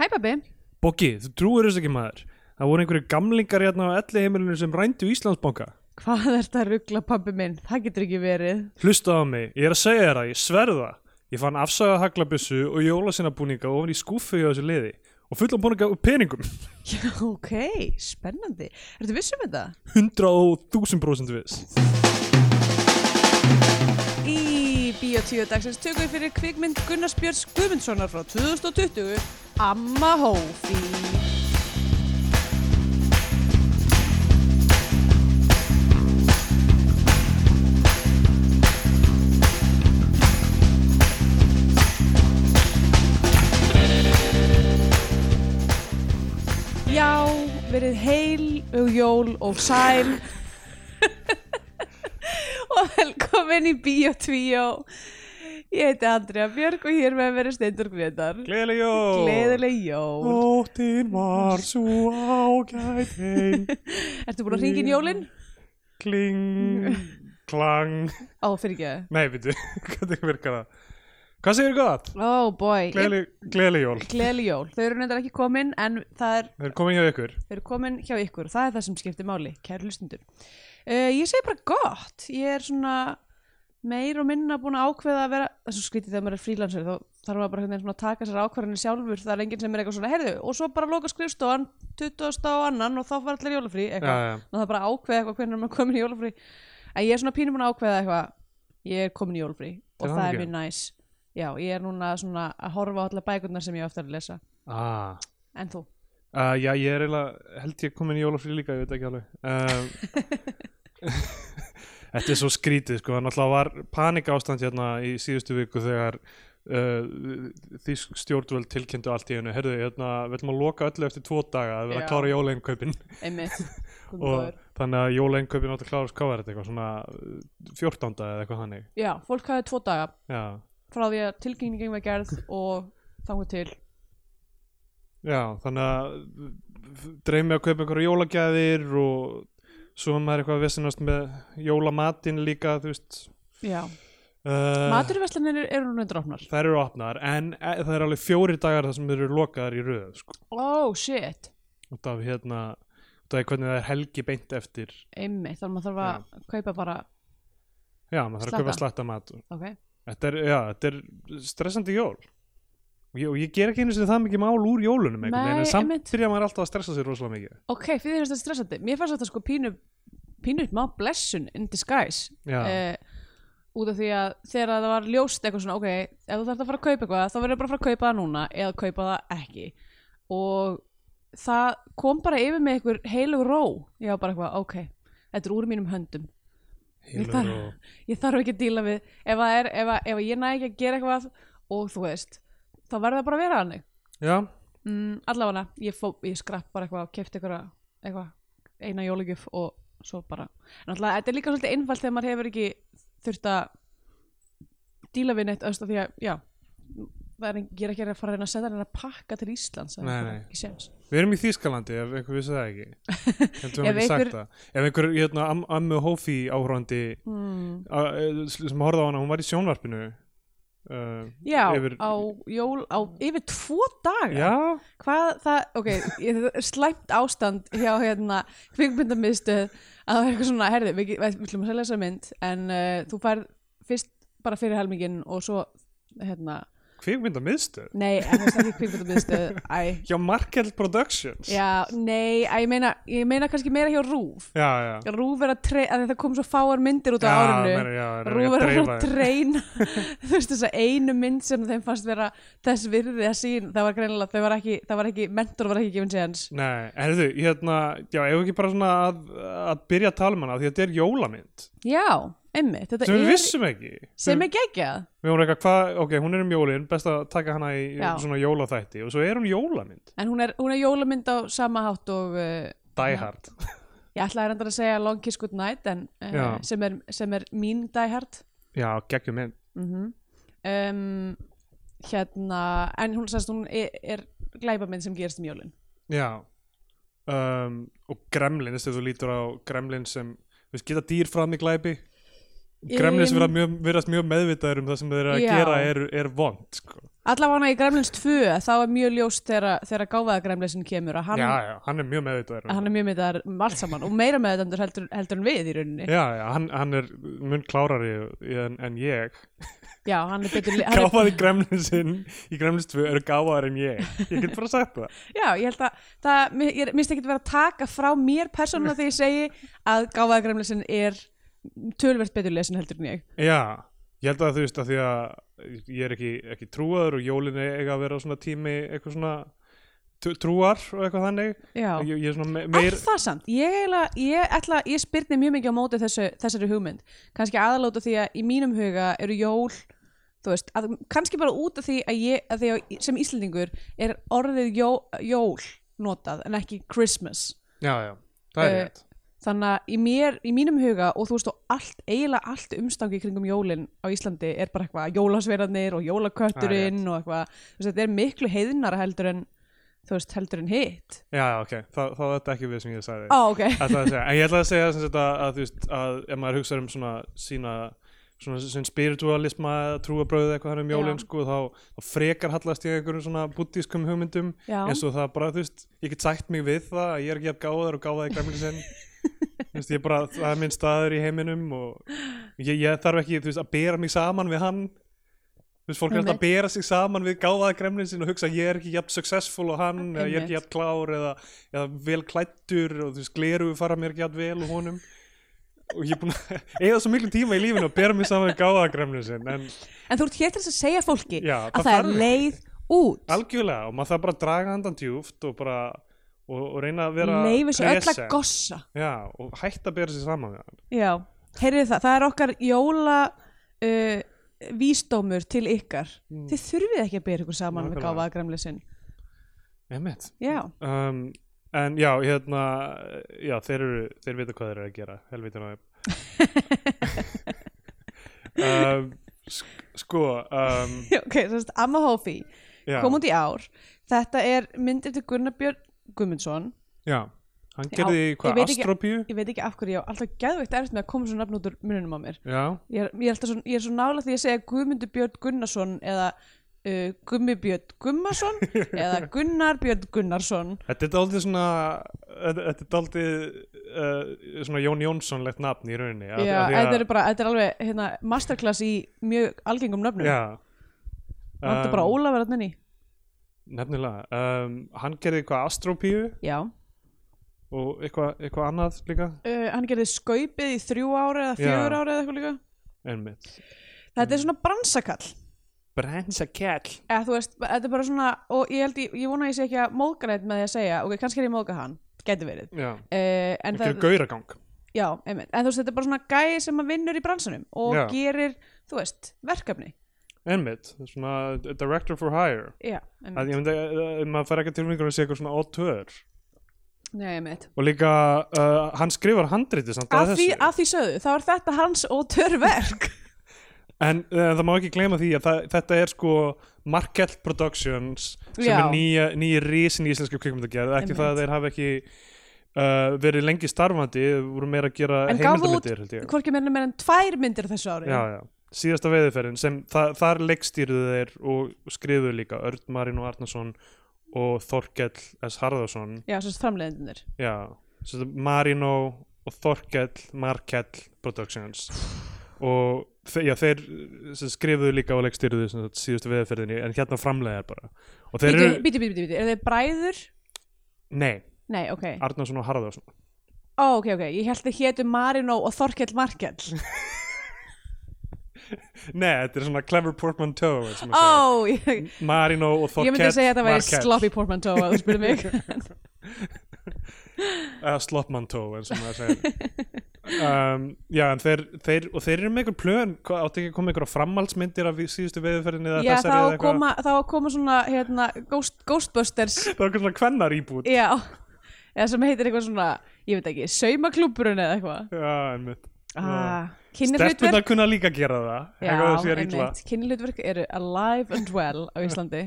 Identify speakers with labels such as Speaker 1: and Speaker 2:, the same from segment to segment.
Speaker 1: Hæ pabbi
Speaker 2: Boggi, þú trúir þess ekki maður Það voru einhverju gamlingar hérna á elli heimilinu sem rændu Íslandsbanka
Speaker 1: Hvað er þetta ruggla pabbi minn? Það getur ekki verið
Speaker 2: Hlusta á mig, ég er að segja þér það, ég sverða Ég fann afsagað haglabissu og jólasinabúninga ofan í skúfu hjá þessu liði og fullan búninga og peningum
Speaker 1: Já, ok, spennandi Ertu viss um þetta?
Speaker 2: 100.000% viss
Speaker 1: Í Bíotíu dagsins tökum við fyrir kvikmynd Gunnars Björns Guðmundssonar frá 2020 Amma Hófi Já, verið heil og jól og sæl og velkomin í Bíotvíó. Ég heiti Andrea Björg og hér með verið Steindur Grétar.
Speaker 2: Gleðileg jól
Speaker 1: Gleðileg jól.
Speaker 2: Óttin var svo ágæt heim
Speaker 1: Ertu búin að hringja inn jólinn?
Speaker 2: Kling, klang
Speaker 1: Ó, fyrir ekki.
Speaker 2: Nei, veitu, hvernig virkar það? Hvað segir gott?
Speaker 1: Ó, Oh, boy.
Speaker 2: Gleðileg gleðileg jól
Speaker 1: Gleðileg jól. Þau eru nefndar ekki komin en það er,
Speaker 2: Þeir komin hjá ykkur
Speaker 1: þau eru komin hjá ykkur. Það er það sem skiptir máli, kæru hlustundur. Uh, ég segi bara gott. Ég er svona meir og minna búin að ákveða að vera, það er svo skrítið þegar maður er frílansur þá þarf maður bara einhvern veginn svona að taka sér ákvarðanir sjálfur það er enginn sem er eitthvað svona, heyrðu, og svo bara loka skrifstofan 20. og annan og þá var allir jólafrí
Speaker 2: Já,
Speaker 1: eitthvað,
Speaker 2: já.
Speaker 1: og það er bara að ákveða eitthvað hvernig maður er komin í jólafrí en ég er svona pínum að ákveða eitthvað ég er komin í jólafrí og
Speaker 2: Til
Speaker 1: það er
Speaker 2: hamingju.
Speaker 1: mjög næs já, ég er núna svona að horfa á allar bækurnar sem ég ofta að lesa
Speaker 2: Ah
Speaker 1: en þú,
Speaker 2: Uh, já, ég er eiginlega, held ég komin í jólafrí líka, ég veit ekki alveg. Um, Þetta er svo skrítið, sko, það náttúrulega var panik ástand hérna í síðustu viku þegar uh, því stjórnvöld tilkynntu allt í hennu, herðu, hérna, við ætlum að loka öllu eftir tvo daga, það er verið
Speaker 1: Já.
Speaker 2: að klára jólainkaupin
Speaker 1: einmitt Guð minn góður.
Speaker 2: og þannig að jólainkaupin átt að klára, hvað var þetta, eitthvað svona 14. eða eitthvað hannig,
Speaker 1: já, fólk hafði tvo daga
Speaker 2: já,
Speaker 1: frá því að tilkynningin var gerð og þangu til
Speaker 2: já, þannig að dreymi að kaupa einhverja jólagjafir og svo er maður eitthvað að vesinast með jólamatinn líka, þú veist,
Speaker 1: já,
Speaker 2: Uh,
Speaker 1: maturverslanir eru núna dróknar
Speaker 2: Þær eru opnaðar en e, það er alveg fjóri dagar þar sem þeir eru lokaðar í röð sko.
Speaker 1: oh shit,
Speaker 2: út af hérna út af hvernig það er helgi beint eftir
Speaker 1: einmitt þannig að maður þarf að kaupa bara
Speaker 2: já, maður þarf að kaupa slatta mat
Speaker 1: ok,
Speaker 2: þetta er, já, þetta er stressandi jól og ég, og ég ger ekki einu sinni það mikið mál úr jólunum einhvern veginn,
Speaker 1: Nei,
Speaker 2: en samt
Speaker 1: einmitt.
Speaker 2: byrja maður alltaf að stressa sér rosalega mikið
Speaker 1: ok, fyrir þess að þetta stressandi mér fannst þetta sko pínu pínu má blessun in disguise
Speaker 2: já,
Speaker 1: uh, út af því að þegar það var ljóst eitthvað svona, ok, ef þú þarf að fara að kaupa eitthvað þá verður bara að fara að kaupa það núna eða kaupa það ekki og það kom bara yfir með einhver heilug ró, ég var bara eitthvað, ok þetta er úr mínum höndum, ég
Speaker 2: heilur
Speaker 1: þarf-
Speaker 2: og
Speaker 1: ég þarf ekki að díla við ef, það er, ef, að- ef ég næ ekki að gera eitthvað og þú veist, þá verður það bara að vera hannig
Speaker 2: já,
Speaker 1: mm, allavega, ég, fó, ég skrapp bara eitthvað og kefti eitthvað, eitthvað eina jólugjöf og svo bara en alltaf, þetta er líka svolítið einfalt þegar maður hefur ekki þurft að díla við neitt öst af því að, já það er, ég er ekki að fara að reyna að setja hennar að pakka til Íslands það er
Speaker 2: Nei,
Speaker 1: bara
Speaker 2: nei.
Speaker 1: ekki séns.
Speaker 2: við erum í Þýskalandi ef einhver vissi það ekki ef
Speaker 1: Ef einhver-
Speaker 2: einhver, ef einhver hérna, am, ammu hófi áhrandi
Speaker 1: mm.
Speaker 2: að- sem horfði á hana, hún var í sjónvarpinu uh,
Speaker 1: já,
Speaker 2: yfir-
Speaker 1: á jól á yfir tvo daga
Speaker 2: já,
Speaker 1: hvað það, ok, ég- þetta er slæmt ástand hjá hérna kvikmyndamiðstöð að það er eitthvað svona, herði, við, við, við ætlum að selja þessa mynd en uh, þú færð fyrst bara fyrir helmingin og svo hérna,
Speaker 2: kvikmynda miðstöð
Speaker 1: nei, en það er ekki kvikmyndamiðstöð æ,
Speaker 2: hjá Markel Productions
Speaker 1: já, nei, æ, ég meina ég meina kannski meira hjá Rúf
Speaker 2: já, já.
Speaker 1: Rúf er að treyna, að það kom svo fáar myndir út á
Speaker 2: Já,
Speaker 1: árinu
Speaker 2: meina, já, þeir eru
Speaker 1: Rúf er að fara
Speaker 2: dreifa
Speaker 1: að
Speaker 2: þeim.
Speaker 1: treyna þú veist þessa einu mynd sem þeim fannst vera þess virði að sín, það var greinilega það var ekki, það var ekki, mentor var ekki gefin séans
Speaker 2: Nei, herðu, hérna, já, ef ekki bara svona að, að byrja að tala um hana, því þetta er jólamynd
Speaker 1: Já, emmi, þetta
Speaker 2: sem
Speaker 1: er
Speaker 2: við vissum ekki
Speaker 1: sem er geggjað
Speaker 2: Við vorum eitthvað, hvað, ok, hún er um jólin, best að taka hana í
Speaker 1: Já.
Speaker 2: svona jólaþætti og svo er hún jólamynd,
Speaker 1: en hún er, hún er jólamynd á sama hátt og uh,
Speaker 2: Die Hard
Speaker 1: ég ætlaði reyndar að segja Long Kiss Good Night en, uh,
Speaker 2: Já.
Speaker 1: sem, er, sem er mín Die Hard
Speaker 2: Já, geggjum mynd Mhm.
Speaker 1: um, hérna en hún, sérst, hún er, er glæpamynd sem gerist um jólin
Speaker 2: Já um, og gremlins, ef þú lítur á gremlins sem, við geta dýr fram í glæpi gremlins
Speaker 1: Em.
Speaker 2: verðast mjög, verðast mjög meðvitaður um það sem þeir eru að
Speaker 1: Já.
Speaker 2: gera er, er vond sko.
Speaker 1: Allavega í Gremlins 2 þá er mjög ljóst þegar, þegar gáfaða Gremlinsin kemur að hann,
Speaker 2: já, já, hann er mjög meðvitaður
Speaker 1: að
Speaker 2: um
Speaker 1: hann er mjög með þetta allt saman og meira með þetta heldur, heldur en við í rauninni.
Speaker 2: Já, já, hann, hann er mun klárari en, en ég
Speaker 1: Já, hann er betur... hann er-
Speaker 2: Gáfaði gremlinsinn í gremlins 2 eru gáfaðar en ég Ég get bara sagt það
Speaker 1: Já, ég held að það, mér- ég minnst ekki að vera að taka frá mér persónulega þegar ég segi að gáfaða Gremlinsin er tölvert betur lesin heldur en ég.
Speaker 2: Já, ég held að þú veist að því að ég er ekki, ekki trúaður og jólin eiga að vera svona tími eitthvað svona tr- trúar og eitthvað þannig
Speaker 1: Já.
Speaker 2: ég, ég er svona me
Speaker 1: Meir...
Speaker 2: meir
Speaker 1: Er það samt? Ég, eiginlega- ég, ætla, ég spyrni mjög mikið á móti þessu, þessari hugmynd. Kannski aðalóta því að í mínum huga eru jól, þú veist, að, kannski bara út af því að ég, að því að sem Íslendingur er orðið jó, jól notað en ekki Christmas.
Speaker 2: Já, já, það er
Speaker 1: Eh,
Speaker 2: rétt
Speaker 1: Þannig að í, mér, í mínum huga og þú veist og allt, eiginlega allt umstangi kringum jólin á Íslandi er bara eitthvað jólasverðarnir og
Speaker 2: Ah,
Speaker 1: jólakötturinn og eitthvað, þú veist, þetta er miklu heiðnara heldur en, þú veist, heldur en hitt.
Speaker 2: Já, já, ok, þá, þá er þetta ekki við sem ég sagði
Speaker 1: Á, ok.
Speaker 2: Ætlaði að segja, en ég ætla að segja sem sagt að, að þú veist að ef maður hugsa um svona sína svona sem spiritualisma trúabröðu eitthvað hann um jólin
Speaker 1: Já.
Speaker 2: sko þá, þá frekar hallast ég einhverjum svona buddískum hugmyndum
Speaker 1: Já.
Speaker 2: eins og það bara þú veist ég get sætt mig við það að ég er ekki að gáðar og gáðaði gamli sinn þú veist ég bara það er minn staður í heiminum og ég, ég þarf ekki þú veist að bera mig saman við hann Þú veist, fólk er alltaf að bera sig saman við gáfaða gremlinsinn og hugsa að ég er ekki jafn successful og hann eða ég er ekki
Speaker 1: Einmitt.
Speaker 2: jafn klár eða, eða vel klættur og þú veist, gleru fara mér ekki jafn vel og honum og ég er búin að eða svo miklu tíma í lífinu að bera mig saman við gáfaða gremlinsinn en
Speaker 1: En þú ert hér til þess að segja fólki
Speaker 2: Já,
Speaker 1: að
Speaker 2: það
Speaker 1: það er
Speaker 2: þarf ekki.
Speaker 1: leið út
Speaker 2: algjörlega og maður þarf bara að draga andan djúft og bara og, og reyna að vera
Speaker 1: Leifir sér öll að
Speaker 2: present.
Speaker 1: gossa
Speaker 2: Já, og hætta að bera sig saman við hann
Speaker 1: Já, heyrið það, það er okkar jóla uh, vísdómur til ykkar Þið þurfið ekki að bera ykkur saman með
Speaker 2: Mm. Nákvæmlega.
Speaker 1: gáfaða gramlisinn
Speaker 2: Emmett
Speaker 1: Já,
Speaker 2: um, en já, hérna já, þeir eru, þeir vita hvað þeir eru að gera helvítið maður um, sk sko um,
Speaker 1: ok, þess að Amma Hófi
Speaker 2: já,
Speaker 1: kom út í ár Þetta er myndir til Gunnar Björn Guðmundsson
Speaker 2: já, hann gerði
Speaker 1: Já, ég
Speaker 2: hvað,
Speaker 1: veit ekki-
Speaker 2: Astropíu
Speaker 1: Ég veit ekki af hverju ég á alltaf geðveikt erfitt með að koma svo nafn út úr mununum á mér
Speaker 2: já,
Speaker 1: Ég er, ég er, alltaf svo, ég er svo nála því að segja Guðmundur Björn Gunnarsson eða uh, Gummi Björn Gummarsson eða Gunnar Björn Gunnarsson
Speaker 2: þetta er daldið svona þetta þetta er daldið uh, svona Jón Jónsson-legt nafn í rauninni af-
Speaker 1: Já,
Speaker 2: af því
Speaker 1: þetta er bara, þetta er alveg hérna, masterclass í mjög algengum nöfnum
Speaker 2: já
Speaker 1: Vantar
Speaker 2: um,
Speaker 1: bara Ólafur að nenni
Speaker 2: nefnilega um, hann gerði eitthvað Astropíu
Speaker 1: Já
Speaker 2: og eitthvað, eitthvað annað líka
Speaker 1: uh, Hann gerði skaupið í þrjú ára eða
Speaker 2: Já.
Speaker 1: fjögur ára eða eitthvað líka
Speaker 2: einmitt
Speaker 1: Þetta er svona bransakall
Speaker 2: Bransa Kjell
Speaker 1: eða þú veist, þetta er bara svona og ég held, ég, ég vona að ég sé ekki að móðga neitt með því að segja ok, kannski er ég að móðga hann, gæti verið uh,
Speaker 2: já
Speaker 1: en,
Speaker 2: Það
Speaker 1: það,
Speaker 2: er gauragang
Speaker 1: já, einmitt, en þú veist, þetta er bara svona gæi sem að vinnur í bransanum og
Speaker 2: Já.
Speaker 1: gerir, þú veist, verkefni
Speaker 2: Einmitt, svona director for hire
Speaker 1: Já,
Speaker 2: að
Speaker 1: einmitt,
Speaker 2: ég myndi að að maður fær ekki tilmyngur að sé eitthvað svona auteur
Speaker 1: Nei, einmitt.
Speaker 2: og líka uh, hann skrifar handriti samt
Speaker 1: Að,
Speaker 2: að
Speaker 1: því,
Speaker 2: þessu
Speaker 1: að því sögðu, þá er þetta hans og törverk
Speaker 2: en uh, það má ekki gleyma því að það, þetta er sko Markell Productions sem
Speaker 1: Já.
Speaker 2: er nýja, nýja risin í íslensku kvikmyndagerð ekki
Speaker 1: Einmitt.
Speaker 2: það að þeir hafa ekki uh, verið lengi starfandi þeir voru meira að gera
Speaker 1: En gaf út
Speaker 2: heimildarmyndir held ég
Speaker 1: hvorki meira meira en tvær myndir á þessu ári
Speaker 2: já, já. síðasta veiðiferðin sem þa þar leikstýrðu þeir og skrifuðu líka Örn Marín og Arnason og Þorkell S. Harðarsson
Speaker 1: já sem sagt framleiðinir
Speaker 2: já, svo þetta Marino og Þorkell Markell Productions og þe já, þeir sem skrifuðu líka og leikstýrðu sem sagt síðustu veiðiferðinni en hérna framleiðar bara og þeir
Speaker 1: Bíti,
Speaker 2: eru,
Speaker 1: bíti, bíti, bíti, er þeir bræður?
Speaker 2: nei,
Speaker 1: Nei, ok
Speaker 2: Arnason og Harðarsson
Speaker 1: Ó, ok, ok, ég held þið hétu Marino og Þorkell Markell
Speaker 2: nei, þetta er svona clever portmanteau eins og maður segir.
Speaker 1: Ó, ég,
Speaker 2: Marino og
Speaker 1: ég myndi
Speaker 2: Þorkell
Speaker 1: að segja að þetta væri
Speaker 2: Markell.
Speaker 1: sloppy portmanteau að þú spyrir mig
Speaker 2: eða sloppmantó eins og maður segir um, já en þeir, þeir og þeir eru með einhver plön hvað- átti ekki að koma einhverja framhaldsmyndir af síðustu veðurferðinni eða
Speaker 1: Já,
Speaker 2: þessari eða
Speaker 1: þá
Speaker 2: eitthvað
Speaker 1: koma, þá koma svona hérna, ghost, Ghostbusters
Speaker 2: það er eitthvað svona kvennar íbúð
Speaker 1: Já, eða sem heitir eitthvað svona ég veit ekki, saumaklúburinn eða eitthvað
Speaker 2: já einmitt
Speaker 1: ah,
Speaker 2: stelpunar
Speaker 1: Kynnihlutverk
Speaker 2: kunna líka gera það
Speaker 1: Já,
Speaker 2: eitthvað það sé illa
Speaker 1: einmitt, kynnihlutverk eru alive and well á Íslandi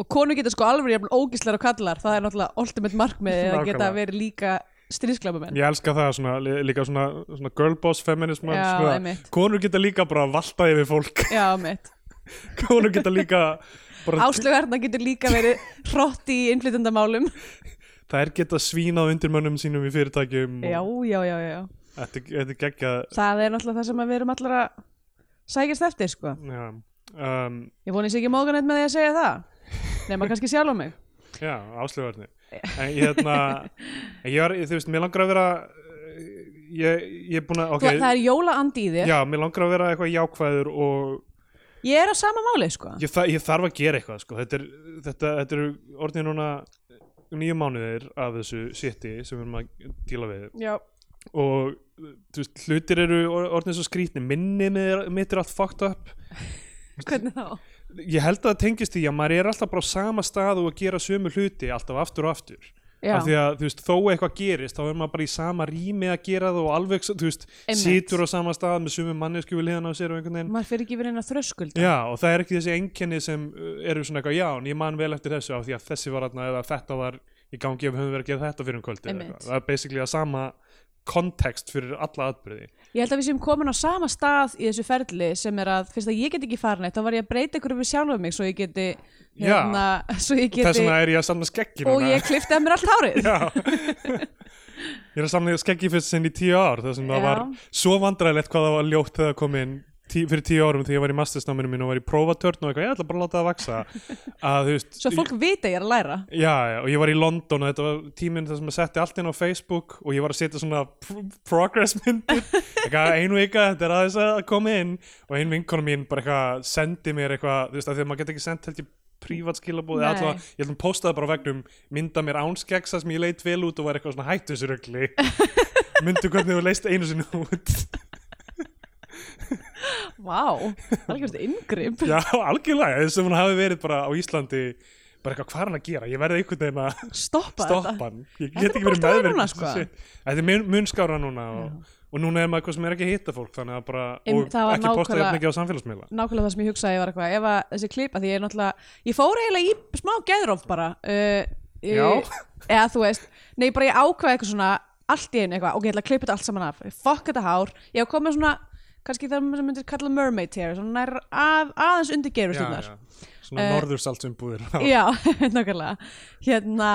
Speaker 1: og konu geta sko alveg jafnvel ógíslar og kallar, það er náttúrulega ultimate markmiðið að geta
Speaker 2: Nákvæmlega.
Speaker 1: verið líka stríðsklapamenn
Speaker 2: ég elska það svona, lí- líka svona, svona girl boss feminism sko.
Speaker 1: Já,
Speaker 2: svona,
Speaker 1: einmitt.
Speaker 2: konur geta líka bara að valta yfir fólk
Speaker 1: Já, mitt
Speaker 2: konur geta líka bara,
Speaker 1: Áslög Arna getur líka verið hrótt í innflytendamálum
Speaker 2: þær geta svínað undir mönnum sínum í fyrirtækjum
Speaker 1: Já,
Speaker 2: og
Speaker 1: já, já, já
Speaker 2: þetta, þetta er geggjað
Speaker 1: Það er náttúrulega það sem að við erum allar að sækjast eftir, sko
Speaker 2: já, um,
Speaker 1: Ég vonið sér ekki móðgan eitt með því að segja það Nei, maður kannski sjálf á mig
Speaker 2: já áslöfarni en ég hérna en ég var, þú veist, mér langar að vera eh, ég, ég er búin að
Speaker 1: okay.
Speaker 2: okay,
Speaker 1: Það er jólaandi í þér
Speaker 2: já, mér langar að vera eitthvað jákvæður og
Speaker 1: Ég er á sama máli, sko
Speaker 2: ég, þa ég þarf að gera eitthvað sko. þetta, er, þetta, þetta eru orðin núna nýju mánuðir af þessu sétti sem við erum að díla við
Speaker 1: Já,
Speaker 2: og þú veist, hlutir eru orðin svo skrítni minni með, mitt er allt fucked up
Speaker 1: hvernig þá?
Speaker 2: ég held að það tengist því að maður er alltaf bara á sama stað og að gera sömu hluti alltaf aftur og aftur
Speaker 1: Já,
Speaker 2: af því að þú veist, þó eitthvað gerist þá er maður bara í sama rými að gera það og alveg, þú veist,
Speaker 1: Einmitt.
Speaker 2: situr á sama stað með sömu mannesku við liðan á sér og einhvern veginn
Speaker 1: maður fyrir ekki verið inn að þröskuld
Speaker 2: Já, og það er ekki þessi einkenni sem uh, eru svona eitthvað, já, en ég man vel eftir þessu af því að þessi var þarna eða þetta var í gangi ef við höfum verið að gera þetta fyrir um kvöldi eða
Speaker 1: Einmitt.
Speaker 2: eitthvað. það er basically að sama kontekst fyrir alla atbyrði
Speaker 1: Ég held að við séum komin á sama stað í þessu ferli sem er að, fyrst að ég get ekki farin eitt þá var ég að breyta ykkur við sjálfa mig svo ég geti
Speaker 2: Já.
Speaker 1: hérna, svo ég
Speaker 2: Geti... þess
Speaker 1: geti
Speaker 2: vegna er ég að samna skeggi
Speaker 1: og
Speaker 2: núna.
Speaker 1: ég kliftaði mér allt hárið
Speaker 2: Já Ég er að samna skeggi fyrst sinn í tíu ár þess vegna
Speaker 1: Já.
Speaker 2: það var svo vandræðilegt hvað það var ljótt þegar það kom inn tí, fyrir tíu árum því ég var í mastersnáminu mín og var í prófatörn og eitthvað, ég ætla bara að láta það vaksa að þú veist,
Speaker 1: Svo fólk vita að ég er að læra
Speaker 2: Já, já, og ég var í London og þetta var tíminn þar sem að setja allt inn á Facebook og ég var að setja svona pr progress myndir eitthvað einu vika, þetta er aðeins að koma inn og ein vinkona mín bara eitthvað sendi mér eitthvað, þú veist, af því að maður geta ekki sendt held ég prívat skilabóð, eða
Speaker 1: Nei.
Speaker 2: allavega ég held að posta það bara á vegnum, mynda mér ánskegsa sem ég leit vel út og var eitthvað svona hættusrugli myndu hvernig þú leist einu sinni út
Speaker 1: Vá, algjörst yngripp
Speaker 2: Já, algjörlega, þess að hún hafi verið bara á Íslandi bara eitthvað, hvað er hann að gera? Ég verði einhvern veginn að
Speaker 1: Stoppa, þetta
Speaker 2: stoppan ég
Speaker 1: Þetta er
Speaker 2: get ekki
Speaker 1: bara
Speaker 2: verið
Speaker 1: allt að vera
Speaker 2: meðverð
Speaker 1: núna, sko.
Speaker 2: þetta er mun, munskára núna og, og núna er maður eitthvað sem er ekki að hitta fólk þannig að bara,
Speaker 1: Em,
Speaker 2: og
Speaker 1: það var
Speaker 2: ekki posta
Speaker 1: nákvæmlega-
Speaker 2: jafn mikið á samfélagsmiðla
Speaker 1: Nákvæmlega það sem ég hugsaði var eitthvað ef að þessi klipa, því ég er náttúrulega ég fór eiginlega í smá geðróf bara uh,
Speaker 2: Já.
Speaker 1: Eða þú veist, nei bara ég ákvaði eitthvað svona allt í einu eitthvað, ok, ég ætla að klippa þetta allt saman af fokk þetta hár, ég hef komið svona kannski það sem myndir kalla mermaid hair svona nær að, aðeins undir geirustjórnar
Speaker 2: já. svona uh,
Speaker 1: Eh,
Speaker 2: norðursalts umbúðir
Speaker 1: Já, nákvæmlega hérna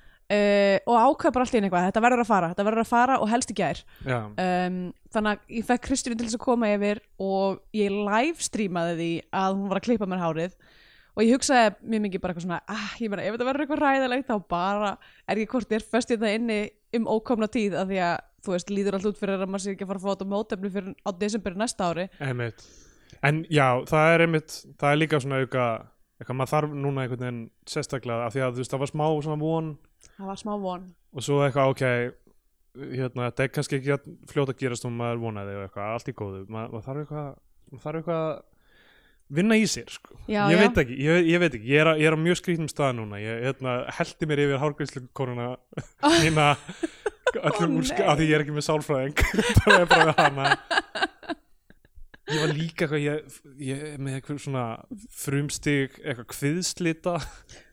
Speaker 1: uh, og ákvað bara allt í einu eitthvað, þetta verður að fara þetta verður að fara og helst í gær
Speaker 2: já,
Speaker 1: um, þannig að ég fekk Kristínu til þess að koma yfir og ég livestreamaði því að hún var að klippa mér hárið og ég hugsaði mjög mikið bara eitthvað svona ah, ég meina ef þetta verður eitthvað ræðilegt þá bara er ég hvort ég er föst í þetta inni um ókomna tíð af því að þú veist líður allt út fyrir að maður sé ekki að fara að fá þetta mótefni fyrir á desember næsta ári
Speaker 2: einmitt en já, það er einmitt, það er líka svona auka eitthvað, maður þarf núna einhvern veginn sérstaklega af því að þú veist, það var smá svona von
Speaker 1: það var smá von
Speaker 2: og svo eitthvað, ok hérna, þetta er kannski ekki að fljóta að gerast og maður vonaði og eitthvað, allt í góðu Ma, maður þarf eitthvað, maður þarf eitthvað að vinna í sér, sko
Speaker 1: já,
Speaker 2: ég
Speaker 1: já.
Speaker 2: veit ekki, ég, ég veit ekki, ég er, á- ég er á mjög skrýtnum stað núna, ég hérna, heldi mér yfir hárgríslukoruna mína öllum
Speaker 1: Ó,
Speaker 2: úr,
Speaker 1: nei.
Speaker 2: að því ég er ekki með sálfræðing það er bara með hana ég var líka eitthvað, ég, ég er með eitthvað svona frumstig, eitthvað kviðslita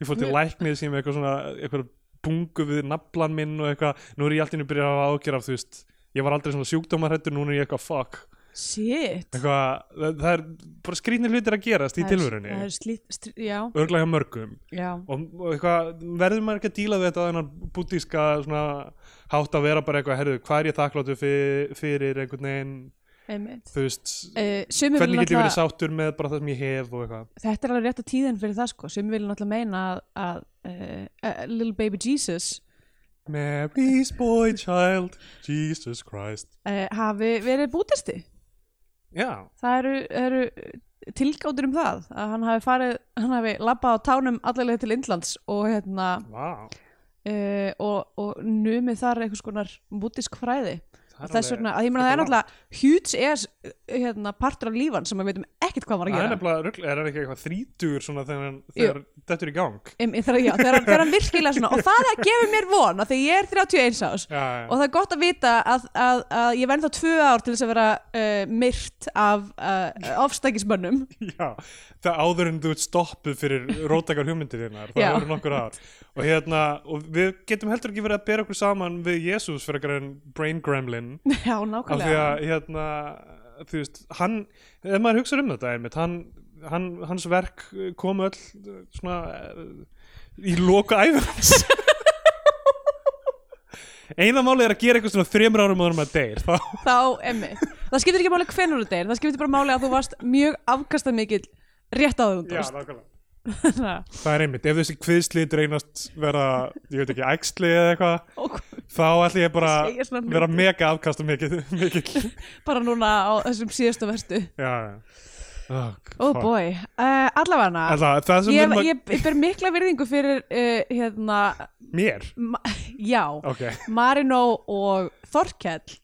Speaker 2: ég fór til læknið sem eitthvað svona eitthvað bungu við naflan minn og eitthvað, nú er ég alltaf byrjað að hafa ágjör af þú veist, ég var aldrei svona sjúkdómarhættur núna er ég eitthvað fuck
Speaker 1: shit
Speaker 2: eitthvað, það, það er bara skrýtnir hlutir að gerast í
Speaker 1: Það er-
Speaker 2: tilverunni
Speaker 1: það er slít, strí, já,
Speaker 2: örglega hjá mörgum
Speaker 1: já,
Speaker 2: og, og eitthvað, verður maður ekki að díla við þetta þennan bútíska svona hátt að vera bara eitthvað, herðu, hvað er ég þakkláttu fyrir, fyrir einhvern veginn
Speaker 1: einmitt
Speaker 2: þú veist,
Speaker 1: uh, sumir vilja
Speaker 2: hvernig get ég
Speaker 1: náttúrulega-
Speaker 2: verið sáttur með bara það sem ég hef og eitthvað
Speaker 1: þetta er alveg rétt að tíðin fyrir það sko sem vilja náttúrulega meina að, að uh, Little Baby Jesus
Speaker 2: Mary's boy child Jesus Christ
Speaker 1: uh, hafi verið bútisti
Speaker 2: já,
Speaker 1: það eru, eru tilgáttur um það að hann hafi farið, hann hafi labbað á tánum allavega til Indlands og hérna
Speaker 2: vá
Speaker 1: uh, og, og numið þar einhvers konar bútisk fræði
Speaker 2: það er
Speaker 1: og þess
Speaker 2: alveg-
Speaker 1: vegna, að ég meina það er
Speaker 2: frekar langt.
Speaker 1: náttúrulega huge ass hérna, partur af lífan sem við veitum ekkert hvað hann var að
Speaker 2: það er
Speaker 1: gera
Speaker 2: nefnilega rugl, er hann ekki eitthvað þrítugur svona þegar, hann- þegar þetta er í gang
Speaker 1: Em, þegar, já, þegar, hann- þegar hann virkilega svona og það að gefa mér von af því ég er 31 ás
Speaker 2: já, já.
Speaker 1: og það er gott að vita að, að, að ég verði þá tvö ár til þess að vera uh, myrt af uh, ofstækismönnum
Speaker 2: Já, það áður en þú ert stoppuð fyrir róttakar hugmyndir þínar, það
Speaker 1: Já.
Speaker 2: eru nokkur ár og hérna, og við getum heldur ekki verið að bera okkur saman við Jésús fyrir eitthvað en brain gremlin,
Speaker 1: Já,
Speaker 2: af því
Speaker 1: nákvæmlega
Speaker 2: að hérna, þú veist, hann ef maður hugsaður um þetta einmitt, hann hann, hans verk eh, kom öll eh, svona eh, í loka æfum hans eina máli er að gera eitthvað svona þremur árum áður en maður deyr þá
Speaker 1: þá emmi það skiptir ekki máli hvenur þú deyr það skiptir bara máli að þú varst mjög afkastamikill rétt á þau
Speaker 2: Já, nákvæmlega.
Speaker 1: og
Speaker 2: það er einmitt, ef þessi kviðslit reynast vera, ég veit ekki, æxli eða eitthvað
Speaker 1: hvað-
Speaker 2: þá ætlum ég bara
Speaker 1: Segja svona
Speaker 2: vera mega afkastum mikill mikill.
Speaker 1: bara núna á þessum síðustu verstu
Speaker 2: já, já oh,
Speaker 1: oh
Speaker 2: fuck.
Speaker 1: boy, uh, allavega
Speaker 2: Alla, það sem
Speaker 1: ég,
Speaker 2: við erum að
Speaker 1: ég, ég ber mikla virðingu fyrir uh, hérna,
Speaker 2: mér
Speaker 1: ma já
Speaker 2: ok,
Speaker 1: Marino og Þorkell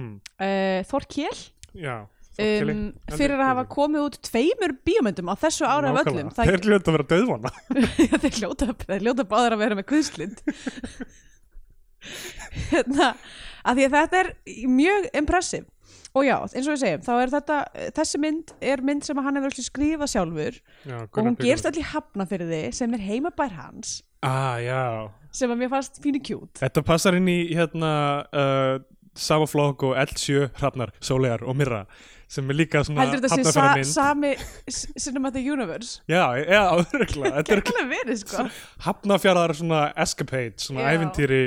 Speaker 2: mm,
Speaker 1: uh, Þorkell
Speaker 2: já Þorkeli.
Speaker 1: um, fyrir að hafa komið út tveimur bíómyndum á þessu ára af öllum
Speaker 2: Nákvæmlega. þeir hljóta að vera döðvona
Speaker 1: Já, þeir hljóta, þeir hljóta báðar að vera með kviðslind hérna, að því að þetta er mjög impressiv og já, eins og við segjum, þá er þetta þessi mynd er mynd sem hann hefur allir skrifað sjálfur
Speaker 2: já,
Speaker 1: og hún gerst allir hafna fyrir þið sem er heimabær hans
Speaker 2: ah, já.
Speaker 1: sem að mér fannst pínu kjút
Speaker 2: þetta passar inn í hérna uh, sama flokk og L7 hrafnar, sólegar og myrra sem er líka svona
Speaker 1: heldur þetta sé sa
Speaker 2: hafnarfjarðarmynd.
Speaker 1: sami s- Cinematic Universe
Speaker 2: já, já, örugglega. þetta er
Speaker 1: það er verið sko
Speaker 2: hafnafjarðar svona escapade, svona
Speaker 1: Já.
Speaker 2: ævintýri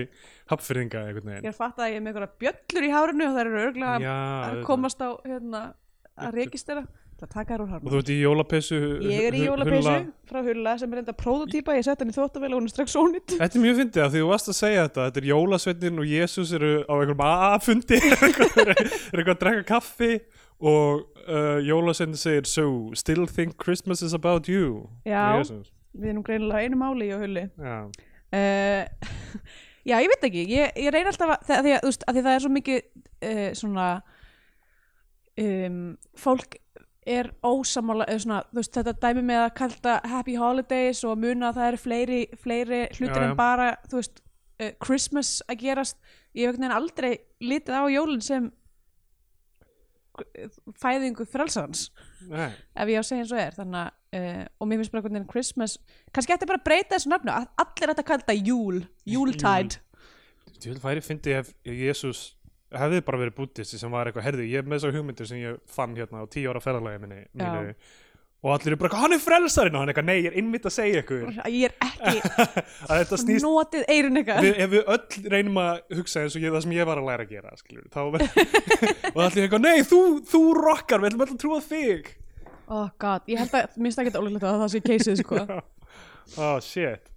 Speaker 2: hafnfyrringa einhvern
Speaker 1: ég
Speaker 2: veginn
Speaker 1: er fatt að ég er með einhverja bjöllur í hárinu og það eru örglega að
Speaker 2: Já,
Speaker 1: komast á hérna, að rekistera það taka þær úr hárinu
Speaker 2: og þú ert í jólapeysu
Speaker 1: Ég er í
Speaker 2: hu-
Speaker 1: jólapeysu
Speaker 2: hulla.
Speaker 1: frá Hulla sem er enda prótotýpa, ég sett hann í þvóttavél og hún er strax ónýtt.
Speaker 2: Þetta er mjög fyndið að því þú varst að segja þetta Þetta er jólasveitin og Jésús eru á einhverjum AA-fundi eru eitthvað að drekka kaffi og uh, jólasveitin segir So, still think Christmas is about you
Speaker 1: Já.
Speaker 2: Við Jesús.
Speaker 1: Við erum greinilega á einu máli í Hulli.
Speaker 2: Já.
Speaker 1: Uh, já, ég veit ekki, ég, ég reyna alltaf að, að, því að, þú veist, að því það er svo mikið uh, svona, um, fólk er ósamála, eða svona, þú veist, þetta dæmi með að kalta Happy Holidays og muna að það eru fleiri, fleiri hlutir
Speaker 2: Já, já.
Speaker 1: en bara, þú veist, uh, Christmas að gerast. Ég hef einhvern veginn aldrei litið á jólinn sem eh, fæðingu frelsans.
Speaker 2: Nei.
Speaker 1: ef ég á að segja eins og er þannig að uh, og mér finnst bara hvernig Christmas kannski ætti bara að breyta þessu nöfnu að allir ætti að kalla þetta júl, júltide
Speaker 2: Þú vil færi fyndið ef Jésús hefði bara verið búttisti sem var eitthvað herði, ég er með þessar hugmyndir sem ég fann hérna á tíu ára ferðarlega minni, mínu og allir eru bara, eitthvað, hann er frelsarinn og hann er eitthvað, nei, ég er innmitt að segja ykkur
Speaker 1: að ég er ekki
Speaker 2: að þetta Mm. snýst
Speaker 1: notið eirun ykkar
Speaker 2: við, ef við öll reynum að hugsa eins og ég, það sem ég var að læra að gera skilur, þá verður og allir eitthvað, nei, þú, þú rockar við ætlum alltaf að trúa á þig
Speaker 1: oh god, ég held að, minnst ekki ólíklegt að það sé keisið sko,
Speaker 2: oh shit,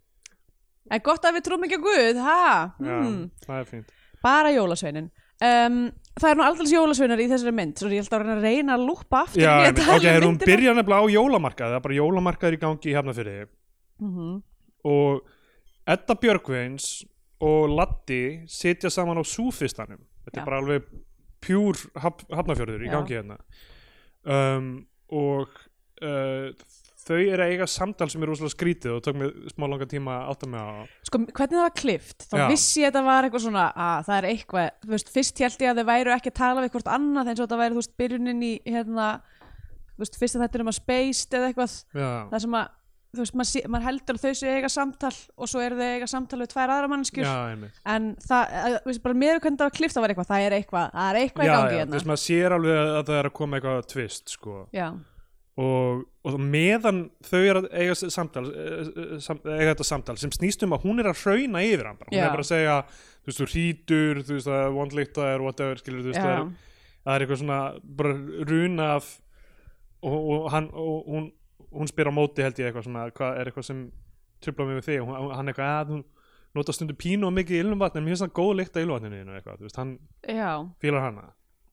Speaker 1: en gott að við trúum ekki að guð, ha
Speaker 2: já,
Speaker 1: hmm.
Speaker 2: það er fínt
Speaker 1: bara jólasveinin um, það er nú aldrei jólasveinar í þessari mynd svo ég held að reyna að reyna að lúppa aftur
Speaker 2: já,
Speaker 1: í að
Speaker 2: en,
Speaker 1: tala
Speaker 2: ok,
Speaker 1: um
Speaker 2: er hún
Speaker 1: myndina.
Speaker 2: byrjar nefnilega á jólamarkað það er bara jólamarkaður í gangi hérna í Hafnafyrði
Speaker 1: Mhm.
Speaker 2: og Edda Björgvins og Latti sitja saman á súfistanum
Speaker 1: Já.
Speaker 2: þetta er bara alveg pjúr haf, hafnafjörður í
Speaker 1: Já.
Speaker 2: gangi hérna um, og uh, þau eru að eiga samtal sem er rosalega skrítið og tók mig smá langa tíma að átta mig á
Speaker 1: sko, hvernig það var klift, þá
Speaker 2: Já.
Speaker 1: vissi ég að það var eitthvað svona að það er eitthvað, þú veist, fyrst held ég að þau væru ekki að tala við hvort annað eins og þetta væri, þú veist, byrjunin í, hérna, þú veist, fyrst að þetta er um að spaced eða eitthvað,
Speaker 2: já,
Speaker 1: það sem að, þú veist, maður, sé, maður heldur að þau séu að eiga samtal og svo eru þau að eiga samtal við tvær aðra mannskjur,
Speaker 2: já, einmitt
Speaker 1: en það, að, þú veist, bara meður hvernig það var klift, það var eitthvað, það er eitthvað, það er
Speaker 2: já,
Speaker 1: eitthvað í gangi
Speaker 2: já,
Speaker 1: hérna.
Speaker 2: þess maður sér alveg að það er að koma eitthvað tvist sko
Speaker 1: Já,
Speaker 2: og, og meðan þau eru að eiga, s- samtal, eh, eh, sam, eiga þetta samtal sem snýst um að hún er að hrauna yfir hann bara. hún
Speaker 1: Já.
Speaker 2: er bara að segja, þú veist, þú hrítur þú veist, það er vondlíkta er whatever skilur, þú veist, það er,
Speaker 1: já,
Speaker 2: það er eitthvað svona bara runa af og, og, hann, og hún, hún spyr á móti held ég eitthvað svona, hvað er eitthvað sem trubla mig með þig, og hún, hann eitthvað "Ah, að hún nota stundu pínu og mikið í ilmvatn en mér finnst það góð líkt að ilmvatninu þínu eitthvað, þú veist, hann
Speaker 1: já,
Speaker 2: fílar hana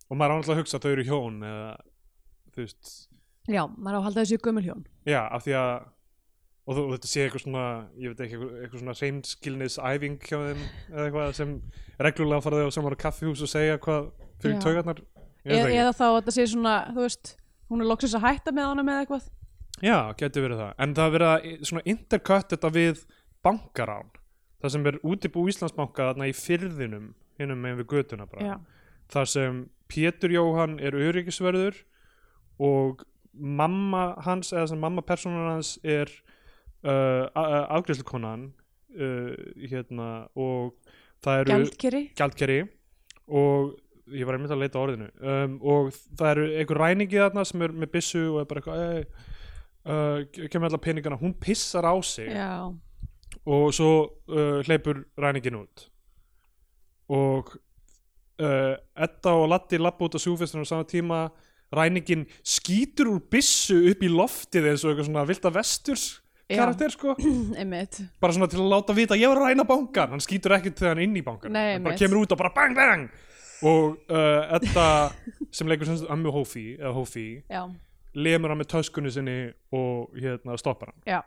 Speaker 2: og maður á náttúrulega að hugsa að þau eru hjón eða, þú veist,
Speaker 1: já, maður á að halda þessu gömul hjón.
Speaker 2: Já, af því að og þú- og þetta sé eitthvað svona, ég veit ekki eitthvað, eitthvað svona reynskilnis æfing hjá þeim eða eitthvað sem reglulega fara þau á saman á kaffihús og segja hvað fyrir
Speaker 1: Já.
Speaker 2: taugarnar
Speaker 1: Eð,
Speaker 2: Ég veit það
Speaker 1: E, eða þá að þetta sé svona, þú veist, hún er loksins að hætta með honum eða eitthvað.
Speaker 2: ekki. Já, getur verið það en það er verið að i- svona intercut þetta við bankarán það sem er útibú Íslandsbanka þarna í fyrðinum hinnum megin við götuna bara
Speaker 1: Já.
Speaker 2: þar sem Pétur Jóhann er öryggisverður og mamma hans eða sem mamma persónan hans er uh, afgriðslukonan uh, hérna og það eru
Speaker 1: Gjaldkeri.
Speaker 2: gjaldkeri og ég var einmitt að leita að orðinu um, og það eru einhver ræningi þarna sem er með byssu og er bara eitthvað "Ey, uh, kemur allar peningana, hún pissar á sig
Speaker 1: já,
Speaker 2: og svo uh, hleypur ræningin út og uh, Edda og Latti lappa út á súfestinu á sama tíma ræningin skýtur úr byssu upp í loftið eins og eitthvað svona vilda vesturs
Speaker 1: Já.
Speaker 2: karakter sko
Speaker 1: einmitt
Speaker 2: bara svona til að láta vita að ég var að ræna bankan hann skýtur ekkert þegar hann er inn í bankan
Speaker 1: Nei,
Speaker 2: hann bara
Speaker 1: einmitt.
Speaker 2: kemur út og bara bang bang og uh, Edda sem leikur sem sagt ömmu Hófi eða Hófi
Speaker 1: já,
Speaker 2: lemur hann með töskunni sinni og hérna stoppar hann
Speaker 1: já,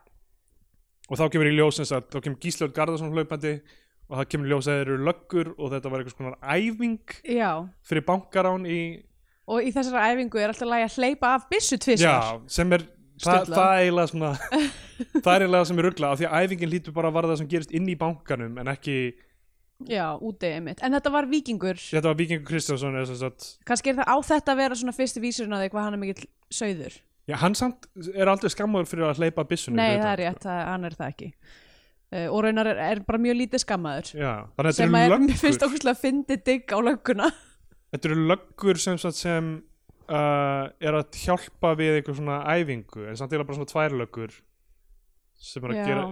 Speaker 2: og þá kemur í ljós sem sagt, þá kemur Gíslaur Garðarsson hlaupandi og það kemur í ljós að þeir eru löggur og þetta var eitthvað svona æfing
Speaker 1: já
Speaker 2: fyrir bankarán í
Speaker 1: og í þessari æfingu er alltaf lagi að hleypa af byssu tvisvar
Speaker 2: já, sem er það,
Speaker 1: Stuðlað.
Speaker 2: það er eiginlega svona það er eiginlega sem er ruggla af því að æfingin lítur bara að varða það sem gerist inn í bankanum en ekki,
Speaker 1: já, úti einmitt, en þetta var vikingur
Speaker 2: þetta var Víkingur Kristjánsson eða sem sagt,
Speaker 1: kannski er það á þetta að vera svona fyrsti vísurinn á því hvað hann er mikill sögður
Speaker 2: já, hann samt er aldrei skammaður fyrir að hleypa byssunum
Speaker 1: nei, það er rétt, það, hann er það ekki uh, og raunar er, er bara mjög lítið skammaður
Speaker 2: sko. já, þannig að
Speaker 1: sem að
Speaker 2: þetta
Speaker 1: er
Speaker 2: eru
Speaker 1: mér
Speaker 2: löggur
Speaker 1: finnst okkur að fyndi digg á lögguna
Speaker 2: þetta eru löggur sem, sagt sem uh, er að hjálpa við einhver svona æfingu en samt er það bara svona tvær löggur sem er að
Speaker 1: Já.
Speaker 2: gera,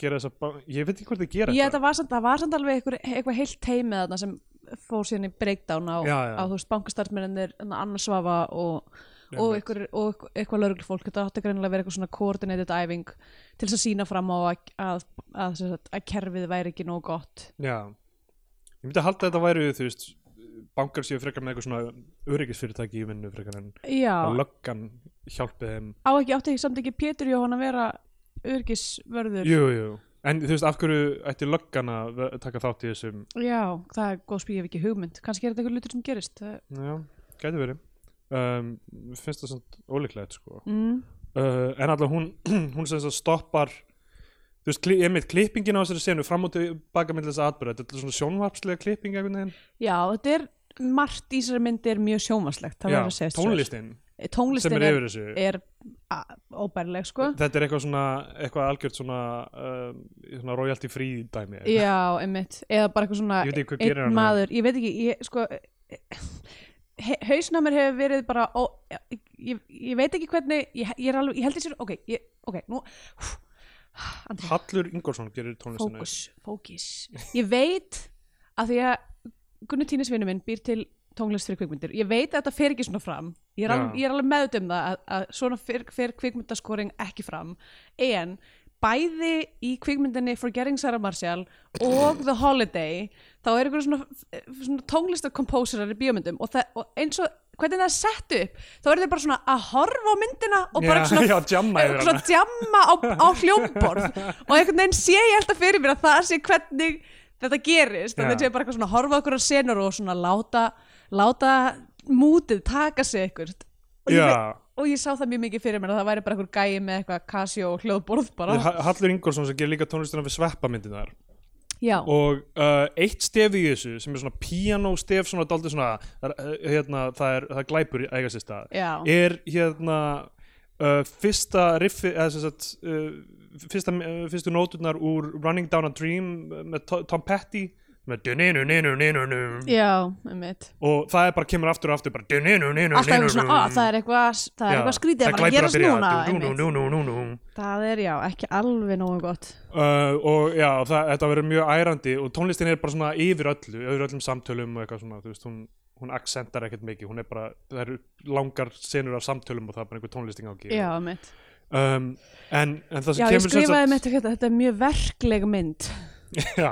Speaker 2: gera þessa ba- ég veit ekki hvort þið gera
Speaker 1: Ég, það, var samt, það var samt alveg eitthvað, eitthvað heilt teimið þarna sem fór síðan í breakdown á,
Speaker 2: Já, já.
Speaker 1: á þú veist, bankastarfsmennir Anna Svafa og, og,
Speaker 2: Einmitt.
Speaker 1: ykkur, og eitthvað lögreglufólk þetta átti greinilega að vera eitthvað svona coordinated æfing til þess að sína fram á að, að, að, að, að kerfið væri ekki nóg gott
Speaker 2: Já. ég myndi að halda að þetta væri þú veist, bankar séu frekar með eitthvað svona öryggisfyrirtæki í vinnu frekar en
Speaker 1: Já,
Speaker 2: að löggan hjálpi þeim
Speaker 1: á ekki átti ekki samt ekki Pétur Jóhann að vera örgisvörður
Speaker 2: jú, jú. en þú veist af hverju ætti löggan að ve- taka þátt í þessum
Speaker 1: Já, það er góð spíð, ég hef ekki hugmynd kannski er þetta eitthvað lutur sem gerist það,
Speaker 2: já, gæti verið um, mér finnst það svona ólíklegt sko.
Speaker 1: mm,
Speaker 2: uh, en alltaf hún hún sem sagt stoppar þú veist, kli, einmitt klippingin á þessari senu fram og tilbaka með þess aðbyrða, þetta er svona sjónvarpslega klipping einhvern veginn,
Speaker 1: Já, þetta er margt í þessari myndi er mjög sjómaslegt
Speaker 2: já, tónlistin sem
Speaker 1: Eh, tónlistin
Speaker 2: er
Speaker 1: er,
Speaker 2: yfir þessu
Speaker 1: er a- óbærileg sko
Speaker 2: þetta er eitthvað svona, eitthvað algjört svona um, svona royalty free dæmi
Speaker 1: já, einmitt, eða bara eitthvað svona
Speaker 2: Ég veit ekki hvað gerir
Speaker 1: einn
Speaker 2: hann.
Speaker 1: maður, ég veit ekki ég, sko, he, hausna mér hefur verið bara ó, ég, ég veit ekki hvernig ég, ég er alveg, ég held þessi ok, ég, ok, nú Andri,
Speaker 2: Hallur Ingolson gerir tónlistina
Speaker 1: fókus, fókus ég veit að því að Gunnar Tínes vinnu minn býr til tónlist fyrir kvikmyndir, ég veit að þetta fer ekki svona fram ég er
Speaker 2: Já.
Speaker 1: alveg, ég er alveg meðut um það að, að svona fer, fer kvikmyndaskoring ekki fram en bæði í kvikmyndinni Forgetting Sarah Marshall og The Holiday þá er ykkur svona, svona tónlistarkomposarar í bíómyndum og, það, og eins og hvernig það er sett upp þá er þið bara svona að horfa á myndina og bara
Speaker 2: Já,
Speaker 1: svona,
Speaker 2: já, djamma yfir
Speaker 1: svona
Speaker 2: hana.
Speaker 1: djamma á, á hljómborð og einhvern veginn sé ég alltaf fyrir mér að það sé hvernig þetta gerist
Speaker 2: Já.
Speaker 1: þannig að ég bara eitthvað svona að horfa okkur á senur og svona láta, láta mútið taka sig eitthvað og, ég
Speaker 2: Já.
Speaker 1: veit- og ég sá það mjög mikið fyrir mér að það væri bara eitthvað gæi með eitthvað Casio og hljóðborð bara
Speaker 2: Ha- Hallur Ingolson sem gerir líka tónlistina fyrir sveppamyndinar
Speaker 1: já,
Speaker 2: og uh, eitt stef í þessu sem er svona piano stef svona daldið svona uh, hérna, það er, það er glæpur í eiga sér stað
Speaker 1: Já.
Speaker 2: er hérna uh, fyrsta riffi eða sem sagt uh, fyrsta, uh, fyrstu nóturnar úr Running Down a Dream með To- Tom Petty með duninu-ninu-ninu-num
Speaker 1: já, einmitt
Speaker 2: og það er bara kemur aftur og aftur bara duninu-ninu-ninu-num
Speaker 1: alltaf eitthvað svona, að það er eitthvað það er eitthvað skrítið að fara að gerast núna einmitt.
Speaker 2: núna
Speaker 1: það er já, ekki alveg nógu gott
Speaker 2: Uh, og já, það, þetta verður mjög ærandi og tónlistin er bara svona yfir öllu yfir öllum samtölum og eitthvað svona þú veist, hún, hún accentar ekkert mikið, hún er bara það eru langar senur af samtölum og það er bara einhver tónlisting á
Speaker 1: já,
Speaker 2: ekki
Speaker 1: einmitt
Speaker 2: um, en, en það sem
Speaker 1: já, ég
Speaker 2: kemur sem
Speaker 1: skrifaði
Speaker 2: sagt-
Speaker 1: mitt og þetta, þetta er mjög verkleg mynd
Speaker 2: Já,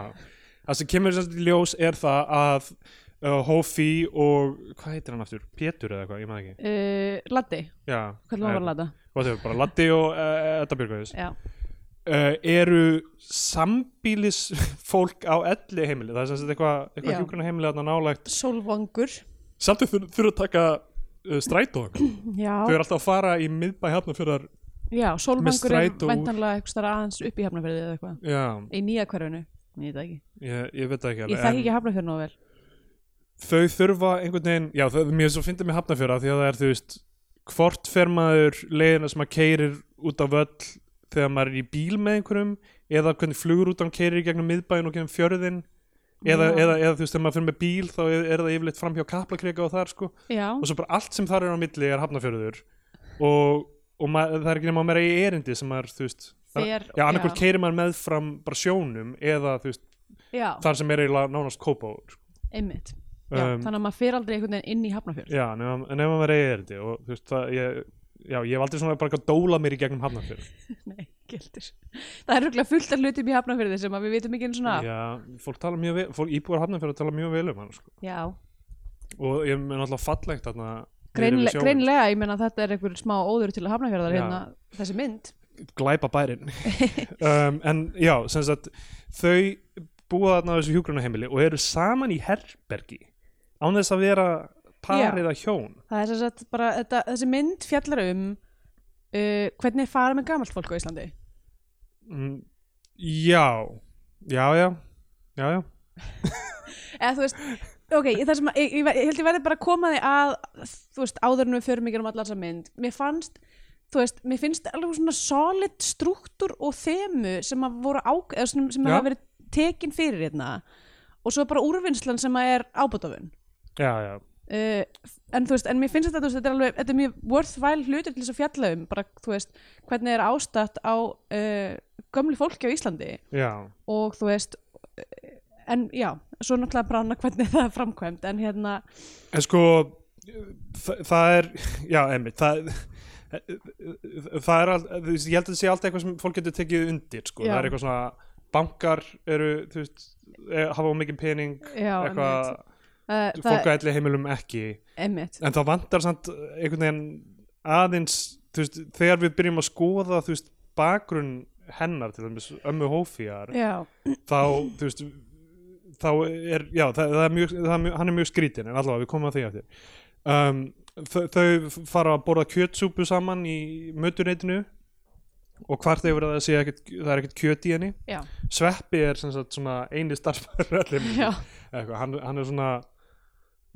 Speaker 2: það sem kemur sem sagt í ljós er það að uh, Hófi og, hvað heitir hann aftur? Pétur eða eitthvað, ég maður ekki
Speaker 1: uh, Latti,
Speaker 2: Já, Eh,
Speaker 1: hvernig var að lata?
Speaker 2: Hvað þau, bara Latti og uh, Edda Björgvæðis
Speaker 1: Já,
Speaker 2: uh, eru sambílis fólk á elli heimili það er sem sagt eitthvað eitthva
Speaker 1: Já.
Speaker 2: hjúkurna heimili þarna nálægt
Speaker 1: sólvangur
Speaker 2: samt þau þurfa að taka uh, strætó þau
Speaker 1: Já,
Speaker 2: eru alltaf að fara í miðbæ hérna hafnafjörðar
Speaker 1: já sólvangur er
Speaker 2: strætó úr-
Speaker 1: væntanlega einhvers staðar aðeins upp í hafnafjörði eða eitthvað
Speaker 2: já,
Speaker 1: Í nýja hverfinu, ég veit það ekki
Speaker 2: ég, ég veit það ekki
Speaker 1: Ég þekki
Speaker 2: alveg
Speaker 1: ekki hafnafjörði nóg vel
Speaker 2: þau þurfa einhvern veginn já, það er mjög svo fyndið með hafnafjörða því að það er þú veist hvort fer maður leiðina sem maður keirir út af völl þegar maður er í bíl með einhverjum eða hvernig flugurútan keirir í gegnum miðbæin og gegnum fjörðin eða,
Speaker 1: Já.
Speaker 2: eða, eða þú veist, þegar maður fyrir með bíl þá er, er það yfirleitt framhjá kaplakrika og þar sko
Speaker 1: Já,
Speaker 2: og svo bara allt sem þar er á milli er hafnafjörður og, og maður, það er ekki nema að maður eigi erindi sem maður, þú veist
Speaker 1: Fer-
Speaker 2: já, annarkvort
Speaker 1: já.
Speaker 2: keiri maður meðfram bara sjónum eða, þú veist,
Speaker 1: já,
Speaker 2: þar sem er eiginlega nánast sko. kópáður
Speaker 1: einmitt já,
Speaker 2: Um,
Speaker 1: þannig að maður fer aldrei einhvern veginn inn í hafnafjörð
Speaker 2: já, nema, nema maður eigi erindi og þú veist, það, ég já, ég hef aldrei svona bara að dóla mér í gegnum hafnafjörð
Speaker 1: nei, gildir það er röglega fullt af hlutum í hafnafjörði sem að við vitum ekki einu svona af.
Speaker 2: já, fólk tala mjög vel, fólk íbúar hafnafjörð tala mjög vel um hann, sko
Speaker 1: já,
Speaker 2: og ég er náttúrulega fallegt þarna niðri við
Speaker 1: Greinle
Speaker 2: sjóinn.
Speaker 1: greinlega, ég meina að þetta er einhver smá óður til hafnafjörðar
Speaker 2: Já.
Speaker 1: hérna, þessi mynd
Speaker 2: glæpa bærin um, en já, sem sagt þau búa þarna á þessu hjúgrunaheimili og eru saman í herbergi án þess að vera
Speaker 1: Já.
Speaker 2: par eða hjón
Speaker 1: það er sem sagt bara, þetta, þessi mynd fjallar um uh, hvernig er farið með gamalt fólk á Íslandi
Speaker 2: mm, já já, já, já, já
Speaker 1: eða þú veist ok, það sem að, ég, ég, ég held ég verði bara að koma því að þú veist, áður en við förum ekki um allar þessa mynd mér fannst, þú veist, mér finnst alveg svona solid struktúr og þemu sem að voru ák, eða sem, sem
Speaker 2: Já.
Speaker 1: hafa verið tekin fyrir hérna og svo bara úrvinnslan sem að er ábútofun
Speaker 2: já, já,
Speaker 1: uh, en þú veist, en mér finnst þetta, þú veist, þetta er alveg þetta er mjög worthwhile hlutur til þess að fjalla um bara, þú veist, hvernig er ástætt á uh, gömlu fólki á Íslandi
Speaker 2: já.
Speaker 1: og þú veist eh, en já, svo náttúrulega brána hvernig það er framkvæmt en hérna,
Speaker 2: en sko það, það er, já, emmi það það er all, þú veist, ég held að það sé alltaf eitthvað sem fólk getur tekið undir sko,
Speaker 1: Já.
Speaker 2: það er eitthvað svona bankar eru, þú veist, eh, hafa of mikið pening
Speaker 1: já,
Speaker 2: eitthvað,
Speaker 1: einmitt, uh,
Speaker 2: fólk
Speaker 1: það,
Speaker 2: að elli heimilum ekki
Speaker 1: einmitt
Speaker 2: en það vantar samt eh, einhvern veginn aðeins þú veist, þegar við byrjum að skoða þú veist, bakgrunn hennar til dæmis ömmu hófíjar
Speaker 1: já,
Speaker 2: þá, þú veist þá er, já, það, það er mjög, það er mjög hann er mjög skrítin, en allavega við komum að því að þér um, þau, þau fara að borða kjötsúpu saman í mötuneytinu og hvart hefur að það sé ekkert, það er ekkert kjöt í henni
Speaker 1: já,
Speaker 2: Sveppi er sem sagt svona eini starfsmæður allir
Speaker 1: já
Speaker 2: eitthvað, hann, hann er svona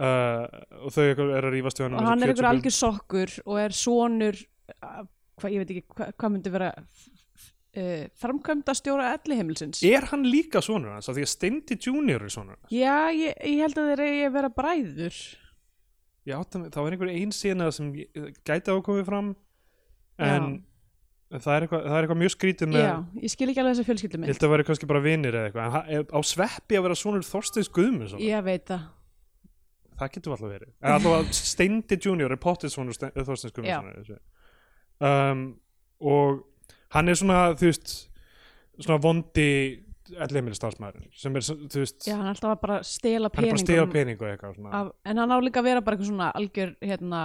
Speaker 2: uh, og þau eitthvað er að rífast við hann um
Speaker 1: og
Speaker 2: þessi
Speaker 1: hann er ykkur
Speaker 2: kjötsúpu.
Speaker 1: algjör sokkur og er sonur uh, hvað, ég veit ekki, hvað, hvað myndi vera uh, framkvæmt að stjóra elli heimilsins
Speaker 2: er hann líka sonur hans, af því að Steindi Junior er sonur hans,
Speaker 1: já, ég, ég held að þeir eigi að vera bræður
Speaker 2: ég átta mig, þá er einhver ein sena sem ég- gæti að komið fram en en það er, eitthvað, það er eitthvað mjög skrítið með
Speaker 1: já, ég skil ekki alveg þessa fjölskyldu
Speaker 2: ég
Speaker 1: minn
Speaker 2: held að það væri kannski bara vinir eða eitthvað en ha- ef- á sveppi að vera sonur Þorsteins Guðmundsson
Speaker 1: ég veit það
Speaker 2: það getur alltaf verið en alltaf að Steindi Junior er pottið sonur Stein- Þorsteins Guðmundsson um, og hann er svona þú veist svona vondi ellheimil starfsmæður sem er þú veist
Speaker 1: já, hann er alltaf bara að stela
Speaker 2: hann er bara
Speaker 1: peningum
Speaker 2: að stela peningu eitthvað svona.
Speaker 1: af, en hann á líka að vera bara eitthvað svona algjör hérna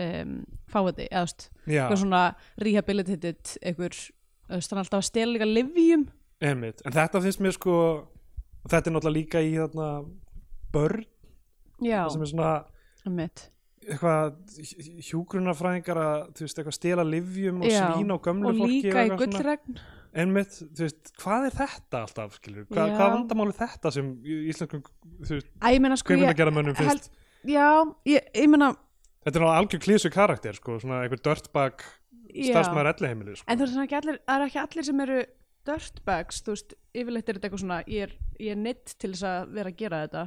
Speaker 1: um, fáiði, eða þú veist,
Speaker 2: já,
Speaker 1: eitthvað svona rehabilitated, eitthvað þú veist, hann er alltaf að stela líka livjum
Speaker 2: einmitt. en þetta finnst mér sko þetta er náttúrulega líka í þarna börn
Speaker 1: já,
Speaker 2: sem er svona
Speaker 1: mitt
Speaker 2: eitthvað hjúgrunafræðingar að þú veist eitthvað stela livjum og
Speaker 1: Já,
Speaker 2: svína á gömlu
Speaker 1: og
Speaker 2: fólki
Speaker 1: líka í
Speaker 2: eitthvað svona.
Speaker 1: gullregn
Speaker 2: einmitt, þú veist, hvað er þetta alltaf, skilur, Hva,
Speaker 1: Já.
Speaker 2: hvað vandamáli þetta sem í- íslenskum, þú veist,
Speaker 1: Æ, ég meina sko,
Speaker 2: hvernig
Speaker 1: ég,
Speaker 2: að gera mönnum
Speaker 1: held-
Speaker 2: finnst
Speaker 1: já, ég, ég meina
Speaker 2: þetta er náttúrulega algjör klísu karakter, sko, svona einhver dörtbak
Speaker 1: já.
Speaker 2: starfsmæður elliheimili, sko
Speaker 1: en þú veist, það er ekki allir, það er ekki allir sem eru dirtbags, þú veist, yfirleitt er þetta eitthvað svona, ég er, ég er neitt til þess að vera að gera þetta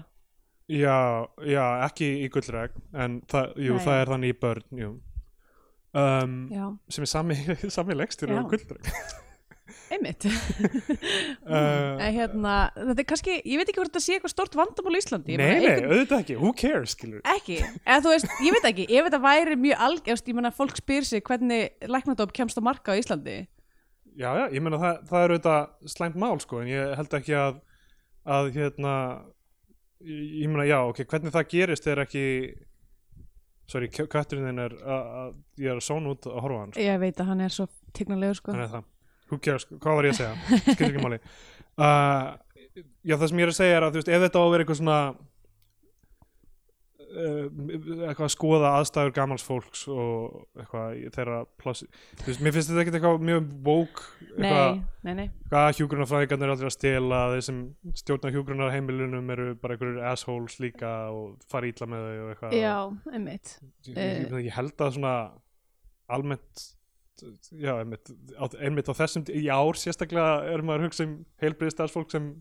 Speaker 2: já, já, ekki í gullreg en það, jú,
Speaker 1: Nei.
Speaker 2: það er þannig í börn, jú um,
Speaker 1: já,
Speaker 2: sem er sami, sami legstur
Speaker 1: Já.
Speaker 2: og gullreg
Speaker 1: einmitt
Speaker 2: uh,
Speaker 1: En hérna, þetta er kannski, ég veit ekki hvort þetta sé eitthvað stort vandamál í Íslandi Ég
Speaker 2: nei, nei,
Speaker 1: meina, einhvern-
Speaker 2: auðvitað ekki, who cares, skilur
Speaker 1: ekki, eða þú veist, ég veit ekki ef þetta væri mjög algjörst, ég menna fólk spyr sig hvernig læknadóp kemst á marka á Íslandi
Speaker 2: Já, já, ég meina það, það er auðvitað slæmt mál sko, en ég held ekki að að hérna ég ég meina já, ok, hvernig það gerist er ekki sorry, kö- kötturinn þinn er að að- ég er að són út að horfa á hann, sko,
Speaker 1: ég veit að hann er svo tignalegur sko
Speaker 2: þannig að það who cares, sko, hvað var ég að segja, skilur ekki máli uh, já, það sem ég er að segja er að þú veist, ef þetta á að vera eitthvað svona uh, eitthvað að skoða aðstæður gamals fólks og eitthvað í þeirra plási, þú veist, mér finnst þetta ekkert eitthvað mjög vók, eitthvað
Speaker 1: nei, nei, nei,
Speaker 2: hvað hjúgrunarfræðingarnir er aldrei að stela þeir sem stjórna hjúgrunarheimilunum eru bara einhverjur assholes líka og fara ítla með þau og eitthvað
Speaker 1: já, einmitt
Speaker 2: ég, ég, ég held að svona almennt já, einmitt, á- einmitt á þessum í ár sérstaklega er maður að hugsa um heilbriðstarfsfólk sem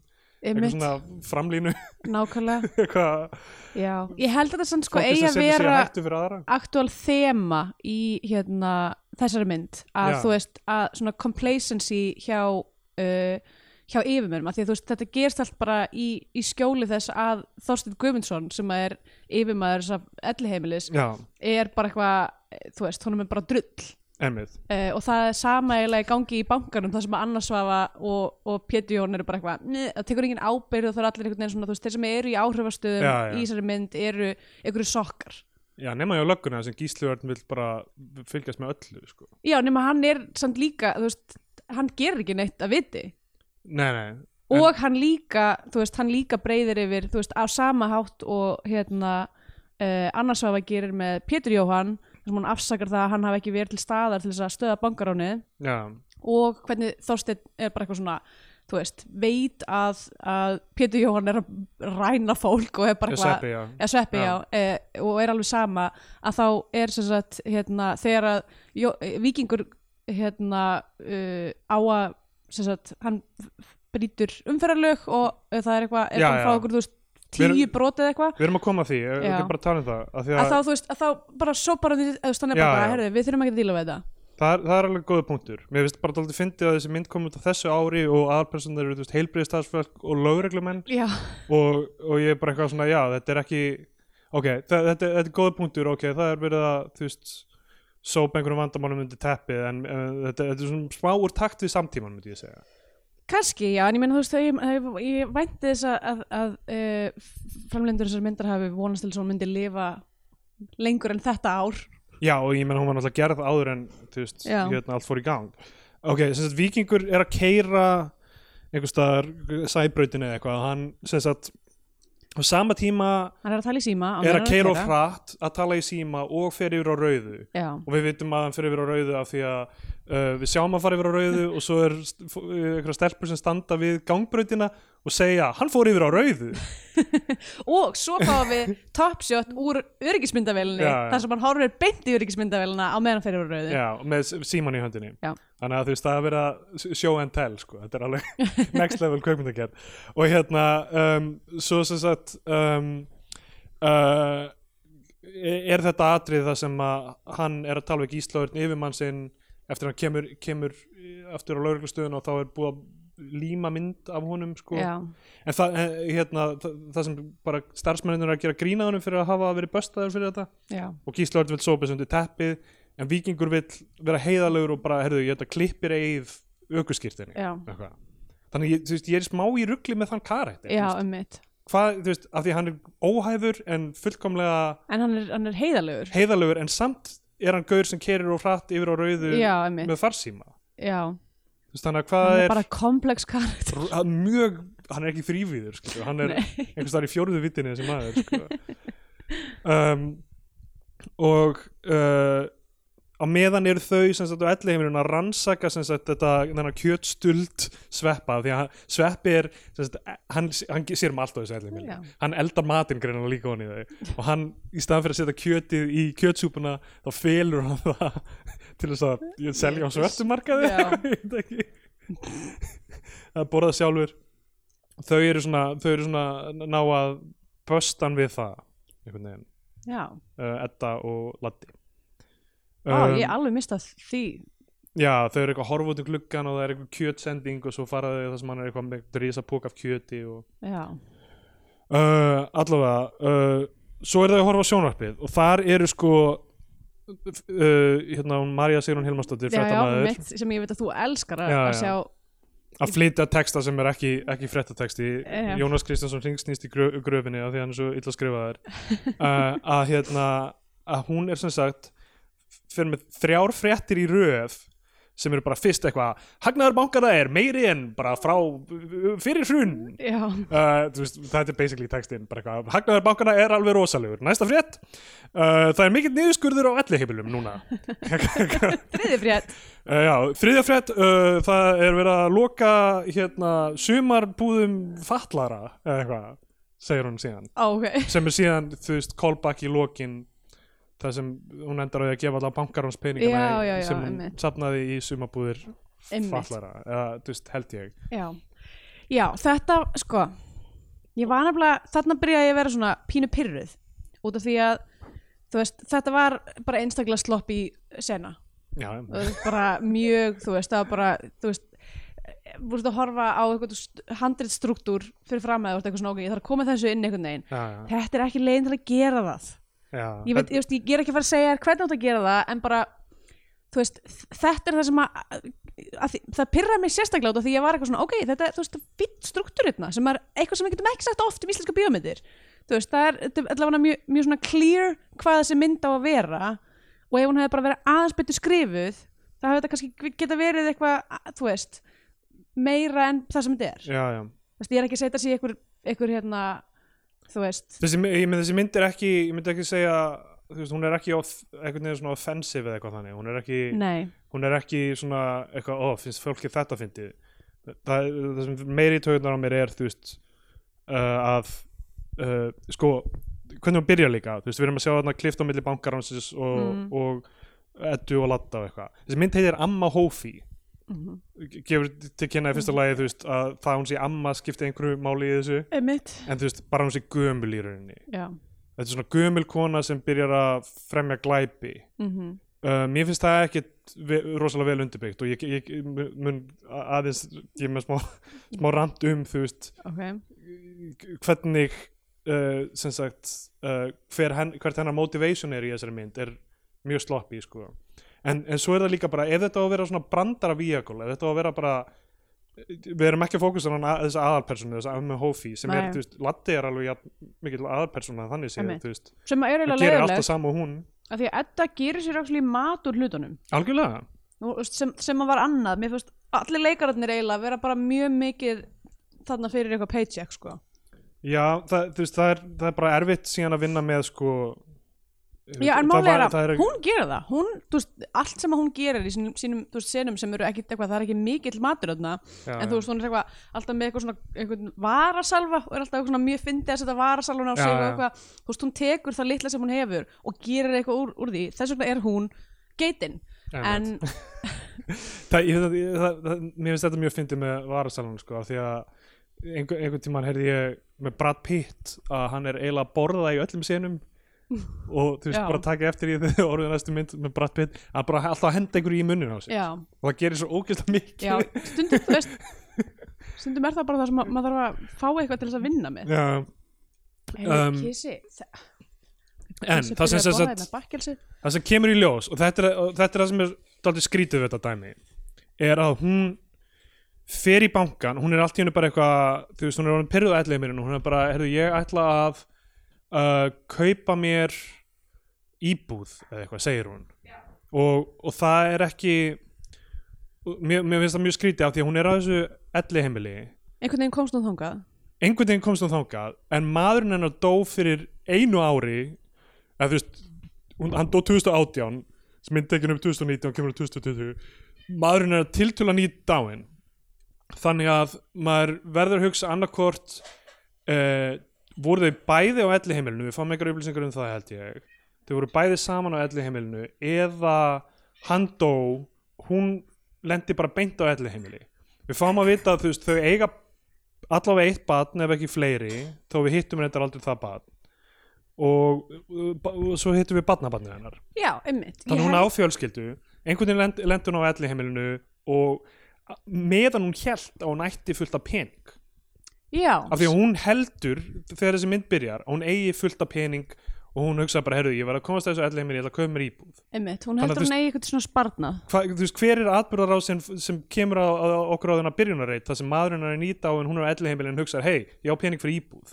Speaker 2: eitthvað
Speaker 1: einmitt,
Speaker 2: svona framlínu
Speaker 1: nákvæmlega
Speaker 2: eitthvað
Speaker 1: Já, ég held að það sann sko
Speaker 2: fólk
Speaker 1: eigi
Speaker 2: sem
Speaker 1: að
Speaker 2: setur sig í
Speaker 1: vera
Speaker 2: hættu fyrir aðra
Speaker 1: aktúal þema í hérna þessari mynd að
Speaker 2: Já.
Speaker 1: þú veist að svona complacency hjá uh, hjá yfirmönnum að því að þú veist þetta gerst allt bara í, í skjóli þess að Þorstein Guðmundsson sem að er yfirmaður þess að elliheimilis
Speaker 2: já,
Speaker 1: er bara eitthvað eh, þú veist, honum er bara drull
Speaker 2: emmið
Speaker 1: uh, og það er sama eiginlega í gangi í bankanum þar sem að Anna Svafa og, og Pétur Jón eru bara eitthvað, "Nei," það tekur engin ábyrð og það er allir einhvern veginn svona, þú veist, þeir sem eru í áhrifastöðum
Speaker 2: Já, já.
Speaker 1: í þessari mynd eru einhverju sokkar
Speaker 2: já, nema hjá lögguna sem gísluverðin vil bara fylgjast með öllu sko.
Speaker 1: Já, nema hann er samt líka, þú veist, hann gerir ekki neitt að viti
Speaker 2: nei, nei,
Speaker 1: og hann líka, þú veist, hann líka breyðir yfir, þú veist, á sama hátt og hérna uh, annarsvafa gerir með Pétur Jóhann þar sem hann afsakar það að hann hafi ekki verið til staðar til þess að stöða bankaránið
Speaker 2: já,
Speaker 1: og hvernig Þorsteinn er bara eitthvað svona þú veist, veit að, að Pétur Jóhann er að ræna fólk og er bara
Speaker 2: ég
Speaker 1: eitthvað
Speaker 2: seppi, já
Speaker 1: eða sveppi, já,
Speaker 2: Já.
Speaker 1: e, og er alveg sama að þá er sem sagt hérna, þegar að jó, eh, vikingur hérna uh, á að sem sagt, hann brýtur umferðarlög og eh, það er eitthvað, er
Speaker 2: Já,
Speaker 1: hann að fá
Speaker 2: já.
Speaker 1: okkur, þú veist
Speaker 2: Við erum-
Speaker 1: tíu brot eða eitthvað
Speaker 2: við erum að koma að því, ég
Speaker 1: Já.
Speaker 2: er bara að tala um það að því að,
Speaker 1: að þá, þú veist, að þá bara sópar hann í- eða þú veist, hann er
Speaker 2: Já,
Speaker 1: bara, bara
Speaker 2: já.
Speaker 1: herðu, við þurfum ekki að díla við þetta
Speaker 2: það, er, það er alveg góða punktur mér finnst bara dálítið fyndið að þessi mynd kom út á þessu ári og aðalpersonar eru heilbriðstafsfólk og lögreglumenn
Speaker 1: Já,
Speaker 2: og, og ég er bara eitthvað svona, já, þetta er ekki ok, þa- þetta, þetta er góða punktur ok, það er verið að, þú veist sópa einhverjum vandamálum undir teppið en uh, þetta, þetta er svona smáur takt við samtíman myndi ég segja,
Speaker 1: kannski, já, en ég meina þú veist ég, ég, ég vænti þess að, að, að uh, framlendur þessar myndar hafi vonast til þess að hún myndi lifa lengur en þetta ár
Speaker 2: já og ég menn hún var náttúrulega gerð áður en, þú veist,
Speaker 1: Já.
Speaker 2: hérna allt fór í gang ok, sem sagt, vikingur er að keira einhvers staðar sæbrautin eða eitthvað, hann sem sagt á sama tíma
Speaker 1: Hann er að tala í síma á
Speaker 2: er
Speaker 1: meðan
Speaker 2: að
Speaker 1: hann
Speaker 2: keira og frætt að tala í síma og fer yfir á rauðu
Speaker 1: Já,
Speaker 2: og við vitum að hann fyrir yfir á rauðu af því að uh, við sjáum að fara yfir á rauðu og svo er st- f- uh, einhverja stelpur sem standa við gangbrautina og segja hann fór yfir á rauðu
Speaker 1: og svo fáum við topshot úr öryggismyndavélinni
Speaker 2: Já, já.
Speaker 1: þar sem hann horfir beint í öryggismyndavélina á meðan hann fer yfir rauðu
Speaker 2: Já, með s- símann í höndinni
Speaker 1: Já.
Speaker 2: þannig að þú veist það er verið að vera show and tell sko. þetta er alveg next level kveikmyndagerð og hérna um, svo sem sagt um, uh, e- er þetta atrið það sem að hann er að tala við gíslaugurinn yfirmann sinn eftir að hann kemur, kemur e, aftur á lauruglustöðun og þá er búið að líma mynd af honum sko.
Speaker 1: Já,
Speaker 2: en það, eh, hérna, það, það sem bara starfsmennir eru að gera grínaðunum fyrir að hafa verið böstaður fyrir þetta
Speaker 1: já,
Speaker 2: og Gíslaur vil sopa sig undir teppið en Víkingur vil vera heiðalegur og bara, herðu, ég ætla að klippir eigið aukuskýrtinni
Speaker 1: já,
Speaker 2: þannig, ég, þú veist, ég er smá í ruggli með þann karættir
Speaker 1: já, um mitt
Speaker 2: hvað, þú veist, af því hann er óhæfur en fullkomlega
Speaker 1: En hann er, hann er heiðalegur
Speaker 2: heiðalegur en samt er hann gaur sem kerir og hratt yfir á rauðu
Speaker 1: Já, um mitt,
Speaker 2: með farsíma
Speaker 1: já Hann
Speaker 2: þú veist, þannig að hvað
Speaker 1: er
Speaker 2: er,
Speaker 1: bara komplex karakter
Speaker 2: r- hann mjög hann er ekki þrývíður, sko, hann er einhvers þar í fjórðu vittinni þessi maður sko. um, og uh, á meðan eru þau sem sagt á elliheimilun að rannsaka sem sagt þetta þennan kjötstuld sveppa því að hann- sveppi er sem sagt, hann, hann sér um allt á þessu
Speaker 1: Já.
Speaker 2: elliheimilun hann eldar matinn greina líka honi þau og hann í staðan fyrir að setja kjötið í kjötsúpuna þá felur hann það til þess að selja á svörtumarkaði
Speaker 1: Já.
Speaker 2: Ég veit ekki. að borða sjálfur þau eru svona, þau eru svona ná að böstan við það einhvern veginn,
Speaker 1: Já,
Speaker 2: uh, Edda og Latti
Speaker 1: á,
Speaker 2: Um,
Speaker 1: ég alveg mista því
Speaker 2: já, þau eru eitthvað að horfa út um gluggan og það er eitthvað kjötsending og svo fara þau það sem hann er eitthvað með drisa pók af kjöti og
Speaker 1: Já,
Speaker 2: uh, allavega uh, svo er það að horfa á sjónvarpið og þar eru sko uh, hérna hún Marja Sigrun
Speaker 1: já,
Speaker 2: Hilmarsdóttir
Speaker 1: já, um
Speaker 2: fréttamaður
Speaker 1: mitt sem ég veit að þú elskar að,
Speaker 2: Já,
Speaker 1: að
Speaker 2: já.
Speaker 1: sjá
Speaker 2: að flytja texta sem er ekki, ekki fréttatexti
Speaker 1: Já.
Speaker 2: Jónas Kristjánsson ringsnýst í grö, gröfinni af því að hann er svo illa skrifaður uh, að hérna að hún er sem sagt fyrir með þrjár fréttir í röð sem eru bara fyrst eitthvað hagnaður bankana er meiri en bara frá fyrir hrun
Speaker 1: Já,
Speaker 2: Uh, þú veist, þetta er basically textin bara eitthvað, hagnaður bankana er alveg rosalegur næsta frétt, uh, það er mikill niðurskurður á ellihefilum núna
Speaker 1: þriði frétt
Speaker 2: Uh, já, þriðja frétt, uh, það er verið að loka hérna sumarbúðum fatlara eða eitthvað, segir hún síðan
Speaker 1: Á, ok
Speaker 2: sem er síðan, þú veist, callback í lokin það sem hún endar á því að gefa alltaf bankarhans peningana
Speaker 1: Já,
Speaker 2: í-
Speaker 1: já, já,
Speaker 2: sem hún
Speaker 1: einmitt.
Speaker 2: safnaði í sumarbúðir
Speaker 1: Einmitt.
Speaker 2: fatlara eða, þú veist, held ég
Speaker 1: Já, Já, þetta, sko ég var nefnilega, þarna byrjaði ég að vera svona pínu pyrruð, út af því að þú veist, þetta var bara einstaklega slopp í sena
Speaker 2: já,
Speaker 1: og þú veist, bara mjög, þú veist, það var bara þú veist, þú veist að horfa á eitthvað handrit struktúr fyrir fram eða þú veist, eitthvað svona, ok, ég þarf að koma þessu inn einhvern veginn
Speaker 2: já, já,
Speaker 1: þetta er ekki leiðin til að gera það
Speaker 2: já.
Speaker 1: ég veit, ég, veist, ég er ekki að fara að segja þér hvernig átt að gera það en bara, þú veist þetta er það sem að, að því, það pyrraði mig sérstaklega út af því ég var eitthvað svona ok, þetta er, þú veist, fýtt struktúrirna sem er eitthvað sem við getum ekki sagt oft um íslenska bíómyndir þú veist, það er þetta er allavega mjög, mjög svona clear hvað þessi mynd á að vera og ef hún hefði bara verið aðeins betur skrifuð það hefði þetta kannski geta verið eitthvað, þú veist meira en það sem þetta er
Speaker 2: já, já.
Speaker 1: Þú veist, ég er ekki að setja sér einhver, einhver hérna, þú veist
Speaker 2: Þessi, ég, með, þessi mynd er ekki ég myndi ekki segja þú veist, hún er ekki of, einhvern veginn svona offensive eða eitthvað þannig hún er ekki,
Speaker 1: nei,
Speaker 2: hún er ekki svona eitthvað, ó, finnst fólki þetta fyndið það, það sem meiri tökunar á mér er þú veist uh, að uh, sko hvernig hún byrjar líka, þú veist, við erum að sjá þarna klift á milli bankaránsins og, og eddu og latta og eitthvað þessi mynd heitir Amma Hófi
Speaker 1: Mhm.
Speaker 2: gefur til kynna í fyrsta lagi þú veist að það að hún sé amma skipti einhverju máli í þessu
Speaker 1: einmitt
Speaker 2: en þú veist bara hún sé gömul í rauninni
Speaker 1: já
Speaker 2: þetta er svona gömul kona sem byrjar að fremja glæpi
Speaker 1: Mhm.
Speaker 2: uh, mér finnst það ekkit ve- rosalega vel undirbyggt og ég, ég mun aðeins ég er með smá, smá rand um þú veist
Speaker 1: ok,
Speaker 2: hvernig uh, sem sagt uh, hver hen, hvert hennar motivation er í þessari mynd er mjög sloppy sko. en, en svo er það líka bara ef þetta á að vera svona brandara vehicle ef þetta á að vera bara við erum ekki að fókusa á hana- þessa aðalpersonu þessa Amma Hófi sem er,
Speaker 1: Nei.
Speaker 2: þú veist, Latti er alveg jafn mikill aðalpersona þannig séð,
Speaker 1: Einmitt.
Speaker 2: þú veist
Speaker 1: sem er
Speaker 2: það
Speaker 1: eiginlega
Speaker 2: gerir alltaf
Speaker 1: leiðilegt
Speaker 2: sama og hún
Speaker 1: af því að Edda gerir sér actually mat úr hlutunum
Speaker 2: algjörlega,
Speaker 1: Nú, veist, sem, sem að var annað, mér finnst allir leikararnir eiginlega vera bara mjög mikið þarna fyrir eitthvað paycheck sko.
Speaker 2: já, það, þú veist það er, það er bara erfitt síðan að vinna með sko
Speaker 1: já, en
Speaker 2: það
Speaker 1: málega
Speaker 2: var-
Speaker 1: er
Speaker 2: það
Speaker 1: að hún gerir það hún, þú veist, allt sem að hún gerir í sínum, sínum þú veist, senum sem eru ekkit eitthvað, það er ekki mikill matur þarna,
Speaker 2: Já,
Speaker 1: en þú veist, hún er eitthvað alltaf með eitthvað svona, einhvern varasalva og er alltaf eitthvað svona mjög fyndið að setja varasalvuna á
Speaker 2: Já,
Speaker 1: sig og
Speaker 2: já.
Speaker 1: eitthvað, þú veist, hún tekur það litla sem hún hefur og gerir eitthvað úr, úr því þess vegna er hún geitin
Speaker 2: Einmitt.
Speaker 1: en,
Speaker 2: það, ég, það, ég- það, það, mér finnst þetta mjög fyndið með varasalun sko, af því að einhver, einhvern tímann heyrði ég með Brad Pitt að hann er eiginlega að borða í öllum senum og þú veist
Speaker 1: Já.
Speaker 2: bara taka eftir í þau orðið næstu mynd með Brad Pitt að bara alltaf að henda einhverju í munnin á sig
Speaker 1: já
Speaker 2: og það gerir svo ógeðslega mikið
Speaker 1: Já, stundum, þú veist stundum er það bara það sem að- maður þarf að fá eitthvað til þess að vinna með
Speaker 2: Já, um,
Speaker 1: Kissi
Speaker 2: en það sem, sem,
Speaker 1: hérna.
Speaker 2: sem,
Speaker 1: Bakkelsi
Speaker 2: það sem kemur í ljós og þetta er, og þetta er það sem er daldið skrítið við þetta dæmi er að hún fer í bankan, hún er allt í hennu bara eitthvað þú veist, hún er orðin pyrruð ætlið mér hún er bara, heyrðu, ég ætla að uh, kaupa mér íbúð eða eitthvað, segir hún og, og það er ekki og mér, mér finnst það mjög skrítið af því að hún er á þessu ætlið heimili
Speaker 1: Einhvern veginn komst hún þangað
Speaker 2: einhvern veginn komst hún þangað en maðurinn hennar dó fyrir einu ári eða þú veist hún, hann dó 2018 sem mynd tekin upp 2019 og kemur upp 2020 maðurinn hennar tiltúla nýtt dáin þannig að maður verður að hugsa annarkvort uh, voru þau bæði á elli heimilinu við fáum einhverja upplýsingar um það held ég þau voru bæði saman á elli heimilinu eða hann dó hún lendi bara beint á elli heimili við fáum að vita að þú veist, þau eiga allavega eitt batn ef ekki fleiri þó við hittum reyndar aldrei það batn og, og, og svo hittum við batnabatnið hennar
Speaker 1: Já, einmitt
Speaker 2: þannig hún á fjölskyldu einhvern veginn lend, lendur hún á elli heimilinu og a- meðan hún held að hún ætti fullt af pening
Speaker 1: Já,
Speaker 2: af því að hún heldur þegar þessi mynd byrjar að hún eigi fullt af pening og hún hugsa bara, herru, ég verð að komast að þessu elli heimili ég ætla að köpa mér íbúð
Speaker 1: einmitt, hún
Speaker 2: Þannig að
Speaker 1: heldur
Speaker 2: þú
Speaker 1: hún eigi eitthvað svona sparnað
Speaker 2: Hva, þú veist, hver er atbyrðar á sem, sem kemur á, á okkur á þennan byrjunarreit þar sem maðurinn er nýta á en hún er á elliheiminni en hugsar, hei, ég á pening fyrir íbúð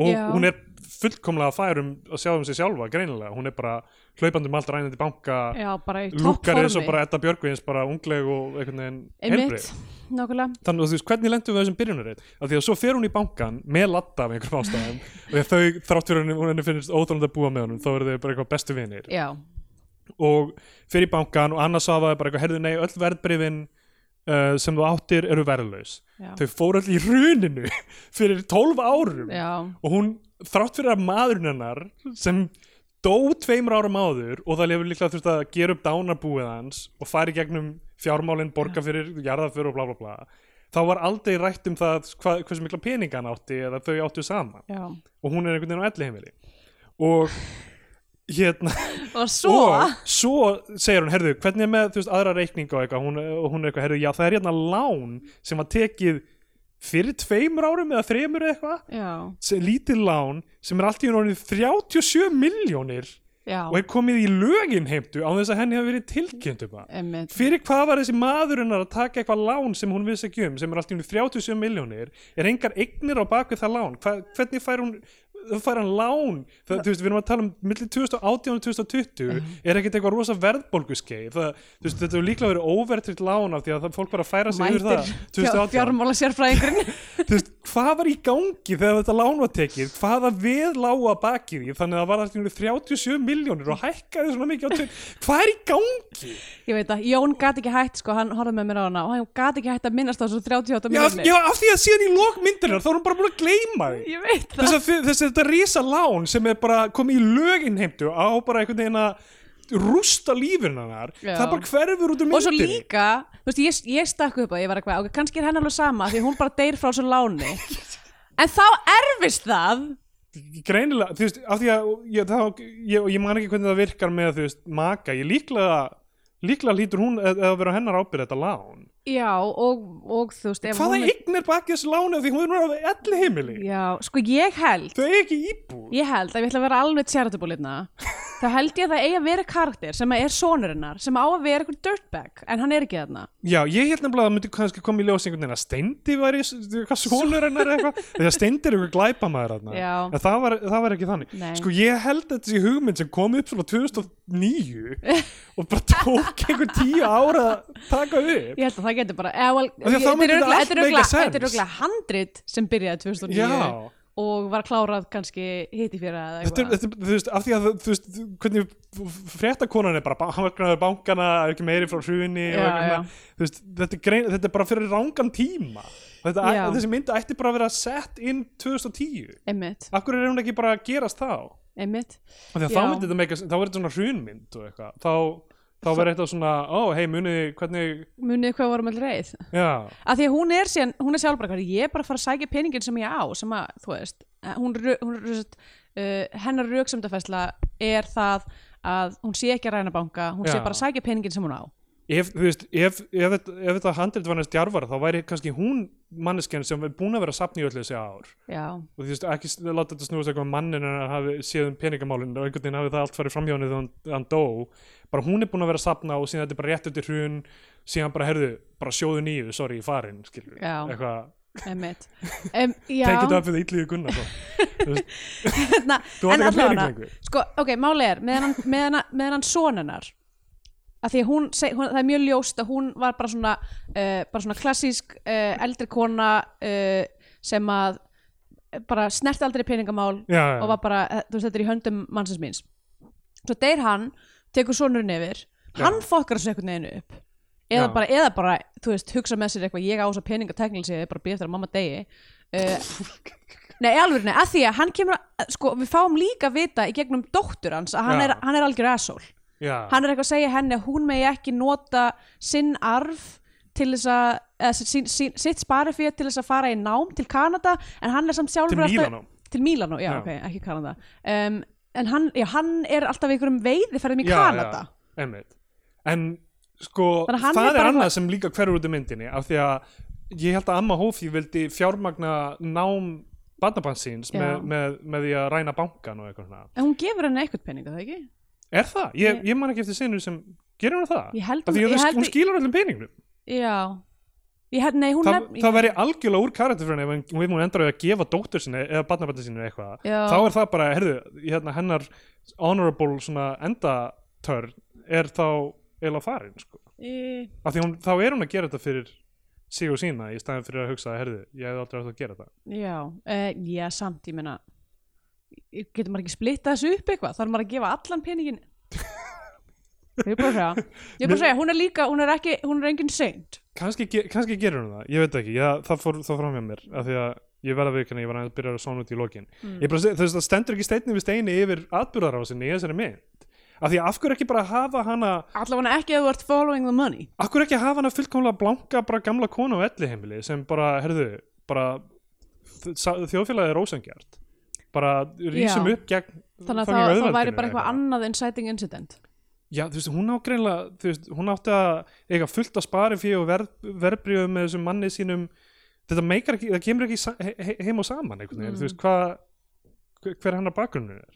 Speaker 2: og
Speaker 1: Já.
Speaker 2: hún er fullkomlega færum að sjá um sig sjálfa, greinilega hún er bara hlaupandi um allt rænandi banka
Speaker 1: Já, bara í
Speaker 2: lúkar eins
Speaker 1: toppformi.
Speaker 2: og bara Edda Björgvins bara ungleg og einhvern veginn heilbrigð.
Speaker 1: Einmitt, nákvæmlega
Speaker 2: þannig að þú veist, hvernig lendum við á þessum byrjunarreit af því að svo fer hún í bankan með latta af einhverjum ástæðum og þegar þau þrátt fyrir henni, hún henni finnst óþálandi að búa með honum þá eru þau bara eitthvað bestu vinir
Speaker 1: Já,
Speaker 2: og fyrir bankan og annars aðaði bara eitthvað, herðu nei, öll verðbrifin uh, sem þú áttir eru verðlaus
Speaker 1: já,
Speaker 2: þau fóru öll í runinu fyrir 12 árum
Speaker 1: já,
Speaker 2: og hún, þrátt fyrir að maðurinn hennar sem dó tveimur árum áður og það lefur líklega þurft að gera upp dánarbúið hans og fari gegnum fjármálinn borga fyrir jarðaför og bla bla bla þá var aldrei rætt um það hva, hversu mikla peningan átti eða þau áttu saman
Speaker 1: já.
Speaker 2: og hún er einhvern veginn á elli heimili og hérna
Speaker 1: og svo
Speaker 2: og svo segir hún, herðu, hvernig er með þú veist, aðra reikninga og eitthvað hún, og hún er eitthvað, herðu, já það er hérna lán sem var tekið fyrir tveimur árum eða þremur eða eitthvað
Speaker 1: já,
Speaker 2: sem- lítið lán sem er allt í hún orðið 37 miljónir
Speaker 1: já,
Speaker 2: og er komið í lögin heimtu á þess að henni hafi verið tilkynnt um það
Speaker 1: emmitt
Speaker 2: fyrir hvað var þessi maður hennar að taka eitthvað lán sem hún vissi ekki um, sem er allt í hún 37 miljónir, er engar eignir á baku það lán, Hva, hvernig fær hún fær hann lán, það, þú veist, við erum að tala um millir 2018 og 2020 er ekkert eitthvað rosa verðbólguskeið það, þú veist, þetta er líklega verið óvertritt lán af því að það, fólk var að færa sig yfir það
Speaker 1: mætir
Speaker 2: 2018
Speaker 1: fjármála sérfræðingurinn
Speaker 2: þú veist, hvað var í gangi þegar þetta lán var tekið, hvaða við lága baki því, þannig að það var alltaf 37 miljónir og hækkaði svona mikið á tveim hvað er í gangi?
Speaker 1: Ég veit að Jón gati ekki hætt sko, hann horfði með mér á hana og hann gati ekki hætt að minnast á þessu 38
Speaker 2: Já, af,
Speaker 1: miljonir.
Speaker 2: já, af því að síðan í lokmyndinar þá er hún bara búin að gleyma því
Speaker 1: Ég veit það.
Speaker 2: þess að þið- þess að þetta risa lán sem er bara komið í lögin heimtu á bara einhvern veginn að rústa lífin hennar,
Speaker 1: Já.
Speaker 2: það bara hverfur út um
Speaker 1: Og svo
Speaker 2: myndinni
Speaker 1: líka, þú veist, ég, ég stakk upp að ég var eitthvað, ok, kannski er henn alveg sama því hún bara deyr frá svo láni. En þá erfist það.
Speaker 2: greinilega, þú veist, af því að ég, þá, ég, ég man ekki hvernig það virkar með þú veist, maka, ég líklega líklega lítur hún eða eða að vera á hennar ábyrð þetta lán.
Speaker 1: Já, og, og þú veist, ef
Speaker 2: Hvaða
Speaker 1: hún...
Speaker 2: eign er bakið þessu lánu af því hún er á elli heimili?
Speaker 1: Já, sko ég held,
Speaker 2: Þau er ekki íbúð.
Speaker 1: ég held að ég ætla að vera alveg tjáratubúlirna. þá held ég að það eigi að vera karakter sem er sonurinnar, sem á að vera eitthvað dirtbag, en hann er ekki þarna.
Speaker 2: Já, ég held nefnilega að það myndi kannski koma í ljós einhvern veginn að Steindi var í eitthvað sonur hennar eða eitthvað, þegar Steindi er eitthvað glæpamaður hann,
Speaker 1: Já.
Speaker 2: en það var, það var ekki þannig
Speaker 1: Nei.
Speaker 2: sko ég held að þessi hugmynd sem kom upp svona 2009 og bara tók einhver tíu ára að taka upp
Speaker 1: Ég held að það getur bara eða, well,
Speaker 2: Af því að þá myndi þetta allt make
Speaker 1: örugglega-
Speaker 2: sense.
Speaker 1: Þetta er örugglega handrit sem byrjaði 2009
Speaker 2: Já.
Speaker 1: og var klárað kannski hitt í fyrra eða
Speaker 2: þetta,
Speaker 1: eitthvað
Speaker 2: er- þetta, er- þú veist, af því að þú veist, hvernig fréttakonan er bara, ba- hann verður bankana er ekki meiri frá hrjunni
Speaker 1: Já,
Speaker 2: veist, þetta, er grein, þetta er bara fyrir rangan tíma þetta,
Speaker 1: Já.
Speaker 2: þessi mynd ætti bara að vera sett inn 2010
Speaker 1: Einmitt,
Speaker 2: af hverju er hún ekki bara að gerast þá af
Speaker 1: einmitt
Speaker 2: því að
Speaker 1: Já.
Speaker 2: þá myndi þetta meika, þá verður þetta svona hrjunmynd og eitthvað, þá, þá verður þetta svona ó, hei, munið, þið hvernig
Speaker 1: Munið hvað vorum allir reið
Speaker 2: já,
Speaker 1: Af því að hún er, síðan, hún er sjálf bara hvað Ég er bara að fara að sækja peningin sem ég á sem að, þú veist eh, hún, rö- hún, hún, uh, Hennar röksamdafæsla er það að hún sé ekki að ræna banka hún sé
Speaker 2: Já.
Speaker 1: bara að sækja peningin sem hún á
Speaker 2: ef, þú veist, ef, ef, þetta- ef þetta handrit var næst djarfara, þá væri kannski hún manneskjan sem er búin að vera að safna í öllu þessi ár
Speaker 1: Já,
Speaker 2: og þú veist ekki s- láta þetta snúast eitthvað um mannin en hann hafi séð um peningamálin og einhvern veginn hafi það allt farið framhjóðinu þegar hann, hann dó bara hún er búin að vera að sapna og síðan þetta er bara rétt eftir hrun síðan bara herðu, bara sjóðu nýju, sorry, farin skilur,
Speaker 1: Já.
Speaker 2: eitthvað,
Speaker 1: einmitt um, já.
Speaker 2: take it up with illiðu Gunnar þú veist,
Speaker 1: Na,
Speaker 2: þú
Speaker 1: en
Speaker 2: átt ekki pening
Speaker 1: allavega,
Speaker 2: lengur.
Speaker 1: sko, ok, máli er meðan hann, meðan hann, meðan hann sonunar að því að hún, seg, hún, það er mjög ljóst að hún var bara svona, uh, bara svona klassísk uh, eldri kona uh, sem að eh, bara snert aldrei peningamál
Speaker 2: já, já,
Speaker 1: og var bara, eh, þú veist, þetta er í höndum mannsins míns svo deyr hann, tekur sonurinn yfir
Speaker 2: Já.
Speaker 1: hann fokkar þessu einhvern veginn upp eða
Speaker 2: Já.
Speaker 1: bara, eða bara, þú veist, hugsa með sér eitthvað ég á þessa peninga teknileg sér, bara býð eftir að mamma degi uh, nei, alveg nei, að því að hann kemur, að- sko, við fáum líka vita í gegnum dóttur hans að hann,
Speaker 2: Já.
Speaker 1: er, hann er algjör asshole
Speaker 2: já,
Speaker 1: hann er eitthvað að segja henni að hún megi ekki nota sinn arf til þess að eða, sín, sín, sitt sparifið til þess að fara í nám til Kanada en hann er samt sjálfur
Speaker 2: til
Speaker 1: alltaf-
Speaker 2: Mílanó
Speaker 1: til Mílanó, já,
Speaker 2: Já.
Speaker 1: ok, ekki Kanada um, en hann, já, hann er alltaf í einhverjum veiðiferðum í Kanada
Speaker 2: já, einmitt. en sko,
Speaker 1: Þannig að hann
Speaker 2: það
Speaker 1: er
Speaker 2: er,
Speaker 1: bara
Speaker 2: annað
Speaker 1: eitthvað-
Speaker 2: sem líka hverjur út í myndinni af því að ég held að Amma Hófi vildi fjármagna nám barnabansins
Speaker 1: Já.
Speaker 2: með, með, með því að ræna bankan og eitthvað svona
Speaker 1: en hún gefur henni eitthvað peninga, það ekki?
Speaker 2: Er það? Ég, ég man ekki eftir sinu sem gerir hún það?
Speaker 1: Ég held
Speaker 2: Af Því
Speaker 1: hún-
Speaker 2: að
Speaker 1: ég
Speaker 2: hún,
Speaker 1: held-
Speaker 2: hún skilur öllum peningum
Speaker 1: já ég hef, nei, hún
Speaker 2: Það,
Speaker 1: nefn
Speaker 2: það væri algjörlega úr karakter fyrir henni ef hún- ef hún endur að gefa dóttur sinni eða barnabarni sinni eitthvað
Speaker 1: Já.
Speaker 2: þá er það bara, herðu, hérna, hennar honorable svona endatörn er þá eiginlega farin sko.
Speaker 1: Í-
Speaker 2: af því hún, þá er hún að gera þetta fyrir sig og sína í staðin fyrir að hugsa herðu, ég hef aldrei átt að gera þetta
Speaker 1: já, uh, já, samt, ég meina getur maður ekki splitta þessu upp eitthvað þarf maður að gefa allan peningin ég er bara að segja ég er bara að segja, hún er líka, hún er ekki hún er engin seint
Speaker 2: kannski, ge- kannski gerur hún það, ég veit ekki ég, það fór það fram hjá mér, af því að ég verða við ég var að byrja að svona út í lokin mm. bara, seg- þú veist, það stendur ekki steinni við steini yfir atbyrðarásinni í þessari mynd af því að af hverju ekki bara hafa hana
Speaker 1: allavega ekki að þú ert following the money
Speaker 2: af hverju ekki hafa hana fullkomlega blanka bara gamla konu á elli sem bara, herðu, bara þ- sa- þjóðfélagið er ósengjart bara rísum
Speaker 1: Já.
Speaker 2: upp gegn
Speaker 1: þannig að það,
Speaker 2: fucking
Speaker 1: það
Speaker 2: Mm,
Speaker 1: væri
Speaker 2: auðveldinu
Speaker 1: bara
Speaker 2: eitthvað.
Speaker 1: eitthvað annað inciting incident
Speaker 2: Já, þú veist, hún á greinlega, þú veist, hún átti að eiga fullt að spari fyrir og verð, verðbríðum með þessum manni sínum þetta meikar ekki, það kemur ekki sa- he- he- heim og saman einhvern veginn,
Speaker 1: Mm.
Speaker 2: þú veist, hvað hver- hver hennar bakgrunnur er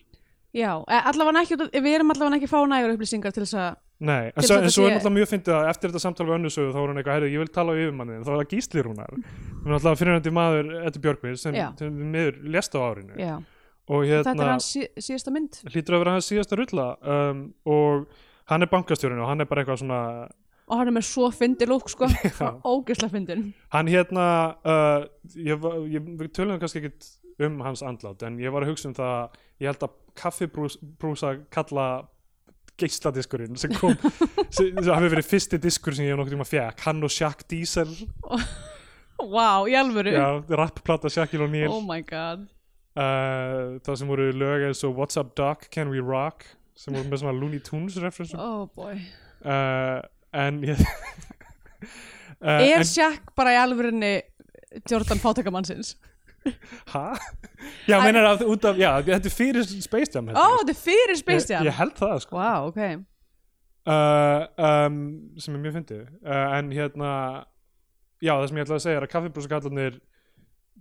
Speaker 1: já, eh, allavega ekki, út af- við erum allavega ekki að fá nægur upplýsingar til þess að
Speaker 2: Nei, en
Speaker 1: Til
Speaker 2: svo,
Speaker 1: þess að
Speaker 2: en svo er
Speaker 1: sé-
Speaker 2: náttúrulega mjög fyndið að eftir þetta samtal við önnusögu þá er hún eitthvað, heyrðu, ég vil tala á yfirmannin þá er það gíslir húnar, hún er náttúrulega fyrirhandi maður Eddi Björgvið sem,
Speaker 1: Já.
Speaker 2: sem við miður lest á árinu
Speaker 1: já,
Speaker 2: og
Speaker 1: þetta er
Speaker 2: hérna,
Speaker 1: hans sí, síðasta mynd
Speaker 2: hlýtur að vera hans síðasta rulla um, og hann er bankastjórinu og hann er bara eitthvað svona
Speaker 1: og hann er með svo fyndi lúk sko
Speaker 2: Já.
Speaker 1: ógislega fyndin
Speaker 2: Hann hérna, uh, ég, var- ég, við tölum kannski ekkit um hans andlát en ég var að hugsa um það að ég held að kaffibrúsa kalla geisladiskurinn sem kom sem, sem hafi verið fyrsti diskur sem ég nokkuð tíma fekk hann og Shaq Diesel
Speaker 1: wow, í alvöru
Speaker 2: já, rapplata Shaquille O'Neal
Speaker 1: oh my god
Speaker 2: uh, það sem voru lög eins og What's Up Doc, Can We Rock sem voru með svona Looney Tunes referensum
Speaker 1: oh boy
Speaker 2: uh, en ég uh,
Speaker 1: er
Speaker 2: en-
Speaker 1: Shaq bara í alvörunni Jordan fátækamannsins
Speaker 2: Hæ? Já, meinar að út af, já, þetta er fyrir Space Jam held
Speaker 1: ó,
Speaker 2: ég.
Speaker 1: þetta er fyrir Oh, Space
Speaker 2: Ég,
Speaker 1: Jam
Speaker 2: ég held það, sko
Speaker 1: wow, ok
Speaker 2: uh, um, Sem er mjög fyndið uh, En hérna Já, það sem ég ætlaði að segja er að kaffibrúsakallarnir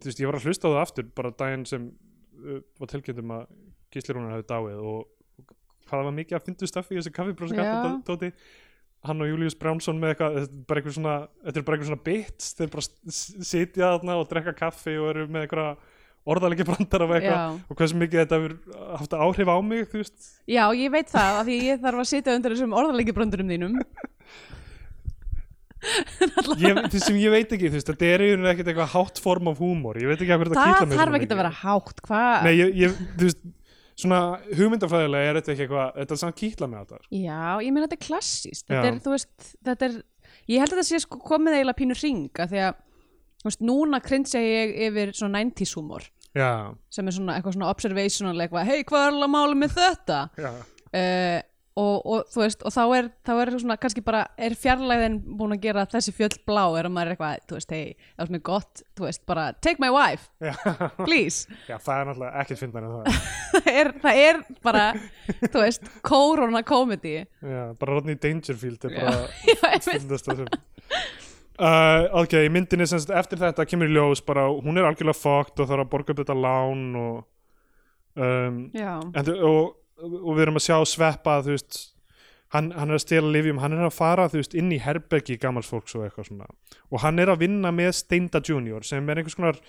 Speaker 2: Þú veist, ég var að hlusta á það aftur Bara daginn sem uh, var tilkjöndum að Gíslirúnar hafi dáið og hvað það var mikið að fyndu staffi í þessu
Speaker 1: Já.
Speaker 2: kaffibrúsakallar Hann og Július Brjánsson með eitthvað þetta er bara einhver svona, þetta er bara einhver svona bits þeir bara s- sitja þarna og drekka kaffi og eru með einhverja orðalegi brandar af eitthvað
Speaker 1: Já.
Speaker 2: og hversu mikið þetta hefur haft áhrif á mig þú veist
Speaker 1: Já, ég veit það, af því ég þarf að sitja undir þessum orðalegibröndurum þínum.
Speaker 2: ég, það sem ég veit ekki, þú veist, þetta er einhvern veginn ekkert eitthvað hátt form af húmor, ég veit ekki að hverju það
Speaker 1: Það
Speaker 2: kýtla mig
Speaker 1: þarf
Speaker 2: svona
Speaker 1: ekki
Speaker 2: mikið.
Speaker 1: að vera hátt, hvað?
Speaker 2: Nei, ég, ég, þú veist, svona hugmyndafræðilega er þetta ekki eitthvað, þetta samt kýtla mig á þetta, sko.
Speaker 1: Já, ég meina þetta er klassist. Þetta
Speaker 2: Já.
Speaker 1: er, þú veist, þetta er, ég held að þetta sé sko komið eiginlega pínu ringa því að, þú veist, núna krinsja ég yfir svona 90s humor
Speaker 2: Já,
Speaker 1: sem er svona eitthvað svona observational eitthvað, hei, hvað er alveg málið með þetta?
Speaker 2: já,
Speaker 1: Uh, og, og þú veist, og þá er, þá er svona kannski bara, er fjarlæðin búin að gera þessi fjöll blá, er að maður er eitthvað, þú veist, hei, það er svona gott, þú veist, bara, take my wife,
Speaker 2: já,
Speaker 1: please.
Speaker 2: já, það er náttúrulega ekkert fyndan en það.
Speaker 1: það er, það er bara, þú veist, korona komedi.
Speaker 2: Já, bara Rodney Dangerfield er
Speaker 1: Já.
Speaker 2: bara
Speaker 1: Já, ég veit.
Speaker 2: fyndast það sem. Uh, ok, í myndinni sem sagt, eftir þetta kemur í ljós bara, hún er algjörlega fókt og þarf að borga upp þetta lán og um,
Speaker 1: Já,
Speaker 2: en, þú- og, og við erum að sjá sveppa þú veist hann, hann er að stela lifjum, hann er að fara þú veist inn í herbergi gamals fólks og eitthvað svona og hann er að vinna með Steinda Junior sem er einhvers konar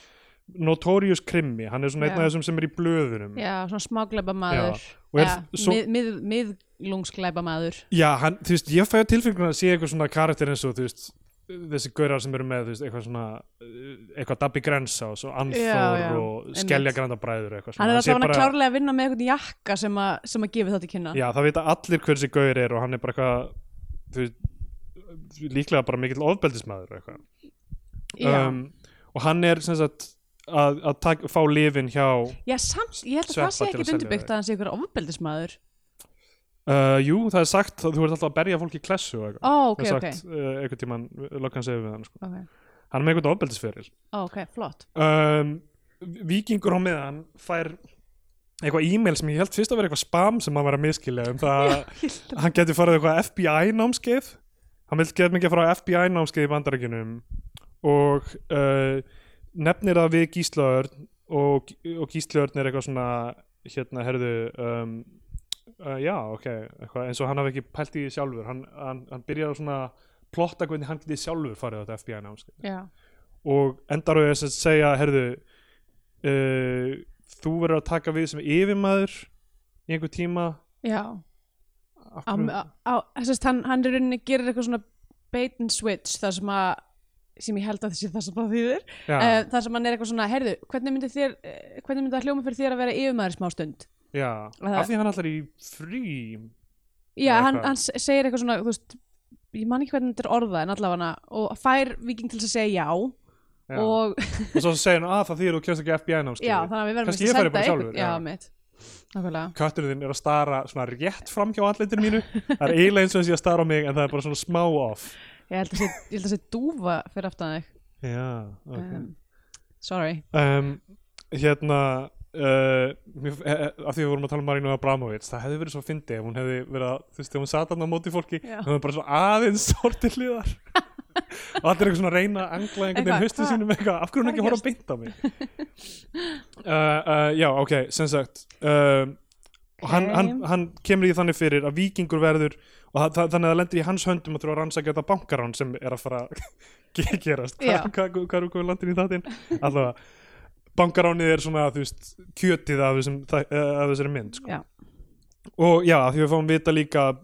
Speaker 2: notorious krimmi, hann er svona einn
Speaker 1: Já.
Speaker 2: af þessum sem er í blöðunum
Speaker 1: já, svona smágleipa maður.
Speaker 2: Já, og er svo-
Speaker 1: mið, mið, miðlungsgleipa maður.
Speaker 2: Já, hann, þú veist, ég fæ á tilfenguna að sé eitthvað svona karakter eins og þú veist þessi gaurar sem eru með, þú veist, eitthvað svona uh, eitthvað Dabbi Grensa og svo Anþór
Speaker 1: Já, já,
Speaker 2: og
Speaker 1: einmitt.
Speaker 2: Skeljagrandabræður eitthvað svona
Speaker 1: Hann er
Speaker 2: sé
Speaker 1: alltaf hann
Speaker 2: bara-
Speaker 1: klárlega að vinna með einhvern jakka sem að, sem að gefa þetta til kynna.
Speaker 2: Já, það vita allir hver þessi gaur er og hann er bara eitthvað þú veist, líklega bara mikill ofbeldismæður eitthvað. Um,
Speaker 1: Já.
Speaker 2: og hann er sem sagt að, að tak, fá lifin hjá
Speaker 1: Já, samt, ég held að
Speaker 2: Sveppa
Speaker 1: það sé
Speaker 2: til að
Speaker 1: ekkit
Speaker 2: selja
Speaker 1: undirbyggt
Speaker 2: þau.
Speaker 1: að hann sé ykkur ofbeldismadur.
Speaker 2: uh, jú, það er sagt að þú ert alltaf að berja fólk í klessu og eitthvað.
Speaker 1: Ó, ok,
Speaker 2: það er
Speaker 1: ok.
Speaker 2: sagt uh, einhvern tímann, lokkan segir við hann sko.
Speaker 1: Ok,
Speaker 2: hann er með einhvern ofbeldisferil
Speaker 1: Ó, ok, flott.
Speaker 2: um, Víkingur á meðan fær eitthvað e-mail sem ég held fyrst að vera eitthvað spam sem hann var að miskilja um það að hann geti farið eitthvað FBI námskeið hann vil geta mikið að fara á FBI námskeið í bandarækjunum og uh, nefnir það við Gíslaörn og, og Gíslaörn er eitthvað svona hérna, herðu um, uh, já, ok, eitthvað, eins og hann hafi ekki pælt í því sjálfur hann, hann, hann byrjar að svona plotta hvernig hann geti sjálfur farið á þetta FBI námskeið
Speaker 1: Já,
Speaker 2: og endar á því að segja herðu uh, þú verður að taka við sem yfirmaður í einhver tíma
Speaker 1: já.
Speaker 2: Af
Speaker 1: Á,
Speaker 2: hverju-
Speaker 1: á, á, þessast, hann, hann er rauninni gerir eitthvað svona bait and switch þar sem að, sem ég held að þessi það sem það þýðir.
Speaker 2: já,
Speaker 1: uh, þar sem hann er eitthvað svona, heyrðu, hvernig myndi þér uh, hvernig myndi það hljóma fyrir þér að vera yfirmaður í smá stund?
Speaker 2: já,
Speaker 1: það-
Speaker 2: af því hann allar í frí
Speaker 1: Já,
Speaker 2: Eða
Speaker 1: hann,
Speaker 2: hvað?
Speaker 1: hann s- segir eitthvað svona, þú veist ég man ekki hvernig þetta er orðað en allavega og fær viking til þess að segja já,
Speaker 2: já.
Speaker 1: og
Speaker 2: og svo segir hann að það þýðir þú kemst ekki FBI
Speaker 1: já,
Speaker 2: námskeið
Speaker 1: þannig að við verðum
Speaker 2: Kannski
Speaker 1: víst
Speaker 2: ég fari bara
Speaker 1: senda
Speaker 2: sjálfur,
Speaker 1: einhvern- já,
Speaker 2: já.
Speaker 1: mitt nákvæmlega
Speaker 2: Kötturinn þinn er að stara svona rétt fram hjá allindir mínu Það er eiginlega eins og þessi að stara á mig en það er bara svona smá off
Speaker 1: Ég held að sé, ég held að sé dúfa fyrir aftan þig
Speaker 2: Já, ok
Speaker 1: um, Sorry
Speaker 2: um, hérna uh, mér, eh, af því við vorum að tala um Marino Abramovic það hefði verið svo fyndi ef hún hefði verið að þú veist, ef hún sat hann á móti fólki
Speaker 1: Já.
Speaker 2: hún hefði bara svo aðeins sortið hliðar og allir eitthvað svona að reyna að angla einhvern
Speaker 1: Eitthvað,
Speaker 2: veginn haustu
Speaker 1: hvað-
Speaker 2: sínum eitthvað, af hverju
Speaker 1: hvað er
Speaker 2: hún ekki að horfa
Speaker 1: gerst?
Speaker 2: beint á mig uh, uh, já, ok, sem sagt um, og hann,
Speaker 1: Ok.
Speaker 2: hann, hann kemur í þannig fyrir að vikingur verður og það, það, þannig að það lendir í hans höndum að þurfa að rannsaka þetta bankarán sem er að fara að ge- gerast
Speaker 1: Já.
Speaker 2: hvað hva, hva, hva er okkur landin í þáttinn allavega, bankaránið er svona þú veist, kjötið af, þessum, þæ- eh, af þessari mynd sko.
Speaker 1: Já.
Speaker 2: og já, af því við fáum vita líka að,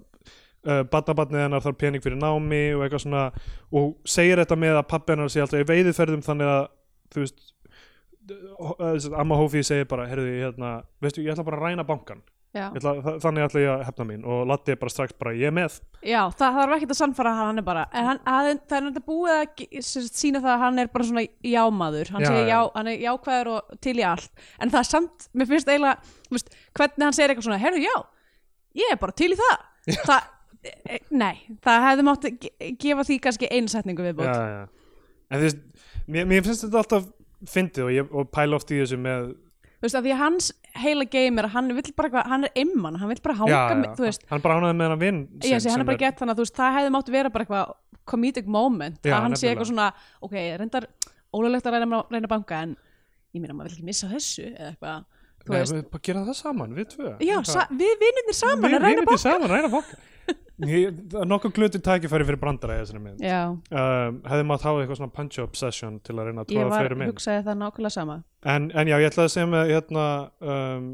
Speaker 2: uh, badnabarnið hennar þarf pening fyrir námi og eitthvað svona og segir þetta með að pappi hennar sé alltaf í veiðiferðum þannig að þú veist d- ho- eh, sem sagt, amma Hófi segir bara heyrðu, hérna, veistu, ég ætla bara að ræna bankan
Speaker 1: Já,
Speaker 2: Ég ætla, þa- þannig ætla ég að hefna mín og Latti er bara strax bara ég er með
Speaker 1: Já það þarf ekkert að sannfara hann, hann er bara en hann, hann, það er náttúrulega búið að ge- sem sagt sína það að hann er bara svona jámaður hann,
Speaker 2: Já,
Speaker 1: já,
Speaker 2: já.
Speaker 1: já. hann er jákvæður og til í allt en það er samt, mér finnst eiginlega þú veist, hvernig hann segir eitthvað svona, herru já ég er bara til í það það e- e- Nei, það hefði mátt ge- gefa því kannski einsetningu viðbútt
Speaker 2: já, já. en þú veist, mér, mér finnst þetta alltaf fyndið og, ég- og pæla oft í þessu með
Speaker 1: Þú veist, af því að hans heila game er að hann vill bara eitthvað, hann er imman, hann vill bara hanga með, þú veist,
Speaker 2: hann bara ánaði með hann vinn
Speaker 1: Já, þessi, hann er bara gett þannig að þú veist, það hefði mátt vera bara eitthvað comedic moment,
Speaker 2: Já,
Speaker 1: að hann sé
Speaker 2: nefnilega.
Speaker 1: eitthvað svona ok, reyndar ólulegt að reyna, reyna banka en ég meina, maður vil ekki missa þessu eða eitthvað, þú
Speaker 2: Nei,
Speaker 1: veist
Speaker 2: við bara gera það saman, við tvö
Speaker 1: Já,
Speaker 2: Bara-
Speaker 1: sa, við vinnirnir saman
Speaker 2: við,
Speaker 1: að reyna
Speaker 2: við
Speaker 1: banka
Speaker 2: við saman ræna banka Ég- það er nokkuð glötu tækifæri fyrir brandara í þessari mynd
Speaker 1: Já,
Speaker 2: um, hefði mátt hafa eitthvað svona punch-up session til að reyna að
Speaker 1: ég
Speaker 2: tróða
Speaker 1: var,
Speaker 2: fleiri mynd
Speaker 1: hugsaði það nákvæmlega sama
Speaker 2: en, en já, ég ætlaði að segja með hérna um,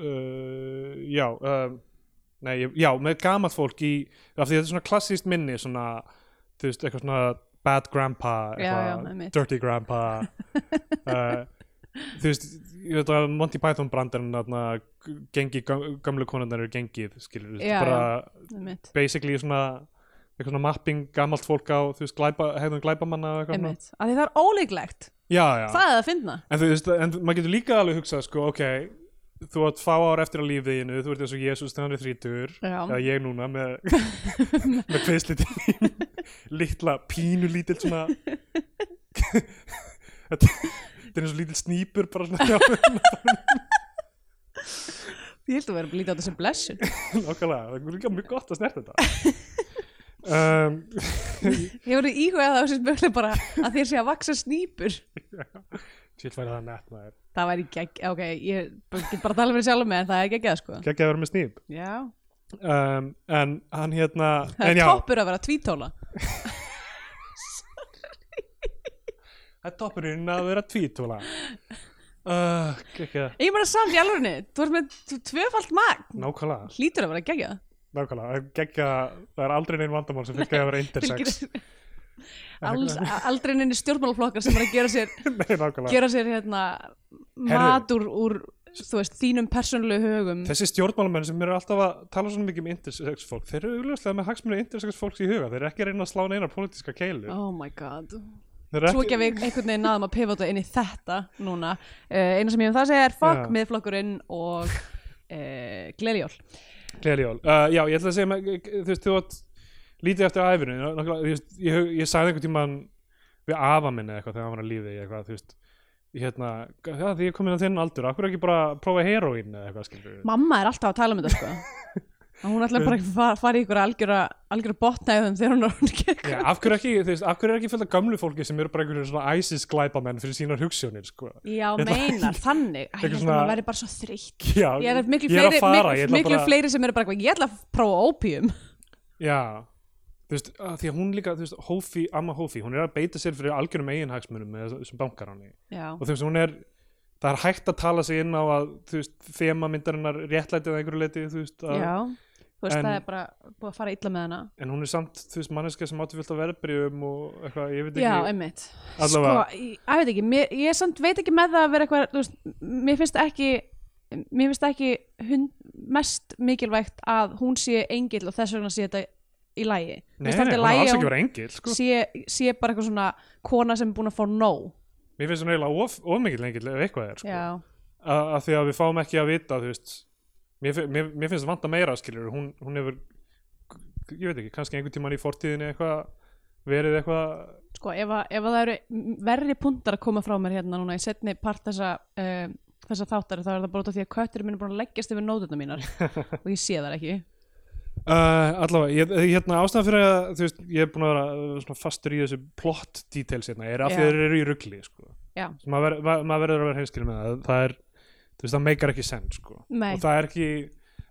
Speaker 2: uh, já um, nei, ég- já, með gamalt fólk í, af því þetta er svona klassíst minni svona, þú veist, eitthvað svona bad grandpa,
Speaker 1: Já, já,
Speaker 2: eitthvað,
Speaker 1: einmitt.
Speaker 2: dirty grandpa uh, þú veist, ég veit að Monty Python brandarinn þarna, gengi, gam- gömlu konundar eru gengið, skilur, þú
Speaker 1: Já,
Speaker 2: veist, bara
Speaker 1: einmitt,
Speaker 2: basically svona eitthvað svona mapping gamalt fólk á, þú veist, glæpa, hefðum glæpamanna og eitthvað svona.
Speaker 1: einmitt, að því það er ólíklegt
Speaker 2: já, já.
Speaker 1: það er að finna
Speaker 2: En þú veist, en maður getur líka alveg hugsað sko, ok, þú átt fá ár eftir að lífiðinu, þú ert eins og Jésús þegar hann er þrítur,
Speaker 1: Já.
Speaker 2: eða ég núna með, með kveðslítið mín, litla pínu lítil svona, þetta þetta er eins og lítil snýpur bara svona, já,
Speaker 1: Ég held að vera að lítið á þessu blessun
Speaker 2: nokkulega, það er líka mjög gott að snerta þetta. Um,
Speaker 1: Ég voru íhugað á þessu spölu bara að þér sé að vaksa snýpur
Speaker 2: Svíl væri það nett maður.
Speaker 1: Það væri gegg, ok, ég get bara að tala fyrir sjálf með en það er geggjað sko
Speaker 2: Ekki að vera með snýp.
Speaker 1: Já,
Speaker 2: Um, en hann hérna,
Speaker 1: það
Speaker 2: en
Speaker 1: er
Speaker 2: já,
Speaker 1: toppur að vera tvítóla
Speaker 2: það er toppurinn að vera tvítúla. Uh, ekki að,
Speaker 1: Ég meina samt í alvörinni, þú ert með t- tvöfalt magn
Speaker 2: nákvæmlega.
Speaker 1: Hlýtur að vera gegja
Speaker 2: Nákvæmlega, það er geggja, það er aldrei neinn vandamál sem fylgja að vera intersex
Speaker 1: Alls, aldrei neini stjórnmálaflokkar sem er að gera sér,
Speaker 2: Nei, nákvæmlega
Speaker 1: gera sér hérna, mat úr, úr þú veist, þínum persónulegu högum
Speaker 2: Þessi stjórnmálamenn sem eru alltaf að tala svona mikið um intersex fólk, þeir eru augljóslega með hagsmunni intersex fólks í huga, þeir eru ekki að reyna að slá neinar pólitíska keilu
Speaker 1: Oh my god
Speaker 2: Þeir eru
Speaker 1: Svo ekki
Speaker 2: ekki,
Speaker 1: að við einhvern veginn náðum að pivota inn í þetta núna uh, Einu sem ég hef það að segja er fuck
Speaker 2: Já.
Speaker 1: miðflokkurinn og uh, gleðjól
Speaker 2: Gleðiljól uh, Já, ég ætla að segja, með, þú veist, þú átt lítið eftir æfinu, nákvæmlega, þú veist, ég, ég, ég sagði einhvern tímann við afa minni eitthvað þegar hann var að lífi eitthvað, þú veist hérna, já, því ég er komin að þinn aldur, akkur ekki bara prófa heroín eða eitthvað, skilur
Speaker 1: Mamma er alltaf að tala um þetta sko Og Hún ætlar bara að fara, fara í ykkur algjöra, algjöra botnæðum þegar hún er hún gegn
Speaker 2: Já, af hverju ekki, þú veist, af hverju er ekki fullt af gamlu fólki sem eru bara einhverjum svona ISIS glæpamenn fyrir sínar hugssjónir, sko.
Speaker 1: Já,
Speaker 2: Ég ætla-
Speaker 1: meinar, þannig Æ, Ég
Speaker 2: Eitthvað
Speaker 1: held að
Speaker 2: svona-
Speaker 1: maður væri bara svo þreytt
Speaker 2: Já,
Speaker 1: Ég er miklu,
Speaker 2: ég er
Speaker 1: fleiri,
Speaker 2: að fara,
Speaker 1: miklu,
Speaker 2: ég ætla
Speaker 1: miklu
Speaker 2: bara,
Speaker 1: fleiri sem eru bara eitthvað Ég ætla að prófa ópíum
Speaker 2: Já, þú veist, að því að hún líka, þú veist, Hófi, amma Hófi, hún er að beita sér fyrir algjörum eiginhagsmunum með þess- þessum bankaráni.
Speaker 1: Já,
Speaker 2: Og þú veist, hún er, það er hægt að tala sig inn á að, þú veist, þema myndarinnar réttlætið að einhverju leiti, þú veist, að,
Speaker 1: já Þú veist,
Speaker 2: En-
Speaker 1: það er bara búið að fara illa með hana
Speaker 2: en hún er samt, þú veist, manneska sem átti fullt af verðbrífum og eitthvað, ég veit
Speaker 1: Já,
Speaker 2: ekki,
Speaker 1: einmitt
Speaker 2: allavega,
Speaker 1: Sko, ég, ég veit ekki, mér, ég samt veit ekki með það að vera eitthvað þú veist, Mér finnst ekki Mér finnst ekki hund, mest mikilvægt að hún sé engill og þess vegna sé þetta í lægi
Speaker 2: nei, nei, hún er alls ekki verið engil, sko.
Speaker 1: sé, sé bara eitthvað svona kona sem er búin að fá nóg
Speaker 2: Mér finnst hún eiginlega of, of mikill engil ef eitthvað er, sko.
Speaker 1: Já,
Speaker 2: að að því að við fáum ekki að vita þú veist, mér, fi- mér, mér finnst vanta meira skilur hún, hún hefur, ég veit ekki kannski einhvern tímann í fortíðinni eitthvað verið eitthvað
Speaker 1: Sko, ef, að, ef að það eru m- verri puntar að koma frá mér hérna núna í setni part þessa, um, þessa þáttar þá er það bara út af því að kötturinn minn er búin að leggjast yfir nótuna mínar og ég sé það ekki
Speaker 2: Uh, allavega, ég, ég- hérna ástæðan fyrir að þú veist, ég er búin að vera uh, svona fastur í þessu plot details hérna, er af því
Speaker 1: Já.
Speaker 2: þeir eru í ruggli sko.
Speaker 1: Já.
Speaker 2: Svo maður ver- ma- maður verður að vera hinskil með það það er, þú veist, það meikar ekki send sko.
Speaker 1: Nei.
Speaker 2: og það er ekki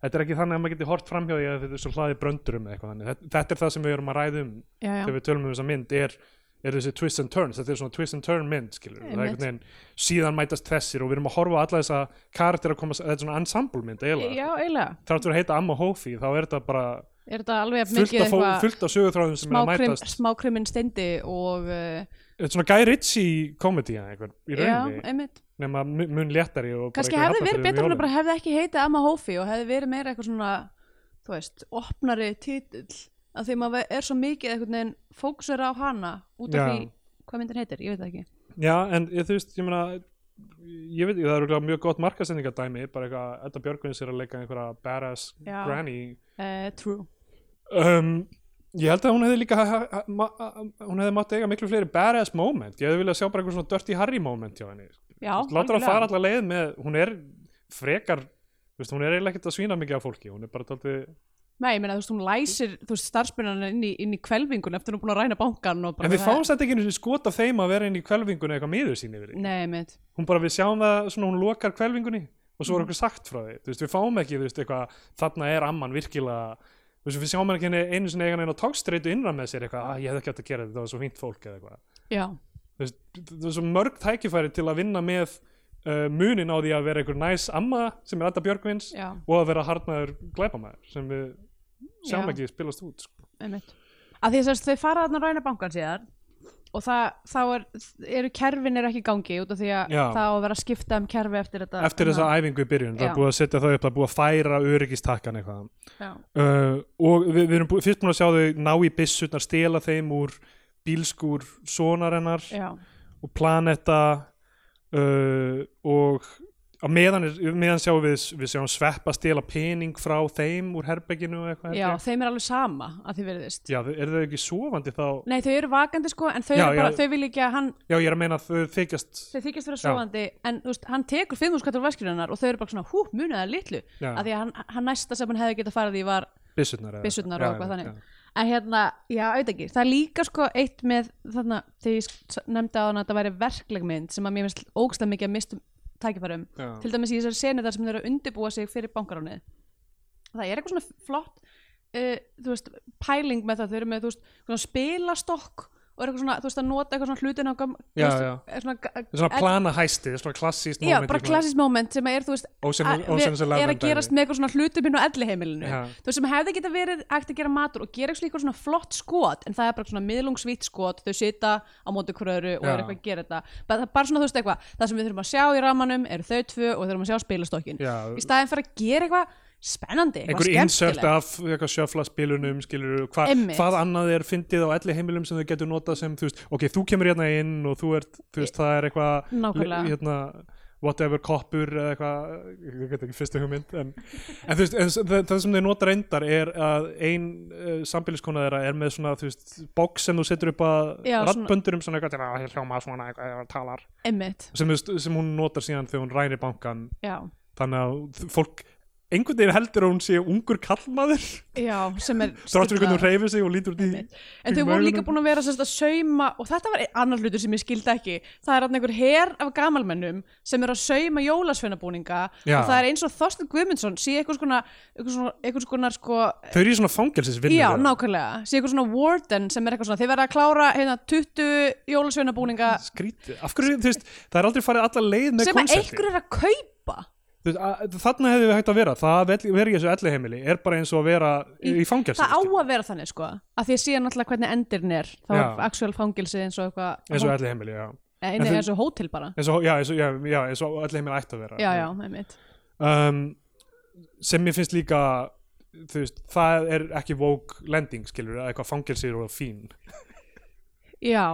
Speaker 2: þetta er ekki þannig að maður geti hort framhjá því að þetta er svo hlaði bröndurum eða eitthvað þannig, þetta, þetta er það sem við erum að ræða um
Speaker 1: Já, já,
Speaker 2: þegar við tölum um þessa mynd, er, er þessi twist and turns, þetta er svona twist and turn mynd skilur, það er
Speaker 1: Einmitt.
Speaker 2: einhvern veginn, síðan mætast þessir og við erum að horfa á alla þessa karakter að koma, þetta er svona ensemble mynd eiginlega
Speaker 1: já, eiginlega
Speaker 2: þrátt fyrir að heita Amma Hófi þá er þetta bara
Speaker 1: Er þetta alveg jafn
Speaker 2: fullt
Speaker 1: mikið
Speaker 2: af, fó,
Speaker 1: eitthvað
Speaker 2: fullt af sögutráðum sem er að
Speaker 1: smákrim,
Speaker 2: mætast
Speaker 1: smákriminn steindi og uh,
Speaker 2: Þetta er svona Guy Ritchie komedi einhver, í
Speaker 1: Já,
Speaker 2: rauninni,
Speaker 1: einmitt
Speaker 2: nema mu- mun léttari og bara
Speaker 1: Kannski
Speaker 2: einhver
Speaker 1: hefði verið
Speaker 2: Hafnarfjörður
Speaker 1: betra
Speaker 2: í
Speaker 1: hún
Speaker 2: jólum.
Speaker 1: bara hefði ekki heitið Amma Hófi og hefði verið meira eitthvað svona þú veist, opnari titill af því maður er svo mikið einhvern veginn fókusur á hana út af
Speaker 2: Já.
Speaker 1: því hvað myndin heitir, ég veit það ekki
Speaker 2: Já, en ég, þú veist, ég meina ég veit, ekki, það er örugglega mjög gott markasendingadæmi bara eitthvað, Edda Björgvins er að leika einhverja badass
Speaker 1: Já.
Speaker 2: granny
Speaker 1: uh, True
Speaker 2: um, ég held að hún hefði líka ha, ha, ma, hún hefði mátt eiga miklu fleiri badass moment, ég hefði viljað sjá bara einhver svona Dirty Harry moment hjá henni
Speaker 1: Já,
Speaker 2: látur að
Speaker 1: algjörlega.
Speaker 2: fara allar leið með hún er frekar þú veist, hún er eiginlega ekkert að svína mikið af fólki hún er bara taldið
Speaker 1: Nei, ég meina, þú veist, hún læsir þú veist, starfsmennan inn í, inn í kvelvingun eftir hún er búin að ræna bankan og bara
Speaker 2: en við fáum þetta ekki einu skot af þeim að vera inn í kvelvingunni eitthvað miður sín yfir því.
Speaker 1: Nei, mitt,
Speaker 2: hún bara við sjáum það svona hún lokar kvelvingunni og
Speaker 1: Mm.
Speaker 2: svo er okkur sagt frá því þú veist, við fáum ekki þú veist, eitthvað þarna er amman virkilega þú veist, við sjáum ekki henni einu sinni eigan einu tókstreitu innra með sér eitthvað að ég hefði ekki átt að gera þetta, það var svo fínt fólk eða eitthvað
Speaker 1: já,
Speaker 2: þú veist, það er svo mörg tækifæri til að vinna með uh, munin á því að vera einhver næs amma sem er Edda Björgvins
Speaker 1: já,
Speaker 2: og að vera harnaður glæpamæður sem við sjáum
Speaker 1: Já.
Speaker 2: ekki spilast út sko.
Speaker 1: einmitt að því að þess að þau fara þarna að ræna bankan síðar og það, þá er, eru kerfin er ekki í gangi út af því að
Speaker 2: Já.
Speaker 1: það á að vera að skipta um kerfi eftir þetta
Speaker 2: eftir þessa æfingu í byrjun, það
Speaker 1: Já.
Speaker 2: er búið að setja þau upp það er búið að færa öryggistakkan eitthvað
Speaker 1: Já,
Speaker 2: uh, og við, við erum búið, fyrst búin að sjá þau ná í byssurnar, stela þeim úr bílskúr sonarennar
Speaker 1: já,
Speaker 2: og planeta uh, og á meðan, er- meðan sjáum við við sjáum sveppa stela pening frá þeim úr herberginu og eitthvað
Speaker 1: já,
Speaker 2: held ég.
Speaker 1: þeim er alveg sama að þið verðist
Speaker 2: já, eru þau ekki sofandi þá
Speaker 1: Nei, þau eru vakandi sko, en þau,
Speaker 2: Já,
Speaker 1: eru bara,
Speaker 2: já.
Speaker 1: þau vil ekki að hann
Speaker 2: já, ég er að meina að þau þykjast
Speaker 1: þau þykjast vera
Speaker 2: Já.
Speaker 1: sofandi en þú veist, hann tekur fimmúskattur hennar og þau eru bara svona hú, muniðar litlu
Speaker 2: Já.
Speaker 1: að því að hann, hann næsta sem hann hefði getað farið í var
Speaker 2: byssurnar, eða-
Speaker 1: byssurnar
Speaker 2: Já,
Speaker 1: og eitthvað
Speaker 2: já,
Speaker 1: þannig
Speaker 2: já.
Speaker 1: en hérna, já, auðvitað ekki, það er líka sko eitt með þarna, þegar ég s- nefndi á hann að þetta væri verkleg mynd sem að mér finnst ógstlega mikið að mistum tækifærum
Speaker 2: Já.
Speaker 1: til dæmis í þessari senu þar sem þeir eru að undirbúa sig fyrir bankaránið það er eitthvað svona flott uh, þú veist, pæling með það þau eru með, þú veist, svona spilastokk og eru eitthvað svona, þú veist, að nota eitthvað svona hlutin á gam,
Speaker 2: Já,
Speaker 1: þú veist,
Speaker 2: já.
Speaker 1: er svona, ga-
Speaker 2: Þetta er svona
Speaker 1: ell-
Speaker 2: plana hæsti, svona klassíst
Speaker 1: Já, bara klassís moment sem er, þú veist, að-
Speaker 2: Ósenn-
Speaker 1: við-
Speaker 2: ósennilega
Speaker 1: er að
Speaker 2: dæmi.
Speaker 1: gerast með eitthvað svona hlutum hinn á elliheimilinu
Speaker 2: um Já.
Speaker 1: þú veist, sem hefði geta verið hægt að gera matur og gera eitthvað svona flott skot en það er bara svona miðlungsvítt skot, þau sita á móti hverju og
Speaker 2: Já.
Speaker 1: er eitthvað að gera þetta bara, það er bara svona, þú veist, eitthvað, það sem við þurfum að sjá í ramanum eru þau tvö og við þurfum að sjá spilastokkin
Speaker 2: Já.
Speaker 1: í staðin fyrir að gera eitthvað spennandi, eitthvað
Speaker 2: einhver insert
Speaker 1: skemmtilegt
Speaker 2: af eitthvað sjöflaspilunum skilur, hva,
Speaker 1: Einmitt.
Speaker 2: hvað annað er fyndið á elli heimilum sem þau getur notað sem þú veist, ok, þú kemur hérna inn og þú ert, þú veist, það er eitthvað
Speaker 1: Nákvæmlega.
Speaker 2: le- hérna, whatever koppur eða eitthvað, ég get ekki fyrstu hugmynd en, en þú veist, en, s- það, það sem þau nota reyndar er að ein uh, sambýliskona þeirra er með svona, þú veist box sem þú setur upp að
Speaker 1: Já, svona-
Speaker 2: rattböndurum svona eitthvað, "Já, ég hljóma svona eitthvað, ég talar
Speaker 1: einmitt,
Speaker 2: sem, þú veist, sem hún notar síðan þegar hún rænir bankan
Speaker 1: já,
Speaker 2: þannig að þ- fólk einhvern veginn heldur að hún sé ungur kallmaður
Speaker 1: já, sem er stillað.
Speaker 2: þráttur hvernig hún reyfir sig og lítur út í
Speaker 1: En þau voru líka búin að vera sérst, að sauma og þetta var einn annar hlutur sem ég skildi ekki það er þarna einhver her af gamalmennum sem eru að sauma jólasveinabúninga
Speaker 2: Já.
Speaker 1: og það er eins og Þorsten Guðmundsson sé eitthvað svona, eitthvað svona, eitthvað svona sko,
Speaker 2: þau eru í svona fangelsisvinnu
Speaker 1: já, nákvæmlega sé eitthvað svona warden sem er eitthvað svona þeir verða að klára hérna 20 jólasveinabúninga
Speaker 2: skrítið, af hverju, þú veist, það er aldrei farið alla leið með
Speaker 1: sem að
Speaker 2: konsepti
Speaker 1: einhver er að kaupa
Speaker 2: Þú veist, að- þarna hefðu við hægt að vera það að vera í þessu elli heimili er bara eins og að vera í, í fangelsi
Speaker 1: það á
Speaker 2: skilur.
Speaker 1: að vera þannig sko að því að síðan náttúrulega hvernig endirn er þá er
Speaker 2: Já.
Speaker 1: actual fangilsi eins og
Speaker 2: eins og
Speaker 1: eitthvað eh,
Speaker 2: elli heimili, já
Speaker 1: Nei,
Speaker 2: en
Speaker 1: nei,
Speaker 2: þau-
Speaker 1: eins og hótel bara
Speaker 2: eins og, já, eins og, já, já, eins og elli heimili ætti að vera
Speaker 1: já, já, einmitt
Speaker 2: um, sem mér finnst líka þú veist, það er ekki woke landing, skilur, eitthvað fangelsir og fín
Speaker 1: já,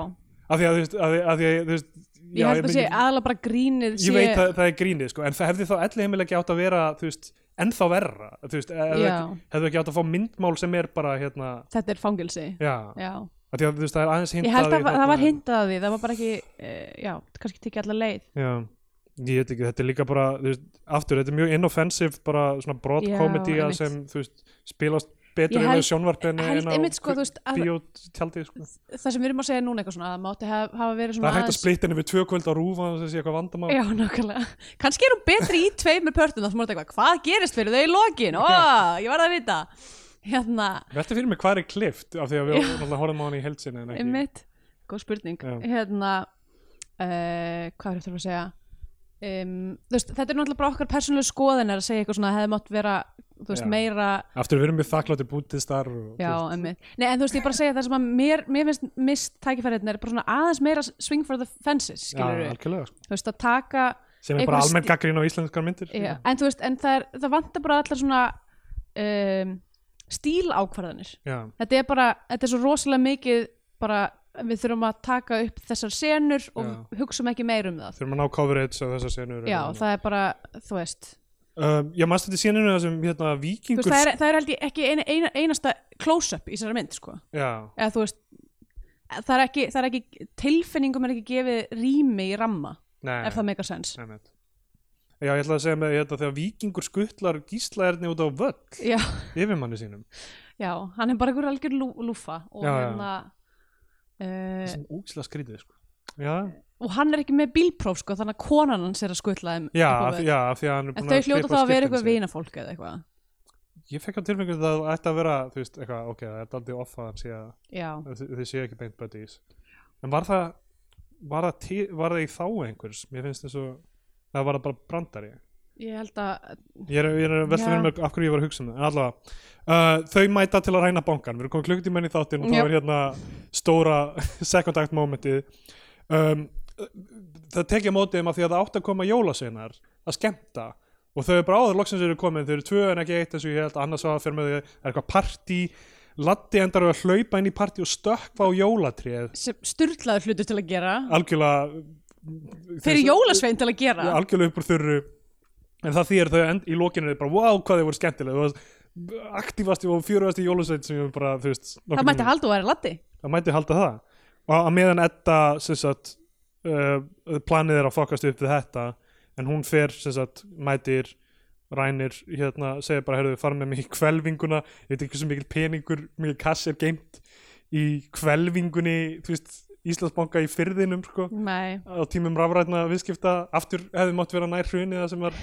Speaker 2: af því að þú veist, af því, af því að, þú veist
Speaker 1: ég
Speaker 2: já,
Speaker 1: held að
Speaker 2: meina,
Speaker 1: sé aðla bara grínið sé
Speaker 2: ég veit að það er grínið sko, en það hefði þá elli heimil ekki átt að vera þú veist, ennþá verra þú veist, hefði,
Speaker 1: Já.
Speaker 2: ekki, hefði ekki átt að fá myndmál sem er bara hérna,
Speaker 1: þetta er fangilsi
Speaker 2: já,
Speaker 1: já.
Speaker 2: Af því að, hérna, þú veist, það er aðeins hintað
Speaker 1: ég held
Speaker 2: í
Speaker 1: að það
Speaker 2: þarna-
Speaker 1: var hindað að því það var bara ekki, uh, já, kannski tekið allar leið
Speaker 2: já, ég veit ekki, þetta er líka bara þú veist, aftur, þetta er mjög inoffensive bara svona broad
Speaker 1: Já,
Speaker 2: comedy
Speaker 1: einmitt.
Speaker 2: sem þú veist, spilast
Speaker 1: Ég
Speaker 2: betur
Speaker 1: held-
Speaker 2: yfir sjónvarpinu
Speaker 1: held einmitt sko, þú veist, að-
Speaker 2: bíótjaldi sko.
Speaker 1: það sem við erum að segja núna eitthvað svona að það mátti hafa, hafa verið
Speaker 2: það
Speaker 1: svona
Speaker 2: er hægt að splitta henni við tvö kvöld á rúfa og þessi eitthvað vandamál
Speaker 1: Já, nákvæmlega. Kannski er hún betri í tveimur pörtum þá sem hún er eitthvað, hvað gerist fyrir þau í lokin? Ó, ég varð að vita. Hérna,
Speaker 2: Veltu fyrir mig hvað er klift af því að við
Speaker 1: Já.
Speaker 2: náttúrulega horfum á hann í heldsinni en ekki
Speaker 1: einmitt, góð spurning.
Speaker 2: Já.
Speaker 1: Hérna, uh, hvað er eftir að segja? Um, þú veist, þetta er náttúrulega bara okkar persónulega skoðin að segja eitthvað svona að hefði mátt vera, þú veist,
Speaker 2: Já.
Speaker 1: meira,
Speaker 2: Aftur við erum við þakklátti bútistar og,
Speaker 1: já,
Speaker 2: þú veist,
Speaker 1: einmitt. Nei, en þú veist, ég er bara að segja það sem að mér, mér finnst mist tækifæriðin er bara svona aðeins meira swing for the fences,
Speaker 2: já,
Speaker 1: skilur við.
Speaker 2: algjörlega sko.
Speaker 1: Þú veist, að taka,
Speaker 2: sem er
Speaker 1: Einhver
Speaker 2: bara
Speaker 1: sti-
Speaker 2: almenn gaggrín á íslenskar myndir
Speaker 1: Já, en þú veist, en það, er, það vantar bara allar svona um, stíl ákvarðanir
Speaker 2: Já.
Speaker 1: þetta er bara, þetta er svo rosalega mikið bara, við þurfum að taka upp þessar senur og
Speaker 2: Já.
Speaker 1: hugsum ekki meir um það
Speaker 2: þurfum að ná coverage á þessar senur
Speaker 1: já, það er bara, þú veist
Speaker 2: um, já, maður stætti seninu þessum hérna,
Speaker 1: þú
Speaker 2: vikingur
Speaker 1: veist, það er, það er held ég ekki eina, eina, einasta close-up í þessari mynd, sko
Speaker 2: já,
Speaker 1: eða þú veist það er ekki, það er ekki tilfinningum er ekki gefið rými í ramma
Speaker 2: nei,
Speaker 1: ef það meikar sens
Speaker 2: nei, nei. já, ég ætla að segja með hérna, þegar vikingur skuttlar gíslaerni út á völl
Speaker 1: já,
Speaker 2: yfirmanni sínum
Speaker 1: já, hann er bara einhver algjör lú, lúfa og
Speaker 2: Já, já.
Speaker 1: hérna uh,
Speaker 2: sem úksla skrítið sko. já,
Speaker 1: og hann er ekki með bílpróf sko, þannig að konan hans er að skutla þeim upp
Speaker 2: já,
Speaker 1: á
Speaker 2: af-
Speaker 1: völl.
Speaker 2: já, af því að hann er
Speaker 1: en
Speaker 2: búinn
Speaker 1: þau
Speaker 2: klippa
Speaker 1: hljóta þá að vera
Speaker 2: skiptin
Speaker 1: eitthvað
Speaker 2: sín.
Speaker 1: vinafólk eða eitthvað
Speaker 2: ég fekk á tilfengjum að það ætti að vera þú veist, eitthvað, ok, það er aldrei off að hann sé að
Speaker 1: já,
Speaker 2: að þi- þið séu ekki beint buddies en var það var það, til, var það í þá einhvers mér finnst eins og það var það bara brandari
Speaker 1: ég held að
Speaker 2: ég er, ég er að velta
Speaker 1: Já.
Speaker 2: fyrir mér af hverju ég var að hugsa um það en allavega, uh, þau mæta til að ræna bankan við erum komið klukkutímenn í þáttinn og
Speaker 1: Já.
Speaker 2: það var hérna stóra second act momentið um, það tekja mótið þeim af því að það átt að koma jólasveinar að skemmta og þau eru bara áður loksins eru komin þau eru tvö en ekki eitt eins og ég held annars var að fyrir með þau það er eitthvað partí Latti endar á að hlaupa inn í partí og stökkva á jólatrið
Speaker 1: sem styrlaður hlutur til að gera
Speaker 2: algjörlega
Speaker 1: þeir eru jólasvein til að gera
Speaker 2: Já, algjörlega upp úr þurru en það þýr þau end, í lokinu er bara wow hvað þau voru skemmtilega þú varst aktífasti og fjörugasti jólusveit sem ég hef bara þú veist
Speaker 1: það
Speaker 2: nokkurn
Speaker 1: mætti
Speaker 2: tímann-
Speaker 1: halda og vera laddi
Speaker 2: það mætti halda það og að meðan Edda sem sagt uh, planið er að fokast upp við þetta en hún fer sem sagt mætir rænir hérna segir bara herðu fara með mig í kvelvinguna ég veit ekki sem mikil peningur mikil kass er geimt í kvelvingunni þú veist Íslandsbanka í fyrðinum sko
Speaker 1: nei,
Speaker 2: á tímum rafrætna viðskipta aftur hefði mátt vera nær hrunið það sem var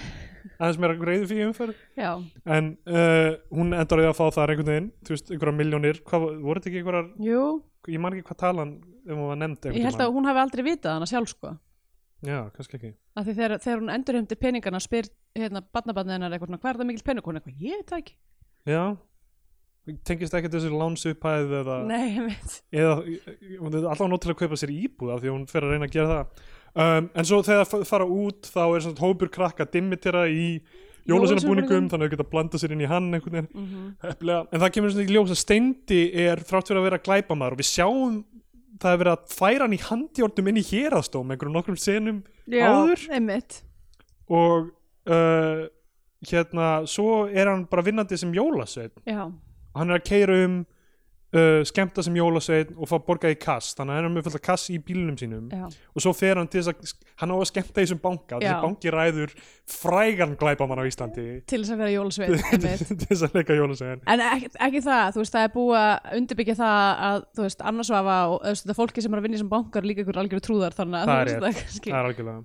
Speaker 2: aðeins meira greiðu fyrir umferð
Speaker 1: já,
Speaker 2: en uh, hún endar við að fá þar einhvern veginn, þú veist, einhverjar miljónir hvað, voru þetta ekki einhverjar,
Speaker 1: jú
Speaker 2: ég man ekki hvað talan um ef hún var nefnd
Speaker 1: ég held að hún hafi aldrei vitað hana sjálf sko
Speaker 2: já, kannski ekki,
Speaker 1: af því þegar, þegar hún endurheimdi peningana og spyr hérna barnabarnið hennar eitthvað svona hvað er það mikil pening hún er eitthvað, ég veit það ekki
Speaker 2: já tengist ekki þessu lánsupphæð eða,
Speaker 1: nei, ég veit,
Speaker 2: eða hún er alltaf nótt til að kaupa sér íbúð af því að hún fer að reyna að gera það um, en svo þegar það fara út þá er svona hópur krakka dimmitera í jólasinabúningum
Speaker 1: Jólasveinabúningum.
Speaker 2: þannig að þau geta blanda sér inn í hann einhvern veginn
Speaker 1: mm
Speaker 2: Eflega. En það kemur svona í ljós að Steindi er frátt fyrir að vera glæpamaður og við sjáum það er verið að færa hann í handjórnum inn í hérastóm einhverjum nokkrum senum
Speaker 1: já,
Speaker 2: Áður?
Speaker 1: einmitt
Speaker 2: og uh, hérna svo er hann bara vinnandi sem jólasveit
Speaker 1: já,
Speaker 2: og hann er að keira um uh, skemmta sem jólasveit og fá borgað í kass þannig að hann er með fullt af kass í bílunum sínum
Speaker 1: já,
Speaker 2: og svo fer hann til þess að hann á að skemmta í þessum banka
Speaker 1: Já.
Speaker 2: þessi banki ræður frægan glæpamann á Íslandi
Speaker 1: til þess að vera jólasvein
Speaker 2: til
Speaker 1: einmitt
Speaker 2: þess að leika jólasveit
Speaker 1: En ekki, ekki það, þú veist, það er búið að undirbyggja það að, þú veist, annarsvafa og þú veist, það fólki sem er að vinna sem bankar líka ykkur algjör trúðar þannig að
Speaker 2: Það
Speaker 1: þú veist
Speaker 2: er rétt.
Speaker 1: það kannski.
Speaker 2: það er algjörlega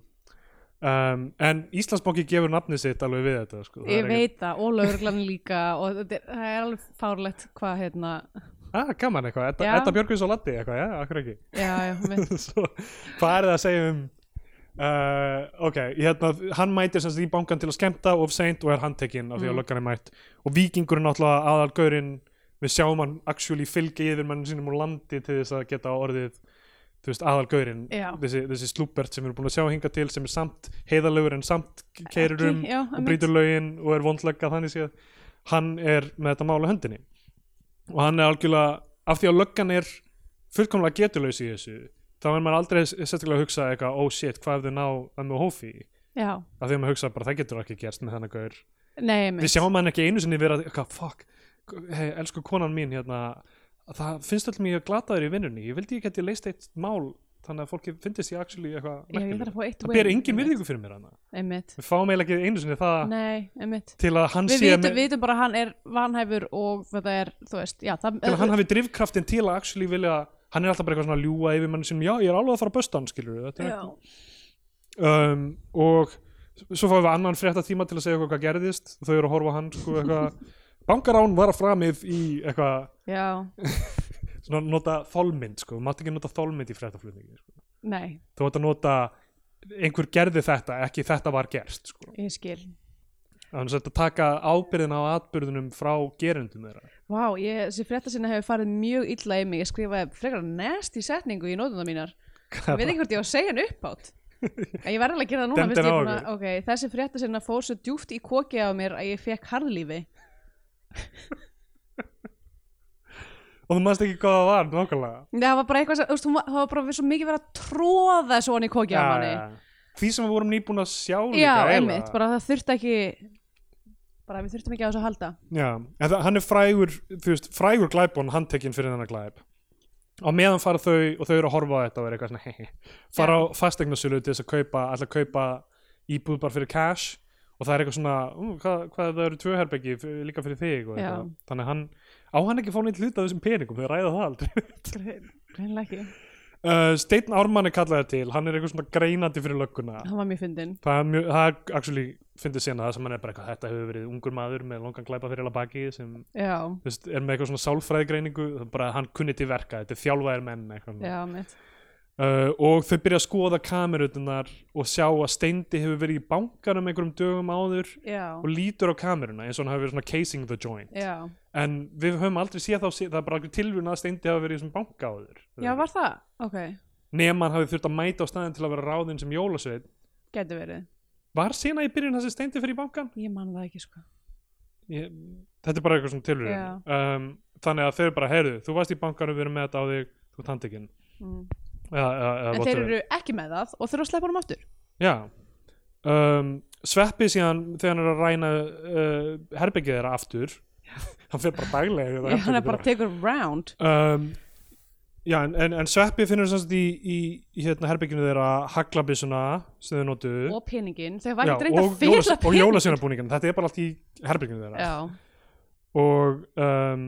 Speaker 2: um, en Íslandsbanki gefur nafnið sitt alveg við þetta sko. Það
Speaker 1: Ég
Speaker 2: er
Speaker 1: veit það, og lögurglan líka og þetta er, það er alveg fárlegt hvað hérna,
Speaker 2: ah, gaman eitthvað, Edda,
Speaker 1: Já.
Speaker 2: Edda Björgvins og Latti eitthvað, já, akkur ekki
Speaker 1: já, já, mitt,
Speaker 2: Svo, hvað er það að segja um uh, ok, hérna, hann mætir sem sagt í bankan til að skemmta of seint og er handtekinn af því að
Speaker 1: Mm.
Speaker 2: löggan er mætt og vikingurinn náttúrulega aðalgaurinn við sjáum hann actually fylgja yfir mennum sínum úr landi til þess að geta orðið þú veist, aðalgaurinn
Speaker 1: Já.
Speaker 2: þessi, þessi slúbert sem við erum búin að sjá hinga til sem er samt heiðalögur en samt keirir um
Speaker 1: Ekki, já,
Speaker 2: og
Speaker 1: einmitt.
Speaker 2: brýtur lögin og er vondlega þannig séð hann er með þetta mál á höndinni og hann er algjörlega af því að löggan er fullkomlega getulaus í þessu þá er maður aldrei s- sérstaklega að hugsa eitthvað oh shit, hvað ef þau ná það með hófi
Speaker 1: já,
Speaker 2: af því að maður hugsa bara það getur ekki gerst með þennan gaur
Speaker 1: nei,
Speaker 2: við sjáum hann ekki einu sinni vera eitthvað, fuck, hey, elsku konan mín hérna, það finnst alltaf mjög glataður í vinnunni, ég vildi ég geti leist eitt mál þannig að fólki finnist ég actually eitthvað
Speaker 1: já, ég
Speaker 2: merkilegt.
Speaker 1: þarf að fá eitt
Speaker 2: það
Speaker 1: win,
Speaker 2: ber engin
Speaker 1: einmitt.
Speaker 2: virðingu fyrir mér hana
Speaker 1: einmitt,
Speaker 2: við fáum eiginlega ekki einu sinni það
Speaker 1: nei, einmitt
Speaker 2: til að hann
Speaker 1: við
Speaker 2: sé
Speaker 1: vitum,
Speaker 2: með,
Speaker 1: vitum bara að hann er vanhæfur og þetta er, þú veist, já það,
Speaker 2: til að hann hafi drifkraftin til að actually vilja hann er alltaf bara eitthvað svona að ljúga yfir mann sem já, ég er alveg að fara að bösta hann, skilur við
Speaker 1: já,
Speaker 2: um, og svo fáum við annan frétta tíma til að segja okkur hvað gerðist og þau eru að horfa á hann sko eitthvað bankarán var að framið í eitthvað
Speaker 1: já,
Speaker 2: svona nota þólmynd sko, þú mátt ekki nota þólmynd í fréttaflutningi sko.
Speaker 1: nei,
Speaker 2: þú mátt að nota einhver gerði þetta, ekki þetta var gerst sko.
Speaker 1: ég skil
Speaker 2: þannig að þetta taka ábyrðin á atbyrðunum frá gerendum þeirra
Speaker 1: Vá, ég, þessi fréttasinna hefur farið mjög illa í mig, ég skrifaði frekar næst í setningu í nótuna mínar Ég veit ekki hvort ég á að segja hann upphátt En ég verði alveg að gera það núna
Speaker 2: Demdi
Speaker 1: fyrst ég
Speaker 2: hann á
Speaker 1: búin að, okay, Þessi frétta sinna fór svo djúft í koki á mér að ég fekk harðlífi
Speaker 2: og þú manst ekki hvað það var nákvæmlega
Speaker 1: Nei, Það var bara eitthvað sem, þú veist, hún var- það var bara svo mikið verið að tróða svo hann í koki á manni Já,
Speaker 2: já. Eh, því sem við vorum nýbúin að sjá líka eiginlega.
Speaker 1: einmitt, bara það þurfti ekki bara við þurftum ekki á þessu að halda
Speaker 2: já, en það, hann er frægur þú veist, frægur glæbón handtekinn fyrir þennan glæb á meðan fara þau og þau eru að horfa á þetta og er eitthvað svona hehe fara á fastegnarsölu til þess að kaupa alltaf kaupa íbúð bara fyrir cash og það er eitthvað svona, um, hvað, hvað ef það eru tvö herbeggi líka fyrir þig og
Speaker 1: Já.
Speaker 2: eitthvað. þannig að hann, á hann ekki að fá neitt hluta af þessum peningum, þau ræða það aldrei
Speaker 1: Grein- Greinlega ekki,
Speaker 2: uh, Steinn Ármann er kallaði til, hann er eitthvað svona greinandi fyrir lögguna
Speaker 1: hann var mjög fyndin
Speaker 2: það er mjög, það er actually fyndið sena það sem hann er bara eitthvað, þetta hefur verið ungur maður með longan glæpa fyrir alveg baki sem
Speaker 1: Já,
Speaker 2: þú veist, er með eitthvað svona sálfræðigreiningu það er bara að hann kunni til verka, þetta er þjálfaðir menn eitthvað.
Speaker 1: já, mitt
Speaker 2: uh, og þau byrja að skoða kamerutunar og sjá að Steindi hefur verið í bankanum einhverjum dögum áður
Speaker 1: Já,
Speaker 2: og lítur á kameruna eins og hann hafi verið svona casing the joint
Speaker 1: já,
Speaker 2: en við höfum aldrei séð þá það er bara einhver tilvun að Steindi hafi verið í svona banka áður
Speaker 1: já, var það? Ok,
Speaker 2: nema hann hafi þurft að mæta á staðin til að vera ráðinn sem jólasveit
Speaker 1: getur verið
Speaker 2: var sena í byrjun þessi Steindi fyrir í bankan?
Speaker 1: Ég man það ekki, sko
Speaker 2: Ég, þetta er bara eitthvað svona tilvun um, þannig að þau bara, heyrðu, þú varst í bankanum við erum með þetta á þig, þú ert handtekinn
Speaker 1: mm.
Speaker 2: ja, ja, ja,
Speaker 1: En þeir eru ekki með það og þurfa að sleppa honum aftur
Speaker 2: Já um, Sveppi síðan þegar hann er að ræna uh, herbyggið þeirra aftur hann fyrir bara daglega í þetta
Speaker 1: Já, hann er
Speaker 2: herbergi
Speaker 1: bara tekur round
Speaker 2: þeirra. um, Já, en, en, en Sveppi finnur sem sagt í, í, í hérna herbygginu þeirra haglabissuna sem þau notu
Speaker 1: og peningin, þau var
Speaker 2: Já,
Speaker 1: ekki reynd að
Speaker 2: og,
Speaker 1: fela
Speaker 2: jólas- og jólasveinabúningin þetta er bara allt í herbygginu þeirra
Speaker 1: Já,
Speaker 2: og, um,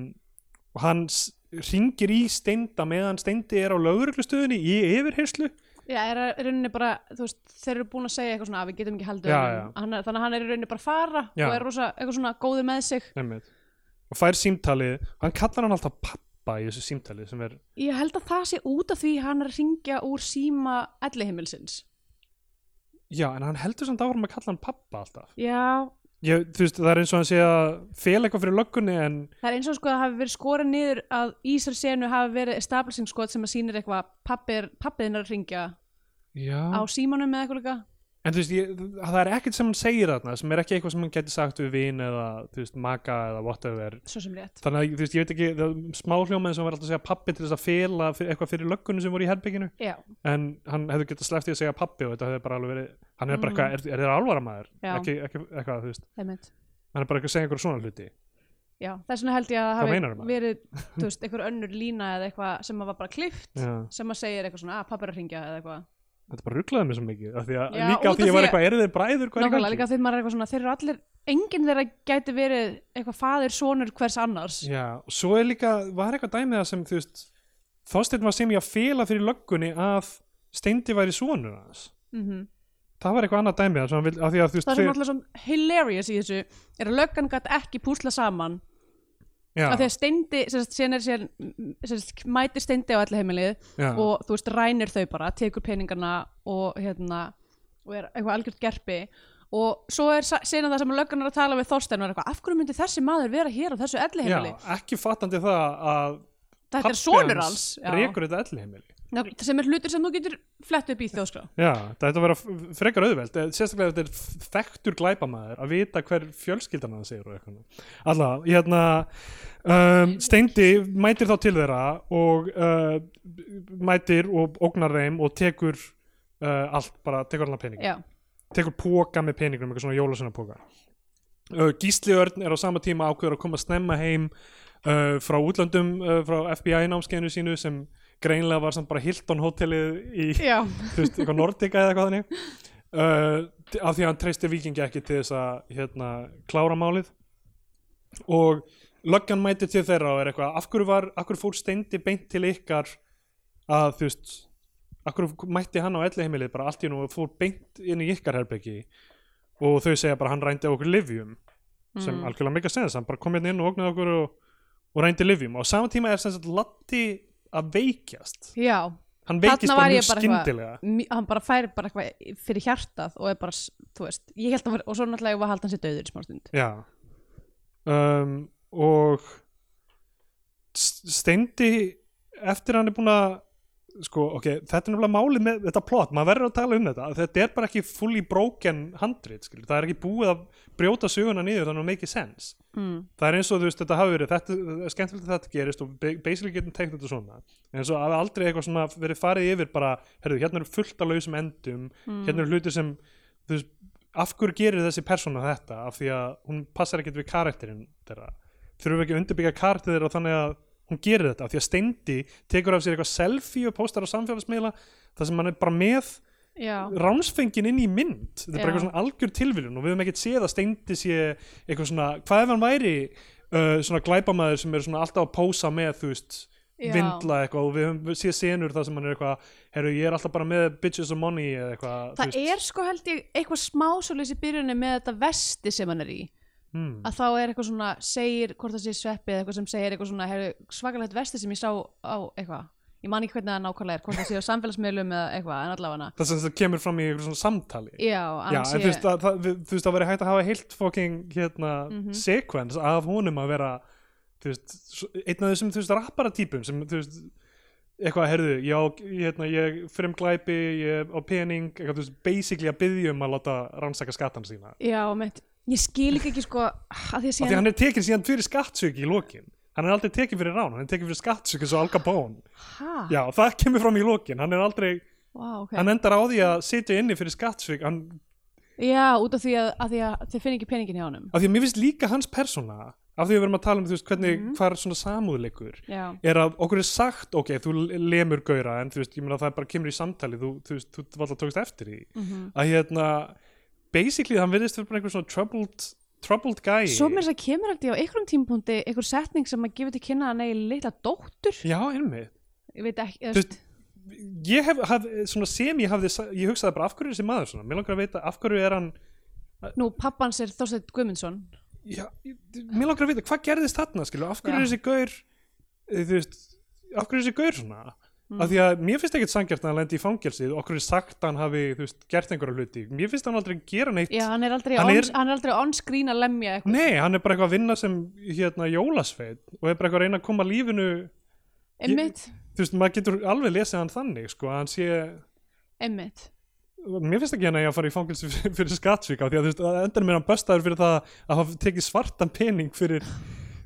Speaker 2: og hann s- hringir í steinda meðan steindi er á lögreglustöðinni í yfirheyslu
Speaker 1: já, er að- í rauninni bara þú veist, þeir eru búin að segja eitthvað svona að við getum ekki haldið
Speaker 2: Já,
Speaker 1: honum." Hann er, þannig að hann er í rauninni bara að fara
Speaker 2: Já.
Speaker 1: og er rosa, eitthvað svona góður með sig
Speaker 2: Einmitt. og fær símtalið hann kallar hann alltaf pappa í þessu símtalið sem er
Speaker 1: Ég held að það sé út af því hann er að ringja úr síma ellihimilsins
Speaker 2: Já, en hann heldur samt áfram að kalla hann pappa alltaf.
Speaker 1: Já,
Speaker 2: Ég, þú veist, það er eins og hann sé að fel eitthvað fyrir löggunni en
Speaker 1: það er eins og sko að það hafi verið skorað niður að Ísar senu hafi verið establishing skot sem að sýnir eitthvað pappir, pappiðin er að ringja
Speaker 2: Já.
Speaker 1: á símanum eða eitthvað líka
Speaker 2: En þú veist, ég, það er ekkert sem hann segir þarna sem er ekki eitthvað sem hann geti sagt við vin eða, þú veist, maka eða whatever.
Speaker 1: Svo sem rétt
Speaker 2: Þannig að, þú veist, ég veit ekki, það er smá hljómaðin sem var alltaf að segja pappi til þess að fela fyrir, eitthvað fyrir löggunni sem voru í herbygginu
Speaker 1: Já,
Speaker 2: en hann hefði getað sleppt í að segja pappi og þetta hefði bara alveg verið, hann er bara
Speaker 1: Mhm.
Speaker 2: eitthvað, er, er þér alvara maður?
Speaker 1: Já.
Speaker 2: Ekki, ekki, eitthvað, þú veist,
Speaker 1: einmitt
Speaker 2: hann er bara eitthvað að segja einhverja svona hluti.
Speaker 1: Já, þess vegna held ég að
Speaker 2: Hvað
Speaker 1: það
Speaker 2: meinarðu
Speaker 1: hafi
Speaker 2: maður?
Speaker 1: verið þú veist, einhver önnur lína eða eitthvað sem að var bara klift
Speaker 2: Já.
Speaker 1: sem að segja eitthvað svona "Ah, að pappir að ringja eða eitthvað
Speaker 2: Þetta bara rugglaði mig svo mikið, af því að
Speaker 1: Já,
Speaker 2: líka
Speaker 1: út
Speaker 2: af því
Speaker 1: af
Speaker 2: ég var
Speaker 1: því að-
Speaker 2: eitthvað, eru þeir bræður, hvað er í
Speaker 1: Nákvæmlega
Speaker 2: gangi?
Speaker 1: líka þegar maður er eitthvað svona þeir eru allir, enginn þeirra gæti verið eitthvað faðir sonur hvers annars
Speaker 2: Já, og svo er líka, var eitthvað dæmið það sem þú veist, Þorsteinn var sem ég að fela fyrir löggunni að Steindi væri sonur hans
Speaker 1: mm
Speaker 2: það var eitthvað annað dæmið það sem hann vil, að því að þú veist
Speaker 1: Það sem er alltaf svona hilarious í þessu er að löggan gæti ekki púsla saman
Speaker 2: já,
Speaker 1: af því að steindi, sem sagt, síðan er síðan sem sagt, mætir steindi á allir heimilið
Speaker 2: já,
Speaker 1: og þú veist rænir þau bara, tekur peningarna og hérna og er eitthvað algjört gerpi og svo er sena það sem löggan er að tala við Þorstein og er eitthvað, af hverju myndi þessi maður vera hér á þessu elli
Speaker 2: já, ekki fattandi það að
Speaker 1: þetta
Speaker 2: pabbi
Speaker 1: er sonur
Speaker 2: hans
Speaker 1: hans já,
Speaker 2: rekur þetta elli heimili
Speaker 1: Nákvæmlega, sem er hlutur sem þú getur flett upp í þjóðskrá
Speaker 2: Já, það ætti að vera f- frekar auðveld eh, sérstaklega ef þetta er f- þekktur glæpamaður að vita hver fjölskyldan hann segir og eitthvað Alla, hérna um, Steindi mætir þá til þeirra og uh, mætir og ógnar þeim og tekur uh, allt, bara tekur allan pening
Speaker 1: Já,
Speaker 2: tekur póka með peningum, eitthvað svona jólasuna póka uh, Gísli Örn er á sama tíma ákveður að koma snemma heim uh, frá útlöndum, uh, frá FBI námskeinu sínu sem greinlega var samt bara Hilton hótelið í
Speaker 1: já,
Speaker 2: þú veist, eitthvað Nordica eða eitthvað þannig uh, af því að hann treystir vikingi ekki til þess að hérna, klára málið og löggan mætir til þeirra og er eitthvað af hverju, var, af hverju fór steindi beint til ykkar að þú veist af hverju mætti hann á elli heimilið bara allt í nú og fór beint inn í ykkar herbyggi og þau segja bara hann rændi á okkur livjum sem
Speaker 1: Mm.
Speaker 2: algjörlega mikið að segja þess hann bara kom hérna inn og ógnaði okkur og, og rændi livjum og á sama tíma er sem sagt Latti að veikjast
Speaker 1: já
Speaker 2: hann
Speaker 1: Þarna
Speaker 2: veikist
Speaker 1: var
Speaker 2: bara
Speaker 1: ég
Speaker 2: mjög
Speaker 1: bara eitthvað-
Speaker 2: skyndilega
Speaker 1: Mi- Hann bara fær bara eitthvað fyrir hjartað og er bara, s- þú veist ég held að, var- og svo náttúrulega ég var að halda hans í döður í smá stund
Speaker 2: Já um, og S- Steindi eftir hann er búin að sko, ok, þetta er nefnilega málið með þetta plot, maður verður að tala um þetta þetta er bara ekki fully broken handrit skilur. það er ekki búið að brjóta söguna niður þannig að make sense
Speaker 1: mm.
Speaker 2: það er eins og þú veist, þetta hafi verið þetta, það er skemmtilegt að þetta gerist og ba- basically getum teikt þetta svona eins og hafi aldrei eitthvað svona verið farið yfir bara, herrðu, hérna eru fullt að lausum endum hérna eru hlutir sem þú veist, af hverju gerir þessi persóna þetta af því að hún passar ekkert við karakterinn þeirra, þurfum við ekki að undirbyggja karakter þeirra þannig að hún gerir þetta af því að Steindi tekur af sér eitthvað selfie og póstar á samfélagsmiðla þar sem hann er bara með
Speaker 1: Já,
Speaker 2: ránsfengin inn í mynd þetta er bara
Speaker 1: Já.
Speaker 2: eitthvað svona algjör tilviljun og við höfum ekkert séð að steindi sé eitthvað svona, hvað ef hann væri uh, svona glæpamaður sem er svona alltaf að pósa með þú veist,
Speaker 1: Já.
Speaker 2: vindla eitthvað og við höfum séð senur þar sem hann er eitthvað herru, ég er alltaf bara með bitches and money eða eitthvað,
Speaker 1: það er sko held ég eitthvað smá svolítið í byrjunni með þetta vesti sem hann er í
Speaker 2: hmm,
Speaker 1: að þá er eitthvað svona, segir hvort það sé sveppi eða eitthvað sem segir eitthvað svona heru, svakalegt vesti sem ég sá á eitthvað ég man ekki hvernig það nákvæmlega er, hvort það sé á samfélagsmiðlum eða eitthvað, en allavega
Speaker 2: það sem það kemur fram í eitthvað svona samtali
Speaker 1: já,
Speaker 2: Já,
Speaker 1: annars
Speaker 2: en þú veist, að, það, við- þú veist að veri hægt að hafa heilt fucking hérna, sequence af honum að vera þú veist, svo- einn af þessum þú veist, rapparatýpum sem þú veist eitthvað, herðu, já, hérna, ég fyrir um glæpi, ég á pening eitthvað, þú veist, basically að byggja um að láta rannsaka skattan sína,
Speaker 1: já, mitt, ég skil ekki ekki sko að því að
Speaker 2: af því
Speaker 1: sé
Speaker 2: að hann er tekin síðan fyrir skattsöki í lokin, hann er aldrei tekin fyrir rán hann er tekin fyrir skattsöki svo Al Capone
Speaker 1: hæ,
Speaker 2: já, það kemur fram í lokin, hann er aldrei
Speaker 1: vá, ok
Speaker 2: hann endar á því að sitja inni fyrir skattsöki, hann
Speaker 1: já, út af því að, að, því að þau finn ekki peningin hjá honum
Speaker 2: af því að mér finnst líka hans persóna af því að við verum að tala um þú veist hvernig
Speaker 1: Mhm.
Speaker 2: mm. hvað er svona samúðleikur
Speaker 1: já,
Speaker 2: er að okkur er sagt, ok, þú lemur gauðra en þú veist, ég meina það bara kemur í samtali þú, þú veist, þú alltaf tókst eftir því
Speaker 1: Mhm.
Speaker 2: að hérna, basically hann virðist fyrir bara einhver svona troubled, troubled guy
Speaker 1: svo mér þess að kemur aldrei á einhverjum tímpúndi einhver setning sem að gefa til kynna að hann eigi litla dóttur,
Speaker 2: já, einmitt
Speaker 1: ég veit ekki eða
Speaker 2: Þú veist,
Speaker 1: st-
Speaker 2: ég hef, haf, svona sem ég hafði sa- ég hugsaði bara af hverju er þessi maður svona mér langar að vita af hverju er hann
Speaker 1: nú pappans er Þorsteinn Guðmundsson
Speaker 2: já, ég- mér langar að vita hvað gerðist þarna skilur, af hverju er
Speaker 1: Já.
Speaker 2: þessi gaur eh, þú veist, af hverju er þessi gaur svona af því að mér finnst ekkert sangjart að hann lendi í fangelsið og okkur er sagt að hann hafi þú veist, gert einhverja hluti, mér finnst hann aldrei gera neitt
Speaker 1: Já, hann er aldrei,
Speaker 2: Hann
Speaker 1: on,
Speaker 2: er-
Speaker 1: hann er aldrei on screen að lemja eitthvað
Speaker 2: nei, hann er bara eitthvað að vinna sem hérna jólasveit og er bara eitthvað að reyna að koma lífinu
Speaker 1: Einmitt,
Speaker 2: þú veist, maður getur alveg lesið hann þannig sko, að hann sé,
Speaker 1: einmitt
Speaker 2: mér finnst ekki hann eigi að fara í fangelsi fyrir, fyrir skattsvík af því að þú veist, að endanum er hann böstaður fyrir það að hafa tekið svartan pening fyrir,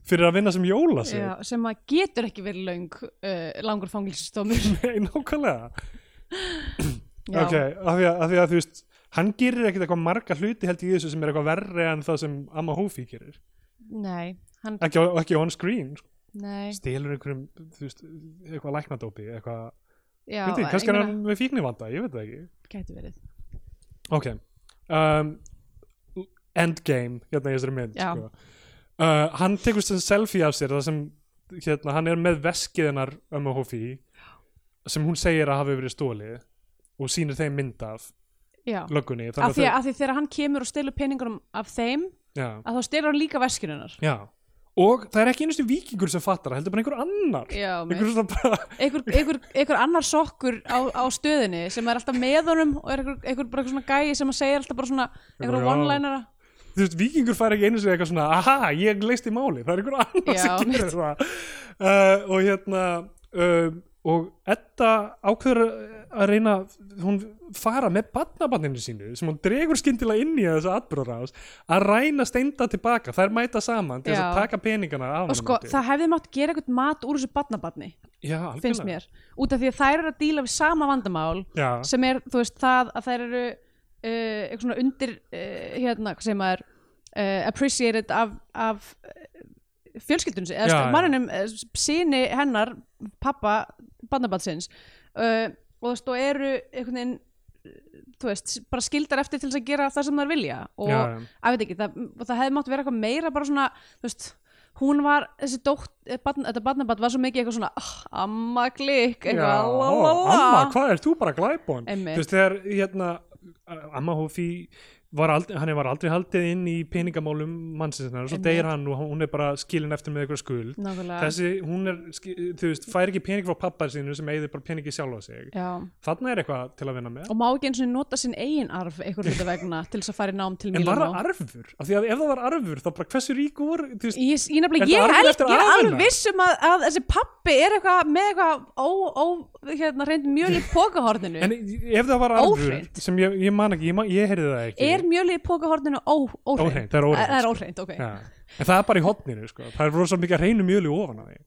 Speaker 2: fyrir að vinna sem jólasveit
Speaker 1: Já, sem að getur ekki verið löng uh, langur fangilsistómur
Speaker 2: Nei, nákvæmlega
Speaker 1: Já,
Speaker 2: Ok, af því, að, af því að þú veist hann gerir ekkert eitthvað marga hluti held ég í þessu sem er eitthvað verri en það sem Amma Hófi gerir
Speaker 1: Nei, hann,
Speaker 2: ekki, á- ekki on screen, sko.
Speaker 1: nei
Speaker 2: stelur einhverjum þú veist, eitthvað læknadópi eitthvað,
Speaker 1: Já,
Speaker 2: veit ég, kannski
Speaker 1: ég
Speaker 2: er
Speaker 1: meina,
Speaker 2: hann með fíknivanda ég veit það ekki
Speaker 1: Gæti verið
Speaker 2: ok um, endgame hérna í þessari mynd
Speaker 1: Já.
Speaker 2: sko. uh, hann tekur sem selfie af sér það sem hérna, hann er með veskið hennar ömmu Hófi sem hún segir að hafi verið stólið og sýnir þeim mynd af
Speaker 1: Já,
Speaker 2: löggunni þannig
Speaker 1: af því,
Speaker 2: þau-
Speaker 1: að, af því þegar hann kemur og stelur peningunum af þeim
Speaker 2: já,
Speaker 1: að þá stelur hann líka veskinunar
Speaker 2: já. og það er ekki einustu vikingur sem fattar það, heldur bara einhver annar
Speaker 1: Já,
Speaker 2: einhver svona bara,
Speaker 1: einhver, einhver, einhver annar sokkur á, á stöðinni sem er alltaf með honum og er einhver, einhver bara eitthvað svona gæi sem að segja alltaf bara svona einhver
Speaker 2: Já.
Speaker 1: one-linera
Speaker 2: þú veist, vikingur fær ekki einu sinni eitthvað svona aha, ég leist í máli, það er einhver annar
Speaker 1: Já,
Speaker 2: sem gerir það uh, og hérna uh, og Edda ákveður að reyna hún fara með badnabanninu sínu sem hún dregur skyndilega inn í þessa atbróðrás að ræna steinda tilbaka þær mæta saman til þess að
Speaker 1: Já.
Speaker 2: taka peningana af
Speaker 1: og sko,
Speaker 2: honum.
Speaker 1: það hefði mátt gera eitthvað mat úr þessu badnabarni,
Speaker 2: Já,
Speaker 1: finnst
Speaker 2: algjörlega.
Speaker 1: mér út af því að þær eru að díla við sama vandamál
Speaker 2: Já,
Speaker 1: sem er, þú veist, það að þær eru uh, eitthvað svona undir uh, hérna, hvað segir maður uh, appreciated af, af uh, fjölskyldunum sinni,
Speaker 2: Já,
Speaker 1: eða
Speaker 2: já.
Speaker 1: manninum síni hennar, pappa bandabatsins uh, og þú veist, og eru einhvern veginn uh, þú veist, bara skildar eftir til þess að gera það sem þær vilja og,
Speaker 2: Já, já.
Speaker 1: að veit ekki, það, og það hefði mátt vera eitthvað meira bara svona, þú veist hún var, þessi dótt, eh, barn, þetta barnabat var svo mikið eitthvað svona, oh, amma klikk eitthvað,
Speaker 2: Já,
Speaker 1: la, la, la.
Speaker 2: amma, hvað er þú bara glæbón?
Speaker 1: Einmitt.
Speaker 2: Þú veist, þegar hérna, amma Hófi var aldrei, hann var aldrei haldið inn í peningamálum mannsins hennar og svo
Speaker 1: Einmitt.
Speaker 2: deyr hann og hún er bara skilin eftir með eitthvað skuld.
Speaker 1: Nákvæmlega.
Speaker 2: Þessi, hún er, ski- þú veist, fær ekki pening frá pappa sínu sem eigði bara peningi sjálfa sig.
Speaker 1: Já,
Speaker 2: Þarna er eitthvað til að vinna með.
Speaker 1: og má ekki eins og nota sinn eigin arf einhver hluta vegna til þess að fara í nám til
Speaker 2: En var
Speaker 1: Mílanó
Speaker 2: það arfur? Af því að ef það var arfur, þá bara hversu rík voru, þú veist,
Speaker 1: Ég, ég, nefnilega, ég,
Speaker 2: Er það arfur
Speaker 1: er, ég
Speaker 2: eftir
Speaker 1: er
Speaker 2: afa
Speaker 1: alveg
Speaker 2: hennar?
Speaker 1: viss um að, að þessi pappi er eitthvað með eitthvað ó, ó, hérna reynd mjöl í pókahorninu
Speaker 2: en ef það var arfur,
Speaker 1: Óhreint.
Speaker 2: sem ég, ég man ekki, ég, man, ég heyrði það ekki.
Speaker 1: er mjöl í pókahorninu ó, óhreint?
Speaker 2: Óhreint,
Speaker 1: Það
Speaker 2: það er óhreint,
Speaker 1: er
Speaker 2: sko.
Speaker 1: óhreint, ok
Speaker 2: Já. En það er bara í hotninu, sko. Það er rosa mikið að reynu mjölu ofan á því.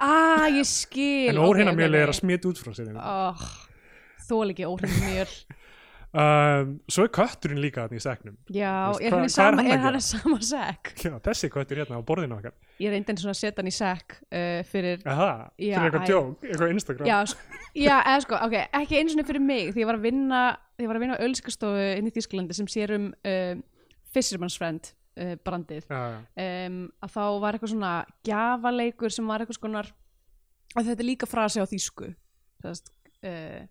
Speaker 1: Ah, ég skil
Speaker 2: En
Speaker 1: ok,
Speaker 2: óhreina
Speaker 1: ok,
Speaker 2: mjöli
Speaker 1: ok.
Speaker 2: er að smita út frá sér. hérna. einmitt.
Speaker 1: oh, Þól ekki óhreint mjöl
Speaker 2: um, svo er kötturinn líka þannig í segnum
Speaker 1: Já,
Speaker 2: Þú veist,
Speaker 1: er hann í sama,
Speaker 2: hvað- hvað er hann að
Speaker 1: er hann
Speaker 2: gera?
Speaker 1: í sama sekk?
Speaker 2: Já, þessi köttur hérna á borðinu okkar
Speaker 1: Ég reyndi eins og að setja hann í sekk uh, fyrir
Speaker 2: Aha,
Speaker 1: Já,
Speaker 2: fyrir
Speaker 1: æ.
Speaker 2: eitthvað djók, eitthvað Instagram
Speaker 1: já, sk- já, eða sko, ok, ekki eins og fyrir mig því ég var að vinna, því ég var að vinna á ölskastofu inn í Þýskalandi sem sér um uh, Fisherman's Friend uh, brandið
Speaker 2: já, já.
Speaker 1: um, að þá var eitthvað svona gjafaleikur sem var eitthvað skonar að þetta er líka frasi á þýsku þess, uh,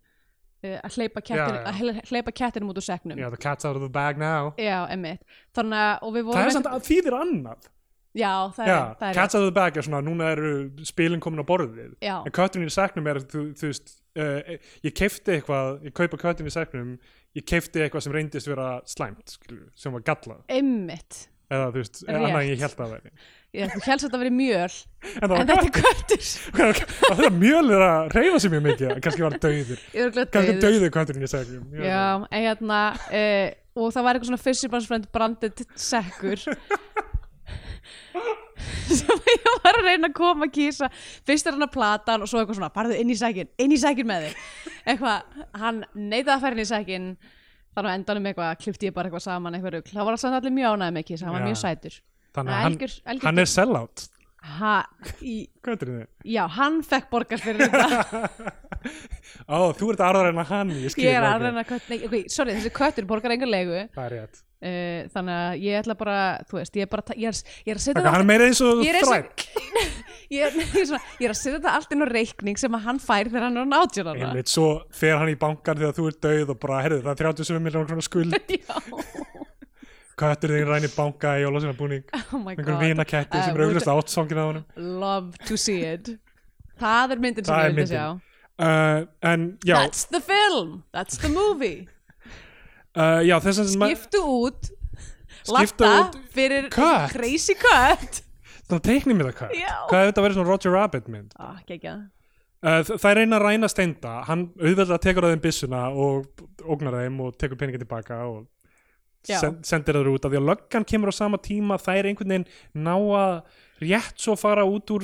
Speaker 1: uh, að hleypa kettinum,
Speaker 2: Já, já.
Speaker 1: að hle- hleypa kettinum út úr seknum
Speaker 2: já, the cat's out of the bag now
Speaker 1: já emmitt, þannig að og við vorum
Speaker 2: Það er
Speaker 1: einhvern-
Speaker 2: samt að þýðir annað
Speaker 1: já, það
Speaker 2: Já,
Speaker 1: er, það er
Speaker 2: cat's out of the bag er svona, núna eru spilin komin á borðið
Speaker 1: Já.
Speaker 2: En kötturinn í segnum er, þú, þú veist uh, Ég keifti eitthvað, ég kaupa kötturinn í segnum Ég keifti eitthvað sem reyndist vera slæmt, skilur, sem var gallað
Speaker 1: emmitt
Speaker 2: Eða, þú veist,
Speaker 1: Rétt.
Speaker 2: annað en ég held að veri
Speaker 1: ég þú helst að þetta verið mjöl
Speaker 2: En það
Speaker 1: en
Speaker 2: var
Speaker 1: þetta er köttur
Speaker 2: þetta mjöl er að reyfa sér mjög mikið Kannski var hann dauður,
Speaker 1: Ég er örugglega
Speaker 2: kannski
Speaker 1: dauður.
Speaker 2: dauður kötturinn í segnum Ég veit það.
Speaker 1: Já, en hérna uh, og það var eitthvað svona fyrstibansfrend brandið sekkur sem ég var að reyna að koma að kýsa fyrst er hann að platan og svo eitthvað svona farðu inn í sækin, inn í sækin með þig eitthvað, hann neitaði að fara inn í sækin þannig að endanum eitthvað klifti ég bara eitthvað saman eitthvað rugl, það var samt allir mjög ánægð með kýsa hann var
Speaker 2: Já.
Speaker 1: mjög sætur
Speaker 2: Þannig
Speaker 1: Nei,
Speaker 2: að hann,
Speaker 1: algjör- algjör
Speaker 2: hann er sellout
Speaker 1: ha, í,
Speaker 2: Hvað er þið?
Speaker 1: Já, hann fekk borgað fyrir þetta
Speaker 2: Ó, þú ert aðraður en að hann Ég skil
Speaker 1: ég er
Speaker 2: ok.
Speaker 1: að reyna að kött, nei, ok, sorry, þessi köttur borgar engar legu
Speaker 2: Það er rétt
Speaker 1: uh, þannig að ég ætla bara þú veist, ég er bara að ta- ég er, ég er að setja
Speaker 2: Þannig að hann er meira eins og
Speaker 1: Ég er eins og-
Speaker 2: þræll
Speaker 1: ég er, ég, er svona, ég er að setja þetta allt inn á reikning sem að hann fær þegar hann er á nátjónana
Speaker 2: Einmitt, svo fer hann í bankan þegar þú ert dauð og bara, herðu, það er 37 miljonar krónar skuld Köttur þig ræni banka í jólasina búning
Speaker 1: oh my
Speaker 2: einhver
Speaker 1: god
Speaker 2: vinaketti
Speaker 1: I
Speaker 2: sem
Speaker 1: would
Speaker 2: er auglust áttsongin á honum
Speaker 1: love to see it það er myndin sem
Speaker 2: Það
Speaker 1: ég
Speaker 2: er
Speaker 1: vildi sjá
Speaker 2: myndin. uh, En já,
Speaker 1: that's the film, that's the movie
Speaker 2: uh, já þess að ma-
Speaker 1: giftu út
Speaker 2: Skipta
Speaker 1: latta
Speaker 2: út-
Speaker 1: fyrir
Speaker 2: Kött.
Speaker 1: crazy cut
Speaker 2: Svona teiknum við það hvað
Speaker 1: Já.
Speaker 2: Hvað hefði þetta verið svona Roger Rabbit mynd
Speaker 1: ah, geggjað.
Speaker 2: Uh, þ- þær reyna að ræna steinda hann auðvitað tekur að þeim byssuna og ógnar þeim og tekur peninga tilbaka og
Speaker 1: Já.
Speaker 2: sen sendir þeir út af því að löggan kemur á sama tíma þær einhvern veginn ná að rétt svo fara út úr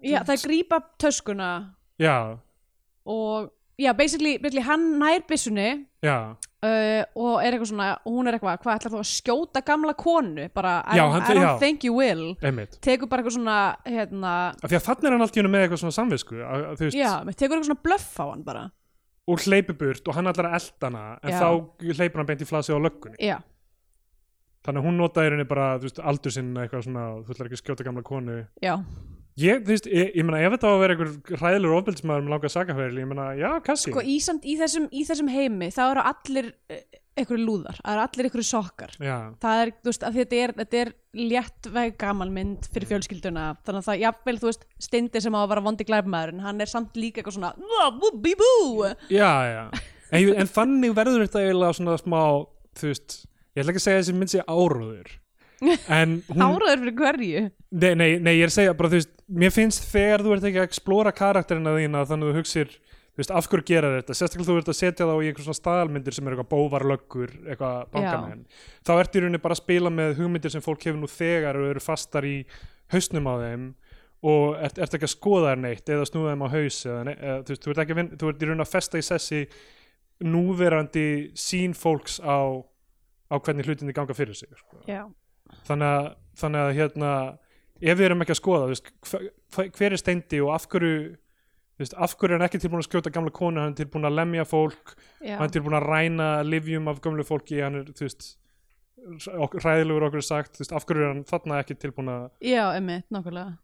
Speaker 1: já, það grípa töskuna
Speaker 2: já,
Speaker 1: og já, basically, basically hann nær byssunni
Speaker 2: já,
Speaker 1: uh, og er eitthvað svona, og hún er eitthvað hvað ætlar þú að skjóta gamla konu bara, I,
Speaker 2: Já,
Speaker 1: don't-
Speaker 2: hann-
Speaker 1: I don't
Speaker 2: já.
Speaker 1: think you will
Speaker 2: einmitt
Speaker 1: tekur bara eitthvað svona hérna,
Speaker 2: af því að þannig er hann allt í hennu með eitthvað svona samvisku að, að, þú veist,
Speaker 1: já, tekur eitthvað svona blöff á hann bara,
Speaker 2: og hleypur burt og hann ætlar að elda hana en
Speaker 1: Já.
Speaker 2: þá hleypur hann beint í flasið á löggunni
Speaker 1: já,
Speaker 2: þannig að hún notaði henni bara þú veist, aldur sinn eitthvað svona, þú ætlar ekki að skjóta gamla konu
Speaker 1: já
Speaker 2: ég, þú veist, ég, ég meina ef þetta á að vera einhver hræðilur ofbeldismæður með langa sakafæðil, ég meina, já, kassi
Speaker 1: sko, í, samt, í, þessum, í þessum heimi þá eru allir eitthvað lúðar, það eru allir eitthvað sokkar
Speaker 2: Já,
Speaker 1: það er, þú veist, að þetta er, þetta er létt veg gamal mynd fyrir fjölskylduna þannig að það, jafnvel, þú veist, stindi sem á að vera vondi glæfmaðurinn, hann er samt líka eitthvað svona, "Wah, bú, bí, bú
Speaker 2: já, já. En, ég- en þannig verður þetta eiginlega svona smá, þú veist, ég ætla ekki að segja að þessi mynd sé áróður. en hún,
Speaker 1: Háraður fyrir hverju
Speaker 2: nei, nei, nei, ég er að segja bara, þú veist, mér finnst þegar þú ert ekki að explora karakterina þína þannig að þú hugsir, þú veist, af hverju gera þeir þetta sérstaklega þú ert að setja þá í einhver svona staðalmyndir sem eru eitthvað bóvarlöggur, eitthvað bankamenn þá ertu í rauninni bara að spila með hugmyndir sem fólk hefur nú þegar og eru fastar í hausnum á þeim og ert, ert ekki að skoða þær neitt eða snúða þeim á haus eða, ne- eða, þú, veist, þú ert ekki að vinna, þú ert í rauninni að festa í sessi núverandi sín fólks á, á hvernig hlutinni ganga fyrir sig sko
Speaker 1: Já,
Speaker 2: þannig að, þannig að hérna, ef við erum ekki að skoða þú veist, hver, hver er steindi og af hverju þú veist, af hverju er hann ekki tilbúin að skjóta gamla konu hann er tilbúin að lemja fólk
Speaker 1: já,
Speaker 2: hann er tilbúin að ræna livjum af gamlu fólki hann er, þú veist ok- hræðilegur okkur er sagt, þú veist, af hverju er hann þarna ekki tilbúin að,
Speaker 1: já emmitt, nákvæmlega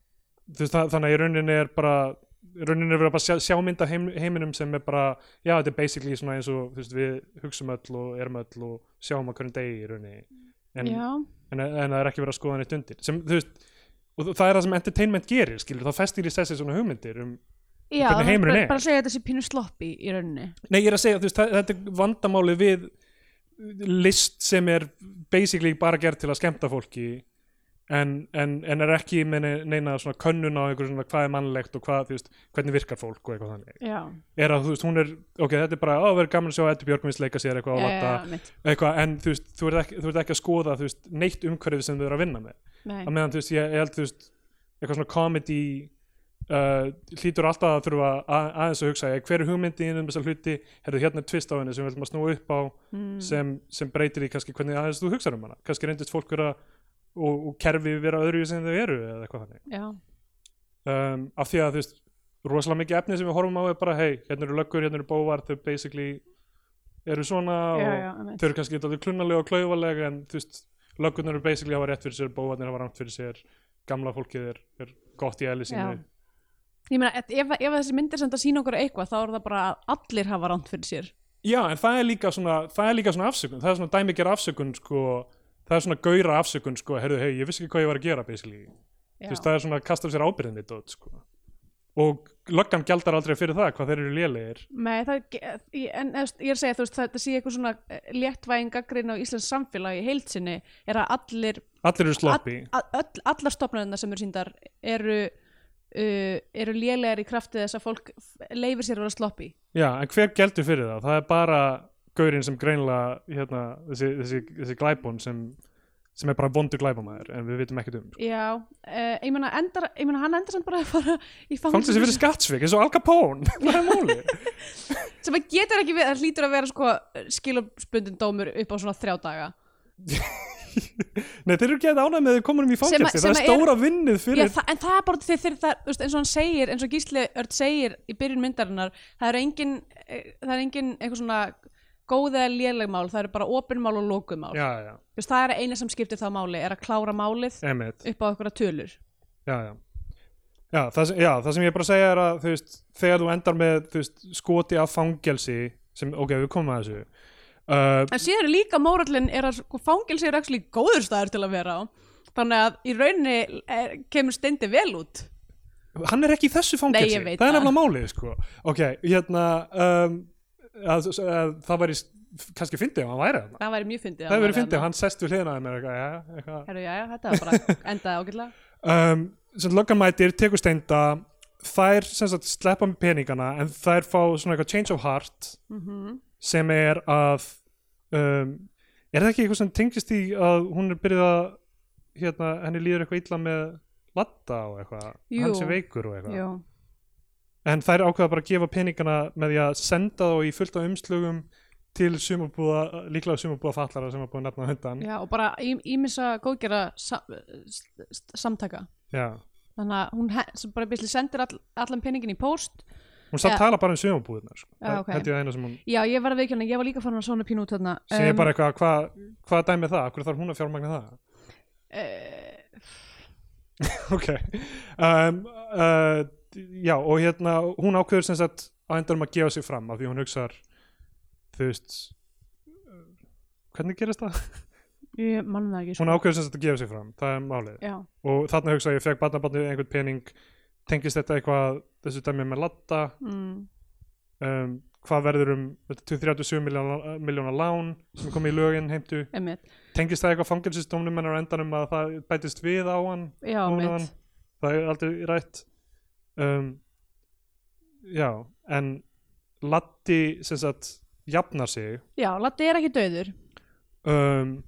Speaker 2: þú veist, þa- þannig að í rauninni er bara í rauninni er verið að bara sjá, sjá mynd af heim, heiminum sem er bara, já þetta er basically svona eins og þú veist, við hugsum öll og erum öll og sjáum að hvernig degi í rauninni en,
Speaker 1: Já,
Speaker 2: en, en það er ekki verið að skoða neitt undir sem, þú veist, og það er það sem entertainment gerir skilur, þá festir í sessi svona hugmyndir um,
Speaker 1: já
Speaker 2: hvernig
Speaker 1: það
Speaker 2: heimurinn
Speaker 1: bara,
Speaker 2: er.
Speaker 1: bara að segja að þetta sé pínu sloppy í rauninni
Speaker 2: nei, ég er að segja, þú veist, það, þetta er vandamálið við list sem er basically bara gerð til að skemmta fólki en, en, en er ekki með ne- neina svona könnun á einhver svona hvað er mannlegt og hvað, þú veist, hvernig virkar fólk og eitthvað þannig,
Speaker 1: Já,
Speaker 2: er að þú veist, hún er ok, þetta er bara, ó, verður gaman að sjá Eddu Björgvins leika sér
Speaker 1: já,
Speaker 2: eitthvað og
Speaker 1: já, já,
Speaker 2: latta,
Speaker 1: emmitt
Speaker 2: eitthvað, en þú veist, þú ert ekki, þú ert ekki að skoða, þú veist, neitt umhverfið sem þau eru að vinna með að meðan þú veist, ég, ég held þú veist eitthvað svona comedy uh, hlýtur alltaf að þurfa að, aðeins að hugsa hver er hugmyndin um þessa hluti herðu hérna er tvist á henni sem við viljum að snúa upp á
Speaker 1: Mm.
Speaker 2: sem, sem breytir í kannski hvernig aðeins þú hugsar um hana, kannski reyndist fólk vera og, og kerfi vera öðru sem þau eru eða eitthvað þannig,
Speaker 1: Já,
Speaker 2: um, af því að þú veist rosalega mikið efni sem við horfum á er bara hei, hérna eru löggur, hérna eru bóvar, þau basically eru svona
Speaker 1: já,
Speaker 2: og
Speaker 1: já, emmitt
Speaker 2: þau eru kannski eitthvað klunnalega og klaufalega en þú veist, löggunar eru basically að hafa rétt fyrir sér, bóvarnir hafa rámt fyrir sér gamla fólkið er, er gott í eðli sínu
Speaker 1: Já. Ég meina, ef, ef ef þessi myndir sem þetta sína okkur eitthvað þá er það bara að allir hafa ránt fyrir sér
Speaker 2: Já, en það er líka svona, það er líka svona afsökun, það er svona dæmikera afsökun sko, það er svona gauðra afsökun sko, heyrðu, hei, ég vissi ekki hvað ég var að gera basically,
Speaker 1: Já,
Speaker 2: þú veist, það er svona að kasta af sér ábyrðinni dót, sko og löggan gjaldar aldrei fyrir það, hvað þeir eru lélegir
Speaker 1: Nei, það, ge- ég- en eða, þú veist, ég er að segja þú veist, þetta sé eitthvað svona léttvæðingagrinn á Íslands samfélagi í heilsinni er að allir,
Speaker 2: allir eru sloppy,
Speaker 1: all, all, allar stopnarnar sem eru síndar eru uh, eru lélegar í krafti þess að fólk leifir sér að vera sloppy
Speaker 2: já, en hver gjaldur fyrir það það er bara gaurinn sem greinlega hérna, þessi, þessi, þessi glæbón sem, sem er bara vondur glæbamæður en við vitum ekkert um, sko.
Speaker 1: Já, uh, ég meina endar, ég meina hann endar sem bara að fara í
Speaker 2: fannst
Speaker 1: fangelsi
Speaker 2: þessi fyrir skattsvik eins og Al Capone, hvað er málið
Speaker 1: sem að getur ekki við, það hlýtur að vera sko skilabundin dómur upp á svona þrjá daga
Speaker 2: Nei, þeir eru ekki að ánægð með að þau komunum í
Speaker 1: Sem að-
Speaker 2: fangelsi, það
Speaker 1: sem
Speaker 2: er
Speaker 1: að er-
Speaker 2: stóra vinnið
Speaker 1: Já,
Speaker 2: fyrir
Speaker 1: þa en það er bara þegar þeir, það, þú veist, eins og hann segir, eins og Gísli Örd segir í byrjun myndarinnar, það er engin eh, það er engin eitthvað svona góð eða léleg mál, það eru bara opinmál og lókumál,
Speaker 2: Já, já,
Speaker 1: þú veist, það er eina sem skiptir það máli, er að klára málið
Speaker 2: emitt
Speaker 1: upp á okkur tölur
Speaker 2: já, já. Já, það sem, já, það sem ég er bara að segja er að þú veist, þegar þú endar með þú veist, skoti af fangelsi sem, ok, við komum að þessu uh,
Speaker 1: en síðan er líka mórallin er að sko, fangilsi er ekki góður staður til að vera á þannig að í rauninni er, kemur steindi vel út
Speaker 2: hann er ekki í þessu
Speaker 1: Nei,
Speaker 2: fangelsi
Speaker 1: ég veit
Speaker 2: það er
Speaker 1: það.
Speaker 2: nefnilega málið sko. ok, hérna um, að, að, að, það væri s- kannski fyndið ef hann væri þarna
Speaker 1: það væri mjög fyndið að
Speaker 2: það
Speaker 1: hann
Speaker 2: væri
Speaker 1: væri
Speaker 2: fyndið,
Speaker 1: þarna.
Speaker 2: hann sest við hliðina á mér eitthvað, já, eitthvað.
Speaker 1: Herru, já, já, þetta var bara endaði ágætlega
Speaker 2: um, sem löggan mætir, tekur steinda þær sem sagt sleppa með peningana en þær fá svona eitthvað change of heart
Speaker 1: Mhm.
Speaker 2: sem er að um, er það ekki eitthvað sem tengist í að hún er byrjuð að hérna, henni líður eitthvað illa með latta og eitthvað,
Speaker 1: Jú.
Speaker 2: hann sem veikur og eitthvað
Speaker 1: Jú.
Speaker 2: en þær ákveða bara að gefa peningana með því að senda þá í fullt af umslugum til sumabúða, líklega sumabúða fallara sem var búið að nefna á hundan
Speaker 1: Já, og bara ímissa góðgera sa, s- s- samtaka
Speaker 2: Já.
Speaker 1: þannig að hún he- sem bara byrjuð sendir all, allan peningin í post
Speaker 2: hún satt
Speaker 1: Já.
Speaker 2: tala bara um sumabúðunar sko.
Speaker 1: Já, ok.
Speaker 2: held ég að eina sem hún
Speaker 1: já, ég var að veikjana, ég var líka farin að svona pínu út þarna
Speaker 2: sem er bara eitthvað, hvað hva dæmi er það, hvernig þarf hún að fjármagna það
Speaker 1: uh,
Speaker 2: ok um, uh, já og hérna hún ákveður sem sagt að endur um að gefa sig fram af því hún hugsar þú veist uh, hvernig gerist það?
Speaker 1: ég manna það ekki sko.
Speaker 2: hún ákveður sem sagt að gefa sig fram, það er málið
Speaker 1: já,
Speaker 2: og þarna hugsa ég fekk barnabarnið einhvern pening tengist þetta eitthvað þessu dæmi með latta
Speaker 1: mm,
Speaker 2: um, hvað verður um þetta 237 miljóna, miljóna lán sem er komið í lögin heimtu
Speaker 1: Einmitt.
Speaker 2: tengist það eitthvað fangelsistómnum en á endanum að það bætist við á hann
Speaker 1: Já,
Speaker 2: ofan á hann.
Speaker 1: mitt.
Speaker 2: það er aldrei rætt um, já en Latti sem sagt jafnar sig
Speaker 1: Já, Latti er ekki döður.
Speaker 2: um,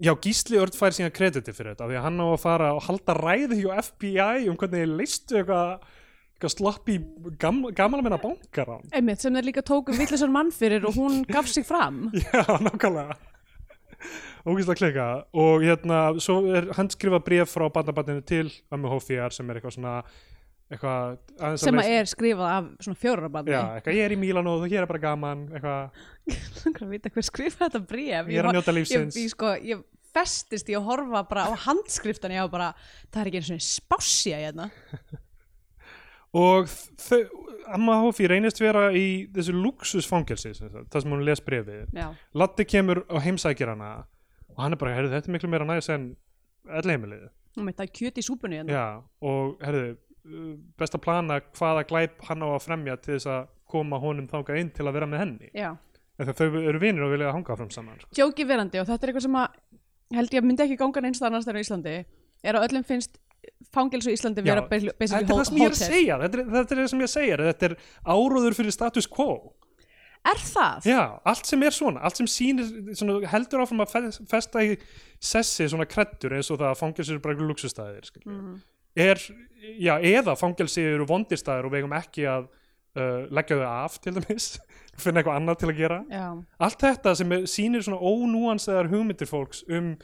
Speaker 2: já Gísli Örd fær síðan krediti fyrir þetta af því að hann á að fara og halda ræði hjá FBI um hvernig þeir leistu eitthvað eitthvað slapp í gam, gamla minna bankar
Speaker 1: Einmitt, sem þeir líka tóku vittlisar mann fyrir og hún gaf sig fram.
Speaker 2: Já, nákvæmlega Ógísla klika og hérna, svo er hann skrifa bréf frá bandabatninu til ömmu Hófíjar sem er eitthvað svona eitthvað aðeins
Speaker 1: sem
Speaker 2: leysa-
Speaker 1: er skrifað af svona fjórarabandi.
Speaker 2: Já, eitthvað, ég er í Mílan og hér er bara gaman eitthvað,
Speaker 1: Langar að vita hver skrifaði þetta bréf.
Speaker 2: ég er að njóta
Speaker 1: ég,
Speaker 2: lífsins
Speaker 1: ég, sko, ég festist í að horfa bara á handskriftan ég á bara, það er ekki einu svona spásja hérna.
Speaker 2: og þau, amma Hófí reynist vera í þessu luxusfangelsi sem sagt, þar sem hún les bréfið
Speaker 1: Já,
Speaker 2: Latti kemur og heimsækir hana og hann er bara, heyrðu, þetta er miklu meira næs en ellheimilið
Speaker 1: hún meitt að kjöti í súpunni hérna.
Speaker 2: Já, og herðu, uh, best að plana hvaða glæp hann á að fremja til þess að koma honum þangað inn til að vera með henni.
Speaker 1: Já.
Speaker 2: Þegar þau eru vinir og vilja hanga fram saman. Sko.
Speaker 1: Jóki verandi og þetta er eitthvað sem að held ég að myndi ekki ganga neins annars þar á Íslandi er að öllum finnst fangils á Íslandi
Speaker 2: Já,
Speaker 1: vera basically basically
Speaker 2: Þetta er það sem ég er að
Speaker 1: hótel.
Speaker 2: segja, þetta er, þetta er það sem ég er að segja, þetta er áróður fyrir status quo.
Speaker 1: Er það?
Speaker 2: Já, allt sem er svona, allt sem sýnir, svona, heldur áfram að fe- festa í sessi svona kreddur eins og það að fangelsi eru bara einhver luxustæðir. Mm
Speaker 1: Mhm.
Speaker 2: er, já, eða fangelsi eru vondistæðir og við eigum ekki að uh, leggja þau af til dæmis, finna eitthvað annað til að gera.
Speaker 1: Já.
Speaker 2: allt þetta sem er, sýnir svona ónúansaðar hugmyndir fólks um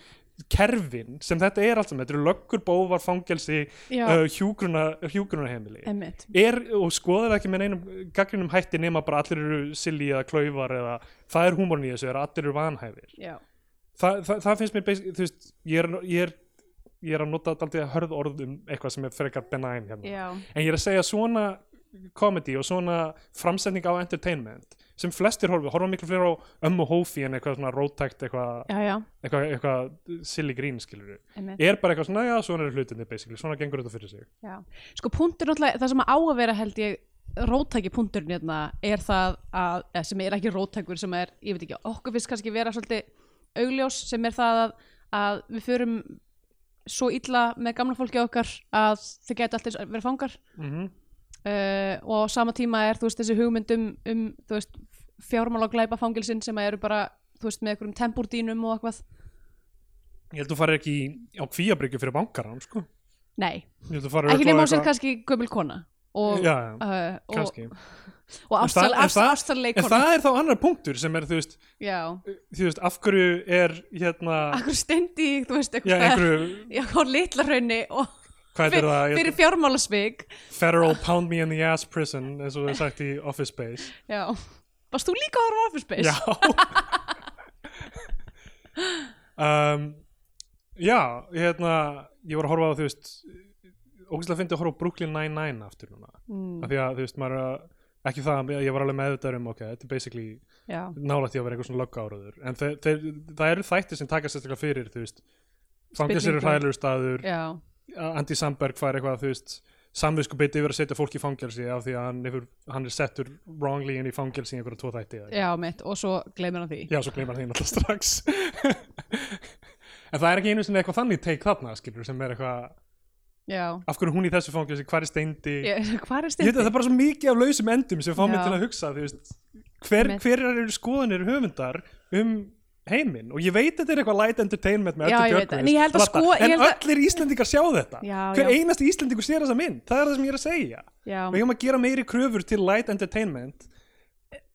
Speaker 2: kerfin sem þetta er allt saman, þetta eru löggur, bóvar, fangelsi,
Speaker 1: Já.
Speaker 2: uh, hjúgruna, hjúgrunarheimili
Speaker 1: Emmitt.
Speaker 2: er, og skoðar það ekki með neinum gaggrinum hætti nema bara allir eru silli eða klaufar eða það er húmorn í þessu, er að allir eru vanhæfir
Speaker 1: Já.
Speaker 2: Þa, það, það finnst mér, basic- þú veist, ég er, ég er ég er að nota alltaf hörð orð um eitthvað sem er frekar benign hérna
Speaker 1: Já.
Speaker 2: en ég er að segja svona comedy og svona framsetning á entertainment sem flestir horfa, horfa miklu fleiri á ömmu hófi en eitthvað svona rótækt eitthvað,
Speaker 1: Já, já.
Speaker 2: eitthvað, eitthvað silly grín skilur
Speaker 1: Emmitt.
Speaker 2: er bara eitthvað svona, já, svona er hlutinni basically, svona gengur þetta fyrir sig
Speaker 1: Já. Sko punktur náttúrulega, það sem á að vera held ég róttæki punkturinn hérna er það að, eða sem er ekki róttækur sem er, ég veit ekki, okkur finnst kannski vera svolítið augljós sem er það að, að við förum svo illa með gamla fólki okkar að þau gæti alltaf verið fangar
Speaker 2: mm -hmm.
Speaker 1: uh, og á sama tíma er þú veist þessi hugmyndum um þú veist fjármál og glæpa fangilsin sem eru bara þú veist með einhverjum tempúrdínum og eitthvað
Speaker 2: ég held þú farir ekki í- á kvíabryggju fyrir bankaran sko.
Speaker 1: nei,
Speaker 2: ég held þú farir
Speaker 1: ekki nema hún sér kannski gömul kona og,
Speaker 2: já, já,
Speaker 1: uh, og,
Speaker 2: kannski
Speaker 1: og
Speaker 2: En það-
Speaker 1: ástal,
Speaker 2: en það-
Speaker 1: ástal
Speaker 2: en
Speaker 1: leikona
Speaker 2: það er þá annar punktur sem er, þú veist,
Speaker 1: Já,
Speaker 2: þú veist af hverju er hérna,
Speaker 1: akkur stendi í, þú veist,
Speaker 2: já,
Speaker 1: eitthvað
Speaker 2: einhverju
Speaker 1: Já, á litla hraunni og
Speaker 2: hvað er
Speaker 1: fyrir,
Speaker 2: það,
Speaker 1: fyrir fjármálasvig
Speaker 2: federal pound me in the ass prison eins og það er sagt í Office Space
Speaker 1: Já, varst þú líka að horfa á Office Space?
Speaker 2: Já um, Já, hérna ég var að horfa á þú veist ógæslega fyndi að horfa á Brooklyn Nine-Nine aftur núna,
Speaker 1: mm,
Speaker 2: af því að þú veist maður er að, ekki það, ég var alveg meðvitaður um ok, þetta er basically
Speaker 1: já.
Speaker 2: nálægt því að vera eitthvað svona löggáruður, en þeir, þeir, það eru þættir sem taka sérstaklega fyrir, þú veist fangelsir eru
Speaker 1: Spillingu.
Speaker 2: hræðilegur staður
Speaker 1: já
Speaker 2: Andy Samberg fær eitthvað þú veist samvisku beti yfir að setja fólk í fangelsi af því að hann, hefur, hann er settur wrongly inn í fangelsi í einhverja tvo þætti eða eitthvað.
Speaker 1: Já, mitt, og svo gleymir hann því
Speaker 2: já, svo gleymar hann því náttúrulega strax en það er ekki einu sinni eitthvað þannig take þarna skilur sem er eitthvað
Speaker 1: Já,
Speaker 2: af hverju er hún í þessu fangelsi, hvar er steindi
Speaker 1: já. hvað er
Speaker 2: ég veit
Speaker 1: stendi?
Speaker 2: að það er bara svo mikið af lausum endum sem fá mig
Speaker 1: Já.
Speaker 2: til að hugsa þú veist, hver,
Speaker 1: Einmitt.
Speaker 2: hver eru skoðanir höfundar um heiminn og ég veit þetta er eitthvað light entertainment
Speaker 1: Já,
Speaker 2: með Eddu
Speaker 1: ég veit
Speaker 2: Björgvins,
Speaker 1: það. En ég held að
Speaker 2: Latta,
Speaker 1: sko- ég
Speaker 2: en
Speaker 1: held að-
Speaker 2: allir Íslendingar sjá þetta
Speaker 1: Já,
Speaker 2: hver
Speaker 1: já.
Speaker 2: einasti Íslendingur sér þessa mynd það er það sem ég er að segja
Speaker 1: Já,
Speaker 2: við hefum að gera meiri kröfur til light entertainment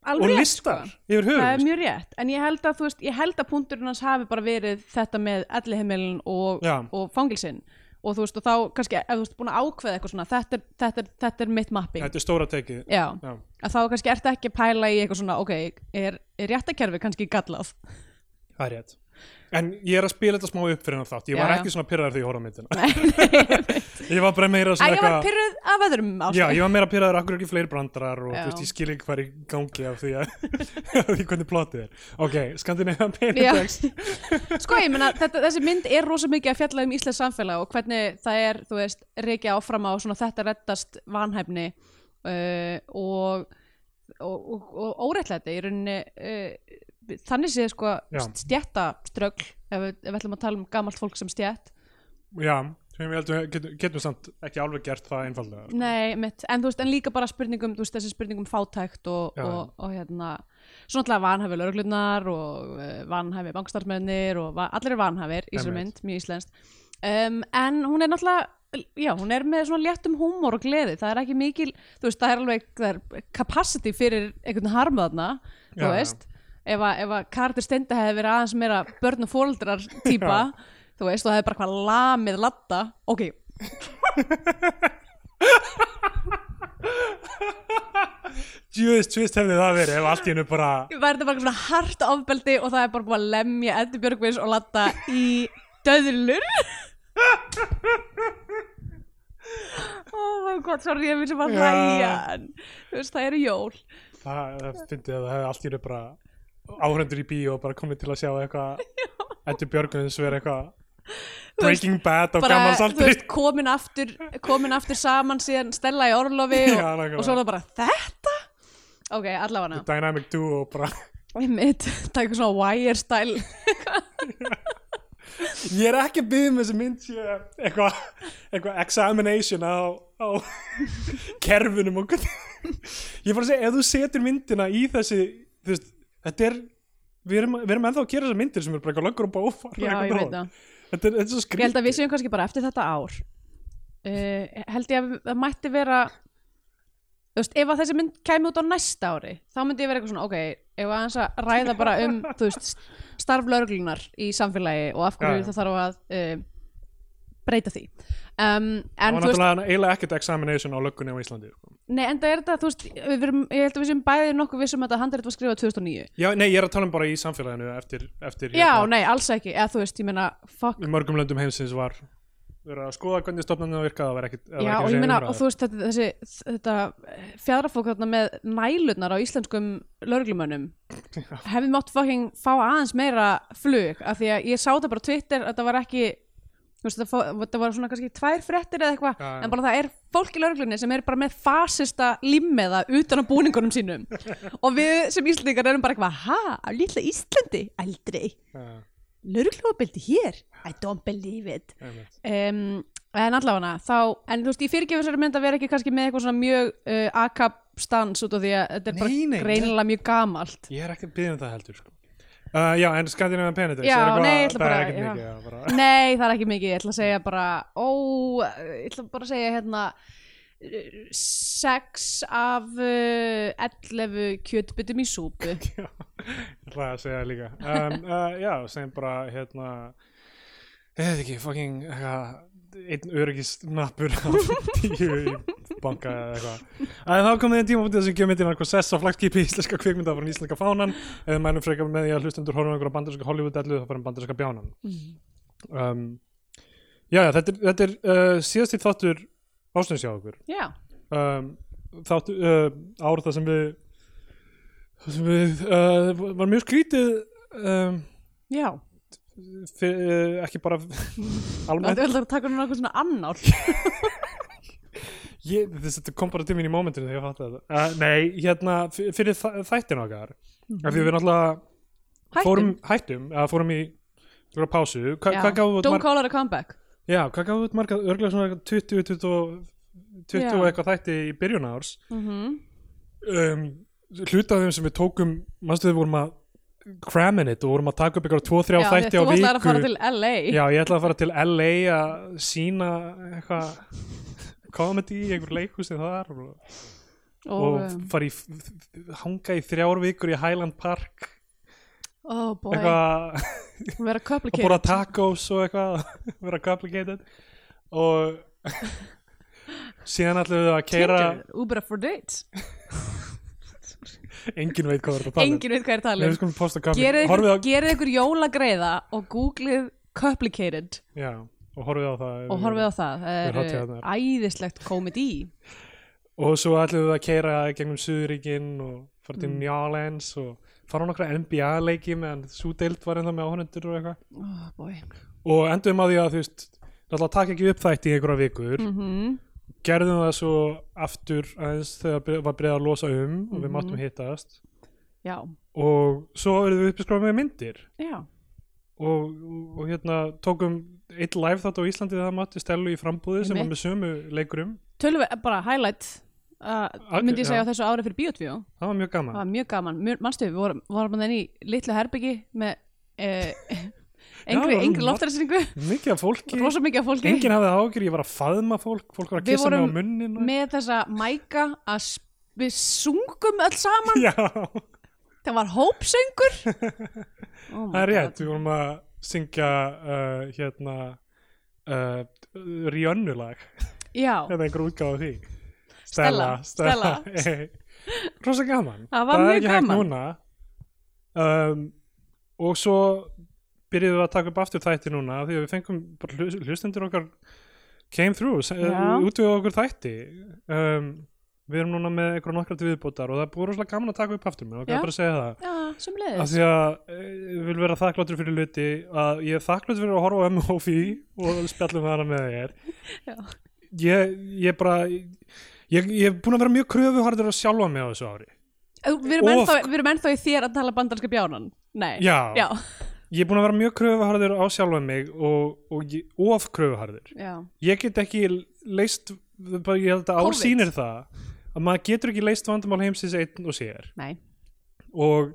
Speaker 1: alveg
Speaker 2: og
Speaker 1: rétt,
Speaker 2: listar
Speaker 1: sko.
Speaker 2: yfir
Speaker 1: Það er
Speaker 2: höfund
Speaker 1: mjög rétt, en ég held að, þú veist, ég held að punkturinn hans hafi bara verið þetta með ellihemilin og,
Speaker 2: Já.
Speaker 1: og fangilsinn og þú veist, og þá kannski, ef þú veist, búin að ákveða eitthvað svona, þetta er, þetta er, þetta er mitt mapping
Speaker 2: þetta er stóra tekið
Speaker 1: Já,
Speaker 2: Já.
Speaker 1: að þá kannski ertu ekki að pæla í eitthvað svona, ok, er, er réttakerfi kannski gallað?
Speaker 2: það er rétt en ég er að spila þetta smá upp fyrir hann þátt ég var
Speaker 1: Já, já.
Speaker 2: ekki svona pyrraður því ég horfði á myndina
Speaker 1: Æ,
Speaker 2: ég var bara meira svona
Speaker 1: ég var pyrruð af öðrum
Speaker 2: Já,
Speaker 1: ástæðum.
Speaker 2: ég var meira pyrraður akkur ekki fleiri brandarar og
Speaker 1: Já.
Speaker 2: þú veist, ég skil ekki hvað er í gangi af því að af því hvernig plotið er. Ok, Skandinavian Penindex
Speaker 1: Sko, ég meina, þetta, þessi mynd er rosa mikið að fjalla um Íslands samfélag og hvernig það er, þú veist, reykja áfram á svona þetta reddast vanhæfni uh, og og, og, og óréttlæti í rauninni uh, þannig séð sko
Speaker 2: Já.
Speaker 1: stjættaströgl ef, við- ef við ætlum að tala um gamalt fólk sem stjætt
Speaker 2: já, sem ég heldur getum, getum samt ekki alveg gert það einfallega sko.
Speaker 1: Nei, mitt, en þú veist, en líka bara spurningum þú veist, þessi spurningum um fátækt og,
Speaker 2: Já.
Speaker 1: og, og hérna, svona alltaf vanhæfi lauruglunar og uh, vanhæfi bankstarfsmennir og va allir er vanhæfir í þessari
Speaker 2: Einmitt.
Speaker 1: mynd, mjög íslenskt um, en hún er náttúrulega já, hún er með svona léttum húmor og gleði það er ekki mikil, þú veist, það er alveg það er capacity fyrir einhvern harm þarna,
Speaker 2: Já,
Speaker 1: þú
Speaker 2: já.
Speaker 1: veist ef að, ef að Carter Stenda hefði verið aðeins meira börn og fóreldrar típa þú veist, og það hefði bara hvað lamið latta, ok,
Speaker 2: Jöðist, jöðist hefði það verið ef allt í hennu bara
Speaker 1: var þetta bara svona hart ofbeldi og það er bara búið að lemja Eddi Björgvins og latta í döðlur oh my god, sorry, ég finnst bara að
Speaker 2: Já.
Speaker 1: hlæja en þú veist, það eru jól
Speaker 2: það, það fyndi að það hefði allt í hennu bara áhrendur í bíó og bara komið til að sjá eitthvað Eddi Björgvins verið eitthvað
Speaker 1: Þú veist,
Speaker 2: Breaking Bad á
Speaker 1: bara, þú
Speaker 2: gammalsaldri
Speaker 1: veist, komin aftur komin aftur saman síðan Stella í orlofi og,
Speaker 2: Já, nákvæmlega.
Speaker 1: og svo er það bara, þetta? ok, allavega
Speaker 2: Dynamic Duo bara
Speaker 1: einmitt, það er eitthvað svona wire style
Speaker 2: Ég er ekki að byggja með þessi mynd sé eitthvað eitthva examination á, á kerfunum og hvernig Ég er bara að segja, ef þú setur myndina í þessi þú veist, þetta er við erum, við erum ennþá að gera þessar myndir sem eru bara eitthvað löggur og bófar
Speaker 1: Já, ég veit það.
Speaker 2: Þetta er, þetta er svo
Speaker 1: Ég held
Speaker 2: skrýtt
Speaker 1: að við séum kannski bara eftir þetta ár uh, held ég að það mætti vera þú veist, ef að þessi mynd kæmi út á næsta ári þá myndi ég vera eitthvað svona, ok ef að hans að ræða bara um, þú veist starf lauruglunar í samfélagi og af
Speaker 2: Já,
Speaker 1: hverju
Speaker 2: já.
Speaker 1: það þarf að uh, breyta því um,
Speaker 2: Það
Speaker 1: en
Speaker 2: var
Speaker 1: þú veist,
Speaker 2: náttúrulega eiginlega ekkert examination á löggunni á Íslandi sko.
Speaker 1: nei, en það er þetta þú veist, við verum, ég held að við séum bæði nokkuð vissum að þetta handrið var skrifað 2009
Speaker 2: Já, nei, ég er að tala um bara í samfélaginu eftir, eftir
Speaker 1: já,
Speaker 2: hérna,
Speaker 1: nei, alls ekki, eða þú veist, ég meina fuck,
Speaker 2: í mörgum löndum heimsins var verið að skoða hvernig stofnunum virkaði það var ekkert- það var
Speaker 1: Já, og
Speaker 2: ekkert þessi
Speaker 1: ég meina,
Speaker 2: umræða.
Speaker 1: og þú veist, þetta, þessi, þetta fjadrafólk þarna með nælurnar á íslenskum lörglumönnum hefði mátt fucking fá aðeins meira flug, af því að ég sá þetta bara á Twitter að það var ekki þú veist, það, fó- þetta var svona kannski tvær fréttir eða eitthvað,
Speaker 2: Já, já.
Speaker 1: en bara það er fólk í lörglunni sem er bara með fasista limmeða utan á búningunum sínum og við sem íslendingar erum bara eitthvað ha, á litla Íslandi, aldrei
Speaker 2: Já,
Speaker 1: lörglumabeldi hér, I don't believe it
Speaker 2: einmitt.
Speaker 1: um, en allavega þá, en þú veist, ég fyrirgefur þessari mynd að vera ekki kannski með eitthvað svona mjög uh, akab stans út af því að þetta er bara
Speaker 2: Nei, nei, nei.
Speaker 1: greinilega mjög gamalt
Speaker 2: Ég er ekki að byggja um það heldur sko. uh, Já, en Skandinavian Penetrates
Speaker 1: Já,
Speaker 2: er eitthvað-
Speaker 1: nei, ég ætla
Speaker 2: Það
Speaker 1: bara-
Speaker 2: er ekkert
Speaker 1: já.
Speaker 2: mikið já, bara.
Speaker 1: nei, það er ekki mikið, ég ætla að segja bara ó, ég ætla bara að segja hérna 6 af uh, 11 kjötbytum í súpu
Speaker 2: Já, Ég ætla að segja það líka um, uh, Já, sem bara hérna Ég veit ekki, fucking eitthvað, einn öryggisnappur á tíu í banka eða eitthvað En þá komið einn tíma út þessum kemur myndin eitthvað sess á flagskipi íslenska kvikmynda frá íslenska fánan eða mælum frekar með því að hlustundur horfum á einhverja bandarska Hollywood-ellu þá farum bandarska bjánan
Speaker 1: Mhm.
Speaker 2: um, Já, já, þetta er, þetta er uh, síðasti þáttur ásnins hjá okkur
Speaker 1: já,
Speaker 2: um, þáttu uh, ár það sem við það sem við uh, var mjög skrítið um,
Speaker 1: já
Speaker 2: fyr, uh, ekki bara almennt
Speaker 1: þetta er að taka hún eitthvað svona annál
Speaker 2: ég, þess, þetta kom bara til mín í mómentinu þegar ég fatt þetta uh, nei, hérna, f- fyrir þa- þættin okkar af því við náttúrulega fórum,
Speaker 1: Mhm. hættum,
Speaker 2: hættum eða fórum í einhverja pásu Hva,
Speaker 1: já,
Speaker 2: hvað gáðu út,
Speaker 1: don't
Speaker 2: marg,
Speaker 1: call her a comeback
Speaker 2: já, hvað gáðu út marga örglega svona 20, 20, 20
Speaker 1: Já.
Speaker 2: og eitthvað þætti í byrjun árs
Speaker 1: mm
Speaker 2: Mhm. um, hluta af þeim sem við tókum mannstu við vorum að cramming it og vorum að taka upp ykkur tvo, þrjá
Speaker 1: já, því að
Speaker 2: þætti á
Speaker 1: þú
Speaker 2: viku
Speaker 1: ætlaðir að fara til LA
Speaker 2: já, ég ætlaði að fara til LA að sína eitthvað comedy í einhver leikhúsi þar og,
Speaker 1: og, um,
Speaker 2: og fara í hanga í þrjár vikur í Highland Park
Speaker 1: oh boy,
Speaker 2: eitthvað
Speaker 1: vera
Speaker 2: og
Speaker 1: complicated
Speaker 2: borða tacos og eitthvað vera complicated og síðan ætlum við að keira
Speaker 1: Tinder, Uber up for dates
Speaker 2: engin veit hvað þetta tala um.
Speaker 1: engin veit hvað er
Speaker 2: Nei,
Speaker 1: talið
Speaker 2: við skulum posta kaffi
Speaker 1: gerið ykkur,
Speaker 2: Horfið á-
Speaker 1: gerið ykkur jólagreiða og googlið complicated
Speaker 2: Já, og horfið á það
Speaker 1: og horfið á það,
Speaker 2: Mm. Við
Speaker 1: það er
Speaker 2: hátíðarnar.
Speaker 1: uh, æðislegt komedi
Speaker 2: Og svo ætlum við að keira gegnum Suðuríkin og fara
Speaker 1: Mm.
Speaker 2: til Njálens og fara á nokkra NBA-leiki meðan svo deild var ennþá með áhörnendur og eitthvað
Speaker 1: oh boy
Speaker 2: og endum á því að þú veist náttúrulega taka ekki upp þætti í einhverja vikur
Speaker 1: mm
Speaker 2: gerðum það svo aftur aðeins þegar bre- var breiða að losa um og við
Speaker 1: Mhm.
Speaker 2: máttum hittast
Speaker 1: já,
Speaker 2: og svo verðum við uppskráð með myndir
Speaker 1: já,
Speaker 2: og, og, og hérna tókum eitt live þátt á Íslandi það mátti stelu í frambúði sem var
Speaker 1: Einmitt.
Speaker 2: með sömu leikurum
Speaker 1: tölum við bara highlight uh,
Speaker 2: Algjör-
Speaker 1: myndi ég segja
Speaker 2: já.
Speaker 1: á þessu ári fyrir Bíotvíó
Speaker 2: það var mjög
Speaker 1: það
Speaker 2: gaman
Speaker 1: var mjög gaman, mjög, manstu við vorum, vorum þenni í litlu herbyggi með uh, engri,
Speaker 2: Já,
Speaker 1: engri
Speaker 2: var-
Speaker 1: loftarinsingu
Speaker 2: mikið af fólki,
Speaker 1: rosa mikið af fólki
Speaker 2: enginn hafði ágjur ég var að faðma fólk, fólk var að
Speaker 1: Við
Speaker 2: kissa mig á
Speaker 1: vorum
Speaker 2: munnin og...
Speaker 1: með þessa mæka að s- við sungum öll saman
Speaker 2: já,
Speaker 1: það var hópsöngur oh my
Speaker 2: það er rétt
Speaker 1: God.
Speaker 2: við vorum að syngja uh, hérna uh, Rjönnulag
Speaker 1: já,
Speaker 2: eða einhver útgáfa af því
Speaker 1: Stella,
Speaker 2: Stella. rosa gaman
Speaker 1: Það var mjög
Speaker 2: er ekki hægt
Speaker 1: gaman.
Speaker 2: núna um, og svo byrjuðum við að taka upp aftur þætti núna af því að við fengum bara hlus- hlustendur okkar came through,
Speaker 1: Já.
Speaker 2: útvöðu okkur þætti um, við erum núna með einhverja nokkra til viðbótar og það er búið rosalega gaman að taka upp aftur með og
Speaker 1: Já.
Speaker 2: gæði bara að segja það
Speaker 1: já, sem
Speaker 2: af
Speaker 1: leiðis
Speaker 2: því að eh, ég vil vera þakkláttur fyrir hluti að ég er þakkláttur fyrir að horfa á MHF og spjallum hana með þér
Speaker 1: Já.
Speaker 2: ég, ég bara ég, ég er búin að vera mjög kröfuhardur að sjálfa mig á þessu ári
Speaker 1: við erum,
Speaker 2: Of-
Speaker 1: ennþá, við erum ennþá í þér að tala bandarska bjánan nei,
Speaker 2: Já.
Speaker 1: já,
Speaker 2: ég er búin að vera mjög kröfuharður á sjálfa mig og, og ég, of kröfuharður
Speaker 1: já.
Speaker 2: ég get ekki leist bara ég held að
Speaker 1: Covid.
Speaker 2: ásýnir það að maður getur ekki leist vandamál heimsins einn og sér
Speaker 1: nei,
Speaker 2: og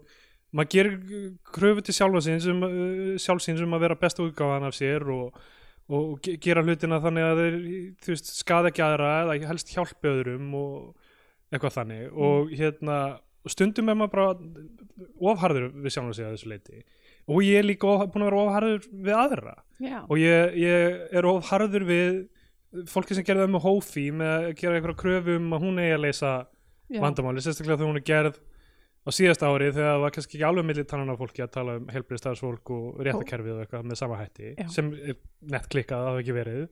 Speaker 2: maður gerir kröfu til sjálfa sín sem, uh, sjálf sín sem að vera besta útgáfan af sér og, og ge- gera hlutina þannig að þeir þú veist, skada ekki aðra eða helst hjálpi öðrum og eitthvað þannig og hérna og stundum er maður bara ofharður við sjálfa sig að þessu leiti og ég er líka of, búin að vera ofharður við aðra
Speaker 1: já,
Speaker 2: og ég, ég er ofharður við fólki sem gerði það með hófi með að gera einhverja kröfu um að hún eigi að leysa
Speaker 1: já.
Speaker 2: vandamáli, sérstaklega þegar hún er gerð á síðasta ári þegar það var kannski ekki alveg millir tannan af fólki að tala um helbriðstafsfólk og réttakerfið og eitthvað með sama hætti
Speaker 1: Já.
Speaker 2: sem er nett klikkað að það hafi ekki verið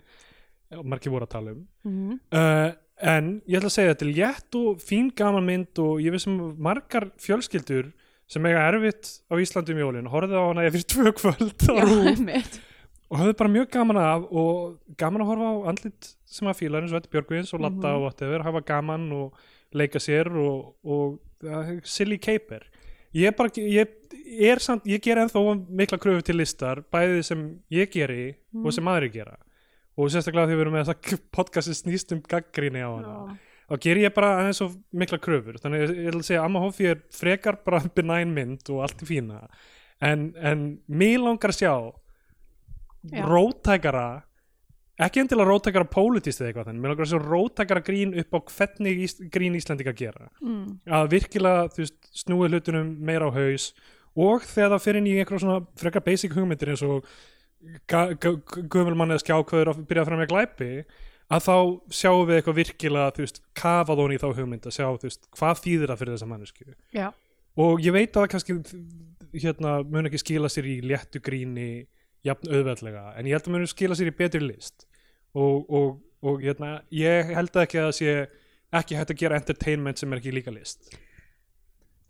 Speaker 2: og margir voru að tala um
Speaker 1: Mhm.
Speaker 2: uh, en ég ætla að segja þetta er létt og fín gaman mynd og ég veist sem margar fjölskyldur sem eiga erfitt á Íslandum jólin horfið á hana yfir tvö kvöld á
Speaker 1: já,
Speaker 2: rúf
Speaker 1: einmitt.
Speaker 2: og höfðu bara mjög gaman af og gaman að horfa á andlit sem að fílar eins og þetta Björgvins og Latta
Speaker 1: Mhm.
Speaker 2: og whatever, hafa gaman og leika sér og, og uh, silly caper ég, bara, ég, er samt, ég ger ennþá mikla kröfu til listar, bæði sem ég geri
Speaker 1: Mhm.
Speaker 2: og sem aðri gera og sérstaklega því við erum með þess að podcast sem snýst um gaggrinni á hana
Speaker 1: Já.
Speaker 2: þá ger ég bara aðeins of mikla kröfur þannig ég, ég ætla að segja að Amma Hoffi er frekar bara benign mynd og allt í fína en, en mér langar að sjá
Speaker 1: Já.
Speaker 2: róttækara ekki endilega róttækara pólitíst eða eitthvað þannig, mér langar að sjá róttækara grín upp á hvernig ís, grín Íslandinga gera
Speaker 1: Mm.
Speaker 2: að virkilega þú veist, snúi hlutunum meira á haus og þegar það fyrir inn í einhverjum svona frekar basic hugmyndir eins og guðmjölmann eða skjákvöður að byrja að fremja glæpi að þá sjáum við eitthvað virkilega þú veist, kafað honi í þá hugmynd að sjá þú veist, hvað þýðir það fyrir þessa mannesku
Speaker 1: já,
Speaker 2: og ég veit að það kannski hérna, mun ekki skila sér í léttu gríni jafn auðveldlega en ég held að mun skila sér í betri list og, og, og hérna, ég held ekki að það sé ekki hægt að gera entertainment sem er ekki líka list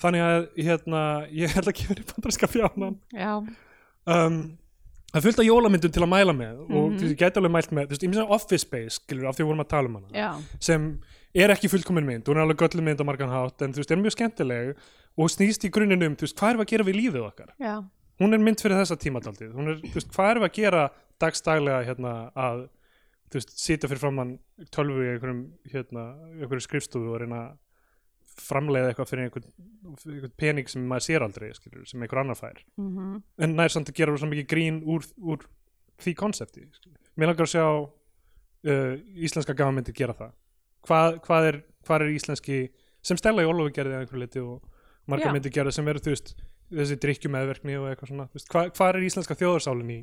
Speaker 2: þannig að hérna, ég held að gefa í bandarska fjánan
Speaker 1: já,
Speaker 2: um, það er fullt af jólamyndum til að mæla með og
Speaker 1: Mhm.
Speaker 2: þú veist, ég gæti alveg mælt með þú veist, ég myndi að Office Space, skilur, af því við vorum að tala um hana
Speaker 1: já,
Speaker 2: sem er ekki fullkomin mynd, hún er alveg göllum mynd á margan hátt en þú veist, er mjög skemmtileg og snýst í grunninn um, þú veist, hvað erum við að gera við lífið okkar
Speaker 1: já,
Speaker 2: hún er mynd fyrir þessa tímataldið hún er, þú veist, hvað erum við að gera dagstaglega hérna að, þú veist, sita fyrir framann tölvu í einhverjum hérna, einhverjum skrifstofu og reyna að framleiða eitthvað fyrir einhvern, einhvern pening sem maður sér aldrei, skilur, sem einhver annar fær
Speaker 1: mhm.
Speaker 2: en nær samt að gera svo mikið grín úr, úr því konsepti skilur. mér langar að sjá uh, íslenska gafamyndir gera það hvað, hvað, er, hvað er íslenski sem Stella í Ólofi gerði að einhverju liti og margar
Speaker 1: Já.
Speaker 2: myndir gerði sem eru þú veist, þessi drikkjum eðverkni og eitthvað svona þú veist, hvað, hvað er íslenska þjóðarsálin í,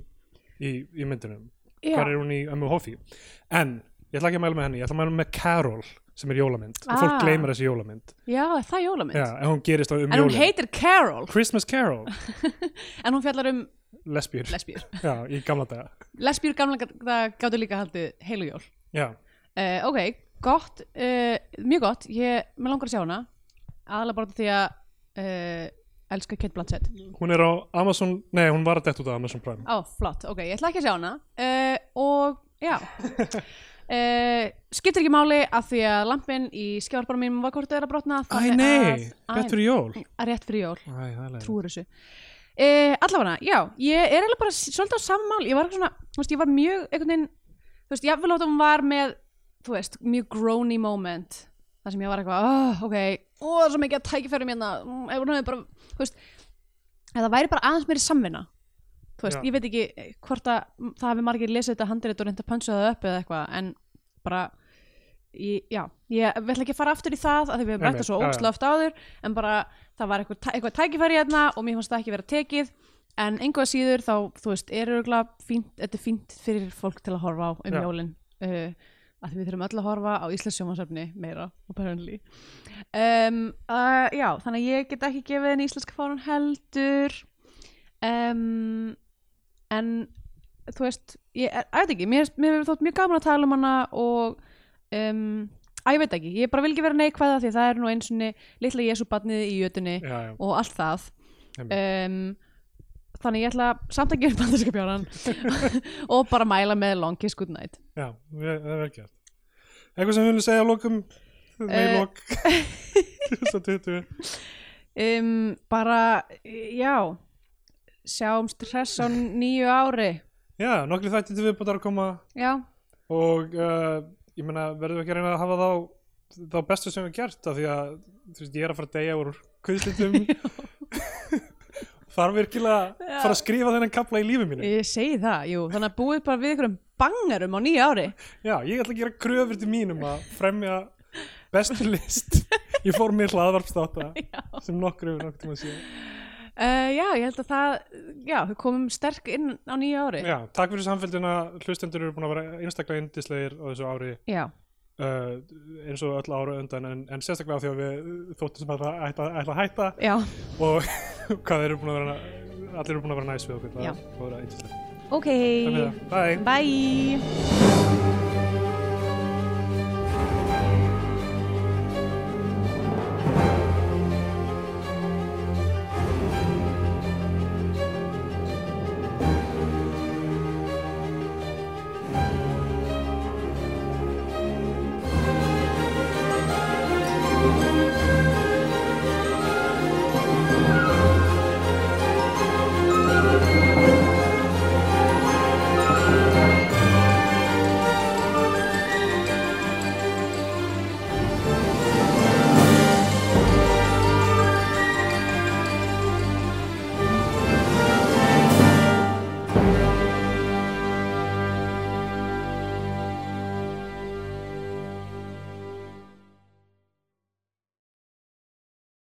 Speaker 2: í, í myndunum,
Speaker 1: já.
Speaker 2: hvað er hún í Ömmu Hoffi en ég ætla ekki að mæla með henni ég ætla að mæla með Carol sem er jólamynd og
Speaker 1: Ah.
Speaker 2: fólk gleymir þessi jólamynd
Speaker 1: já, er það er jólamynd
Speaker 2: Já, en hún gerist á um
Speaker 1: en hún
Speaker 2: jólin
Speaker 1: heitir Carol
Speaker 2: Christmas Carol,
Speaker 1: en hún fjallar um
Speaker 2: lesbíur
Speaker 1: lesbíur
Speaker 2: Já, í gamla daga
Speaker 1: lesbíur gamla það gáttu líka haldið heilujól
Speaker 2: Já,
Speaker 1: uh, ok, gott uh, mjög gott, ég, mér langar að sjá hana aðalega bara út af því að uh, elska Kate Blanchett
Speaker 2: hún er á Amazon, nei hún var að detta út á Amazon Prime
Speaker 1: Eh, á, flott, ok, ég ætla ekki að sjá hana uh, og já uh, skiptir ekki máli af því að lampin í skjárbara mínum var kortið er að brotna
Speaker 2: Æ, nei, rétt fyrir jól Æ,
Speaker 1: að rétt fyrir jól
Speaker 2: það er leið
Speaker 1: trúur þessu uh, allafana, já, ég er eiginlega bara s- svolítið á sammál, ég var eitthvað svona þú veist, ég var mjög einhvern veginn þú veist, jáfnvel átt að hún var með þú veist, mjög groany moment þar sem ég var eitthvað, oh, ok ó, það er svo mikið að tækifæri mérna mm, ef hún hefði bara, þú veist ef það væri bara aðeins meiri samvinna þú veist,
Speaker 2: Já.
Speaker 1: ég veit ekki eh, hvort að það hafi margir lesið þetta handrið og reynda að puncha það upp eða eitthvað, en bara ég, já, ég við ætla ekki að fara aftur í það að því við höfum
Speaker 2: Einmitt,
Speaker 1: rætt það svo
Speaker 2: já, já.
Speaker 1: ógstla oft áður en bara það var eitthvað, tæ- eitthvað tækifæri hérna og mér fannst það ekki vera tekið en einhvað síður þá, þú veist, er örgulega fínt, þetta er fínt fyrir fólk til að horfa á um
Speaker 2: Já.
Speaker 1: jólin uh, að við þurfum öll að horfa á Íslands sjómasöfni meira, apparently um, uh, já, þannig að ég get ekki gefið henni íslenska fánun heldur um, en þú veist, ég er, ég veit ekki mér, mér hefur þótt mjög gaman að tala um hana og um, að ég veit ekki ég bara vil ekki vera neikvæða því að það er nú eins og litla jesúbarnið í jötunni
Speaker 2: Já, já,
Speaker 1: og allt það
Speaker 2: Einmitt.
Speaker 1: um, þannig ég ætla samt að gera bandarska bjáran og bara mæla með Long Kiss Goodnight
Speaker 2: já, við- það er vel gert Eitthvað sem við viljum segja að lokum Með
Speaker 1: Eh.
Speaker 2: lok 2020
Speaker 1: um, bara, já sjáumst hress á nýju ári
Speaker 2: Já, nokkli þætti til viðbútar að koma
Speaker 1: já,
Speaker 2: og uh, ég meina verðum við ekki að reyna að hafa þá þá bestu sem við gert af því að þú veist, ég er að fara að deyja úr kviðslitum þarf virkilega að fara að skrifa þennan kapla í lífi mínu
Speaker 1: ég segi það, jú þannig að búið bara við einhverjum bangarum á nýju ári
Speaker 2: já, ég ætla að gera kröfur til mínum að fremja bestu list í formi hlaðvarpstáta sem nokkur yfir nokkur tíma síðan
Speaker 1: uh, já, ég held að það já, við komum sterk inn á nýju ári
Speaker 2: já, takk fyrir samfélgina, hlustendur eru búin að vera einstaklega indislegir á þessu ári
Speaker 1: já,
Speaker 2: uh, eins og öll ára undan en, en sérstaklega af því að við þóttum sem að það ætla, ætla að hætta
Speaker 1: já.
Speaker 2: og hvað þeir eru búin að vera allir eru búin að vera næs við okkur
Speaker 1: Já.
Speaker 2: það er bara eitthvað
Speaker 1: ok,
Speaker 2: bye
Speaker 1: bye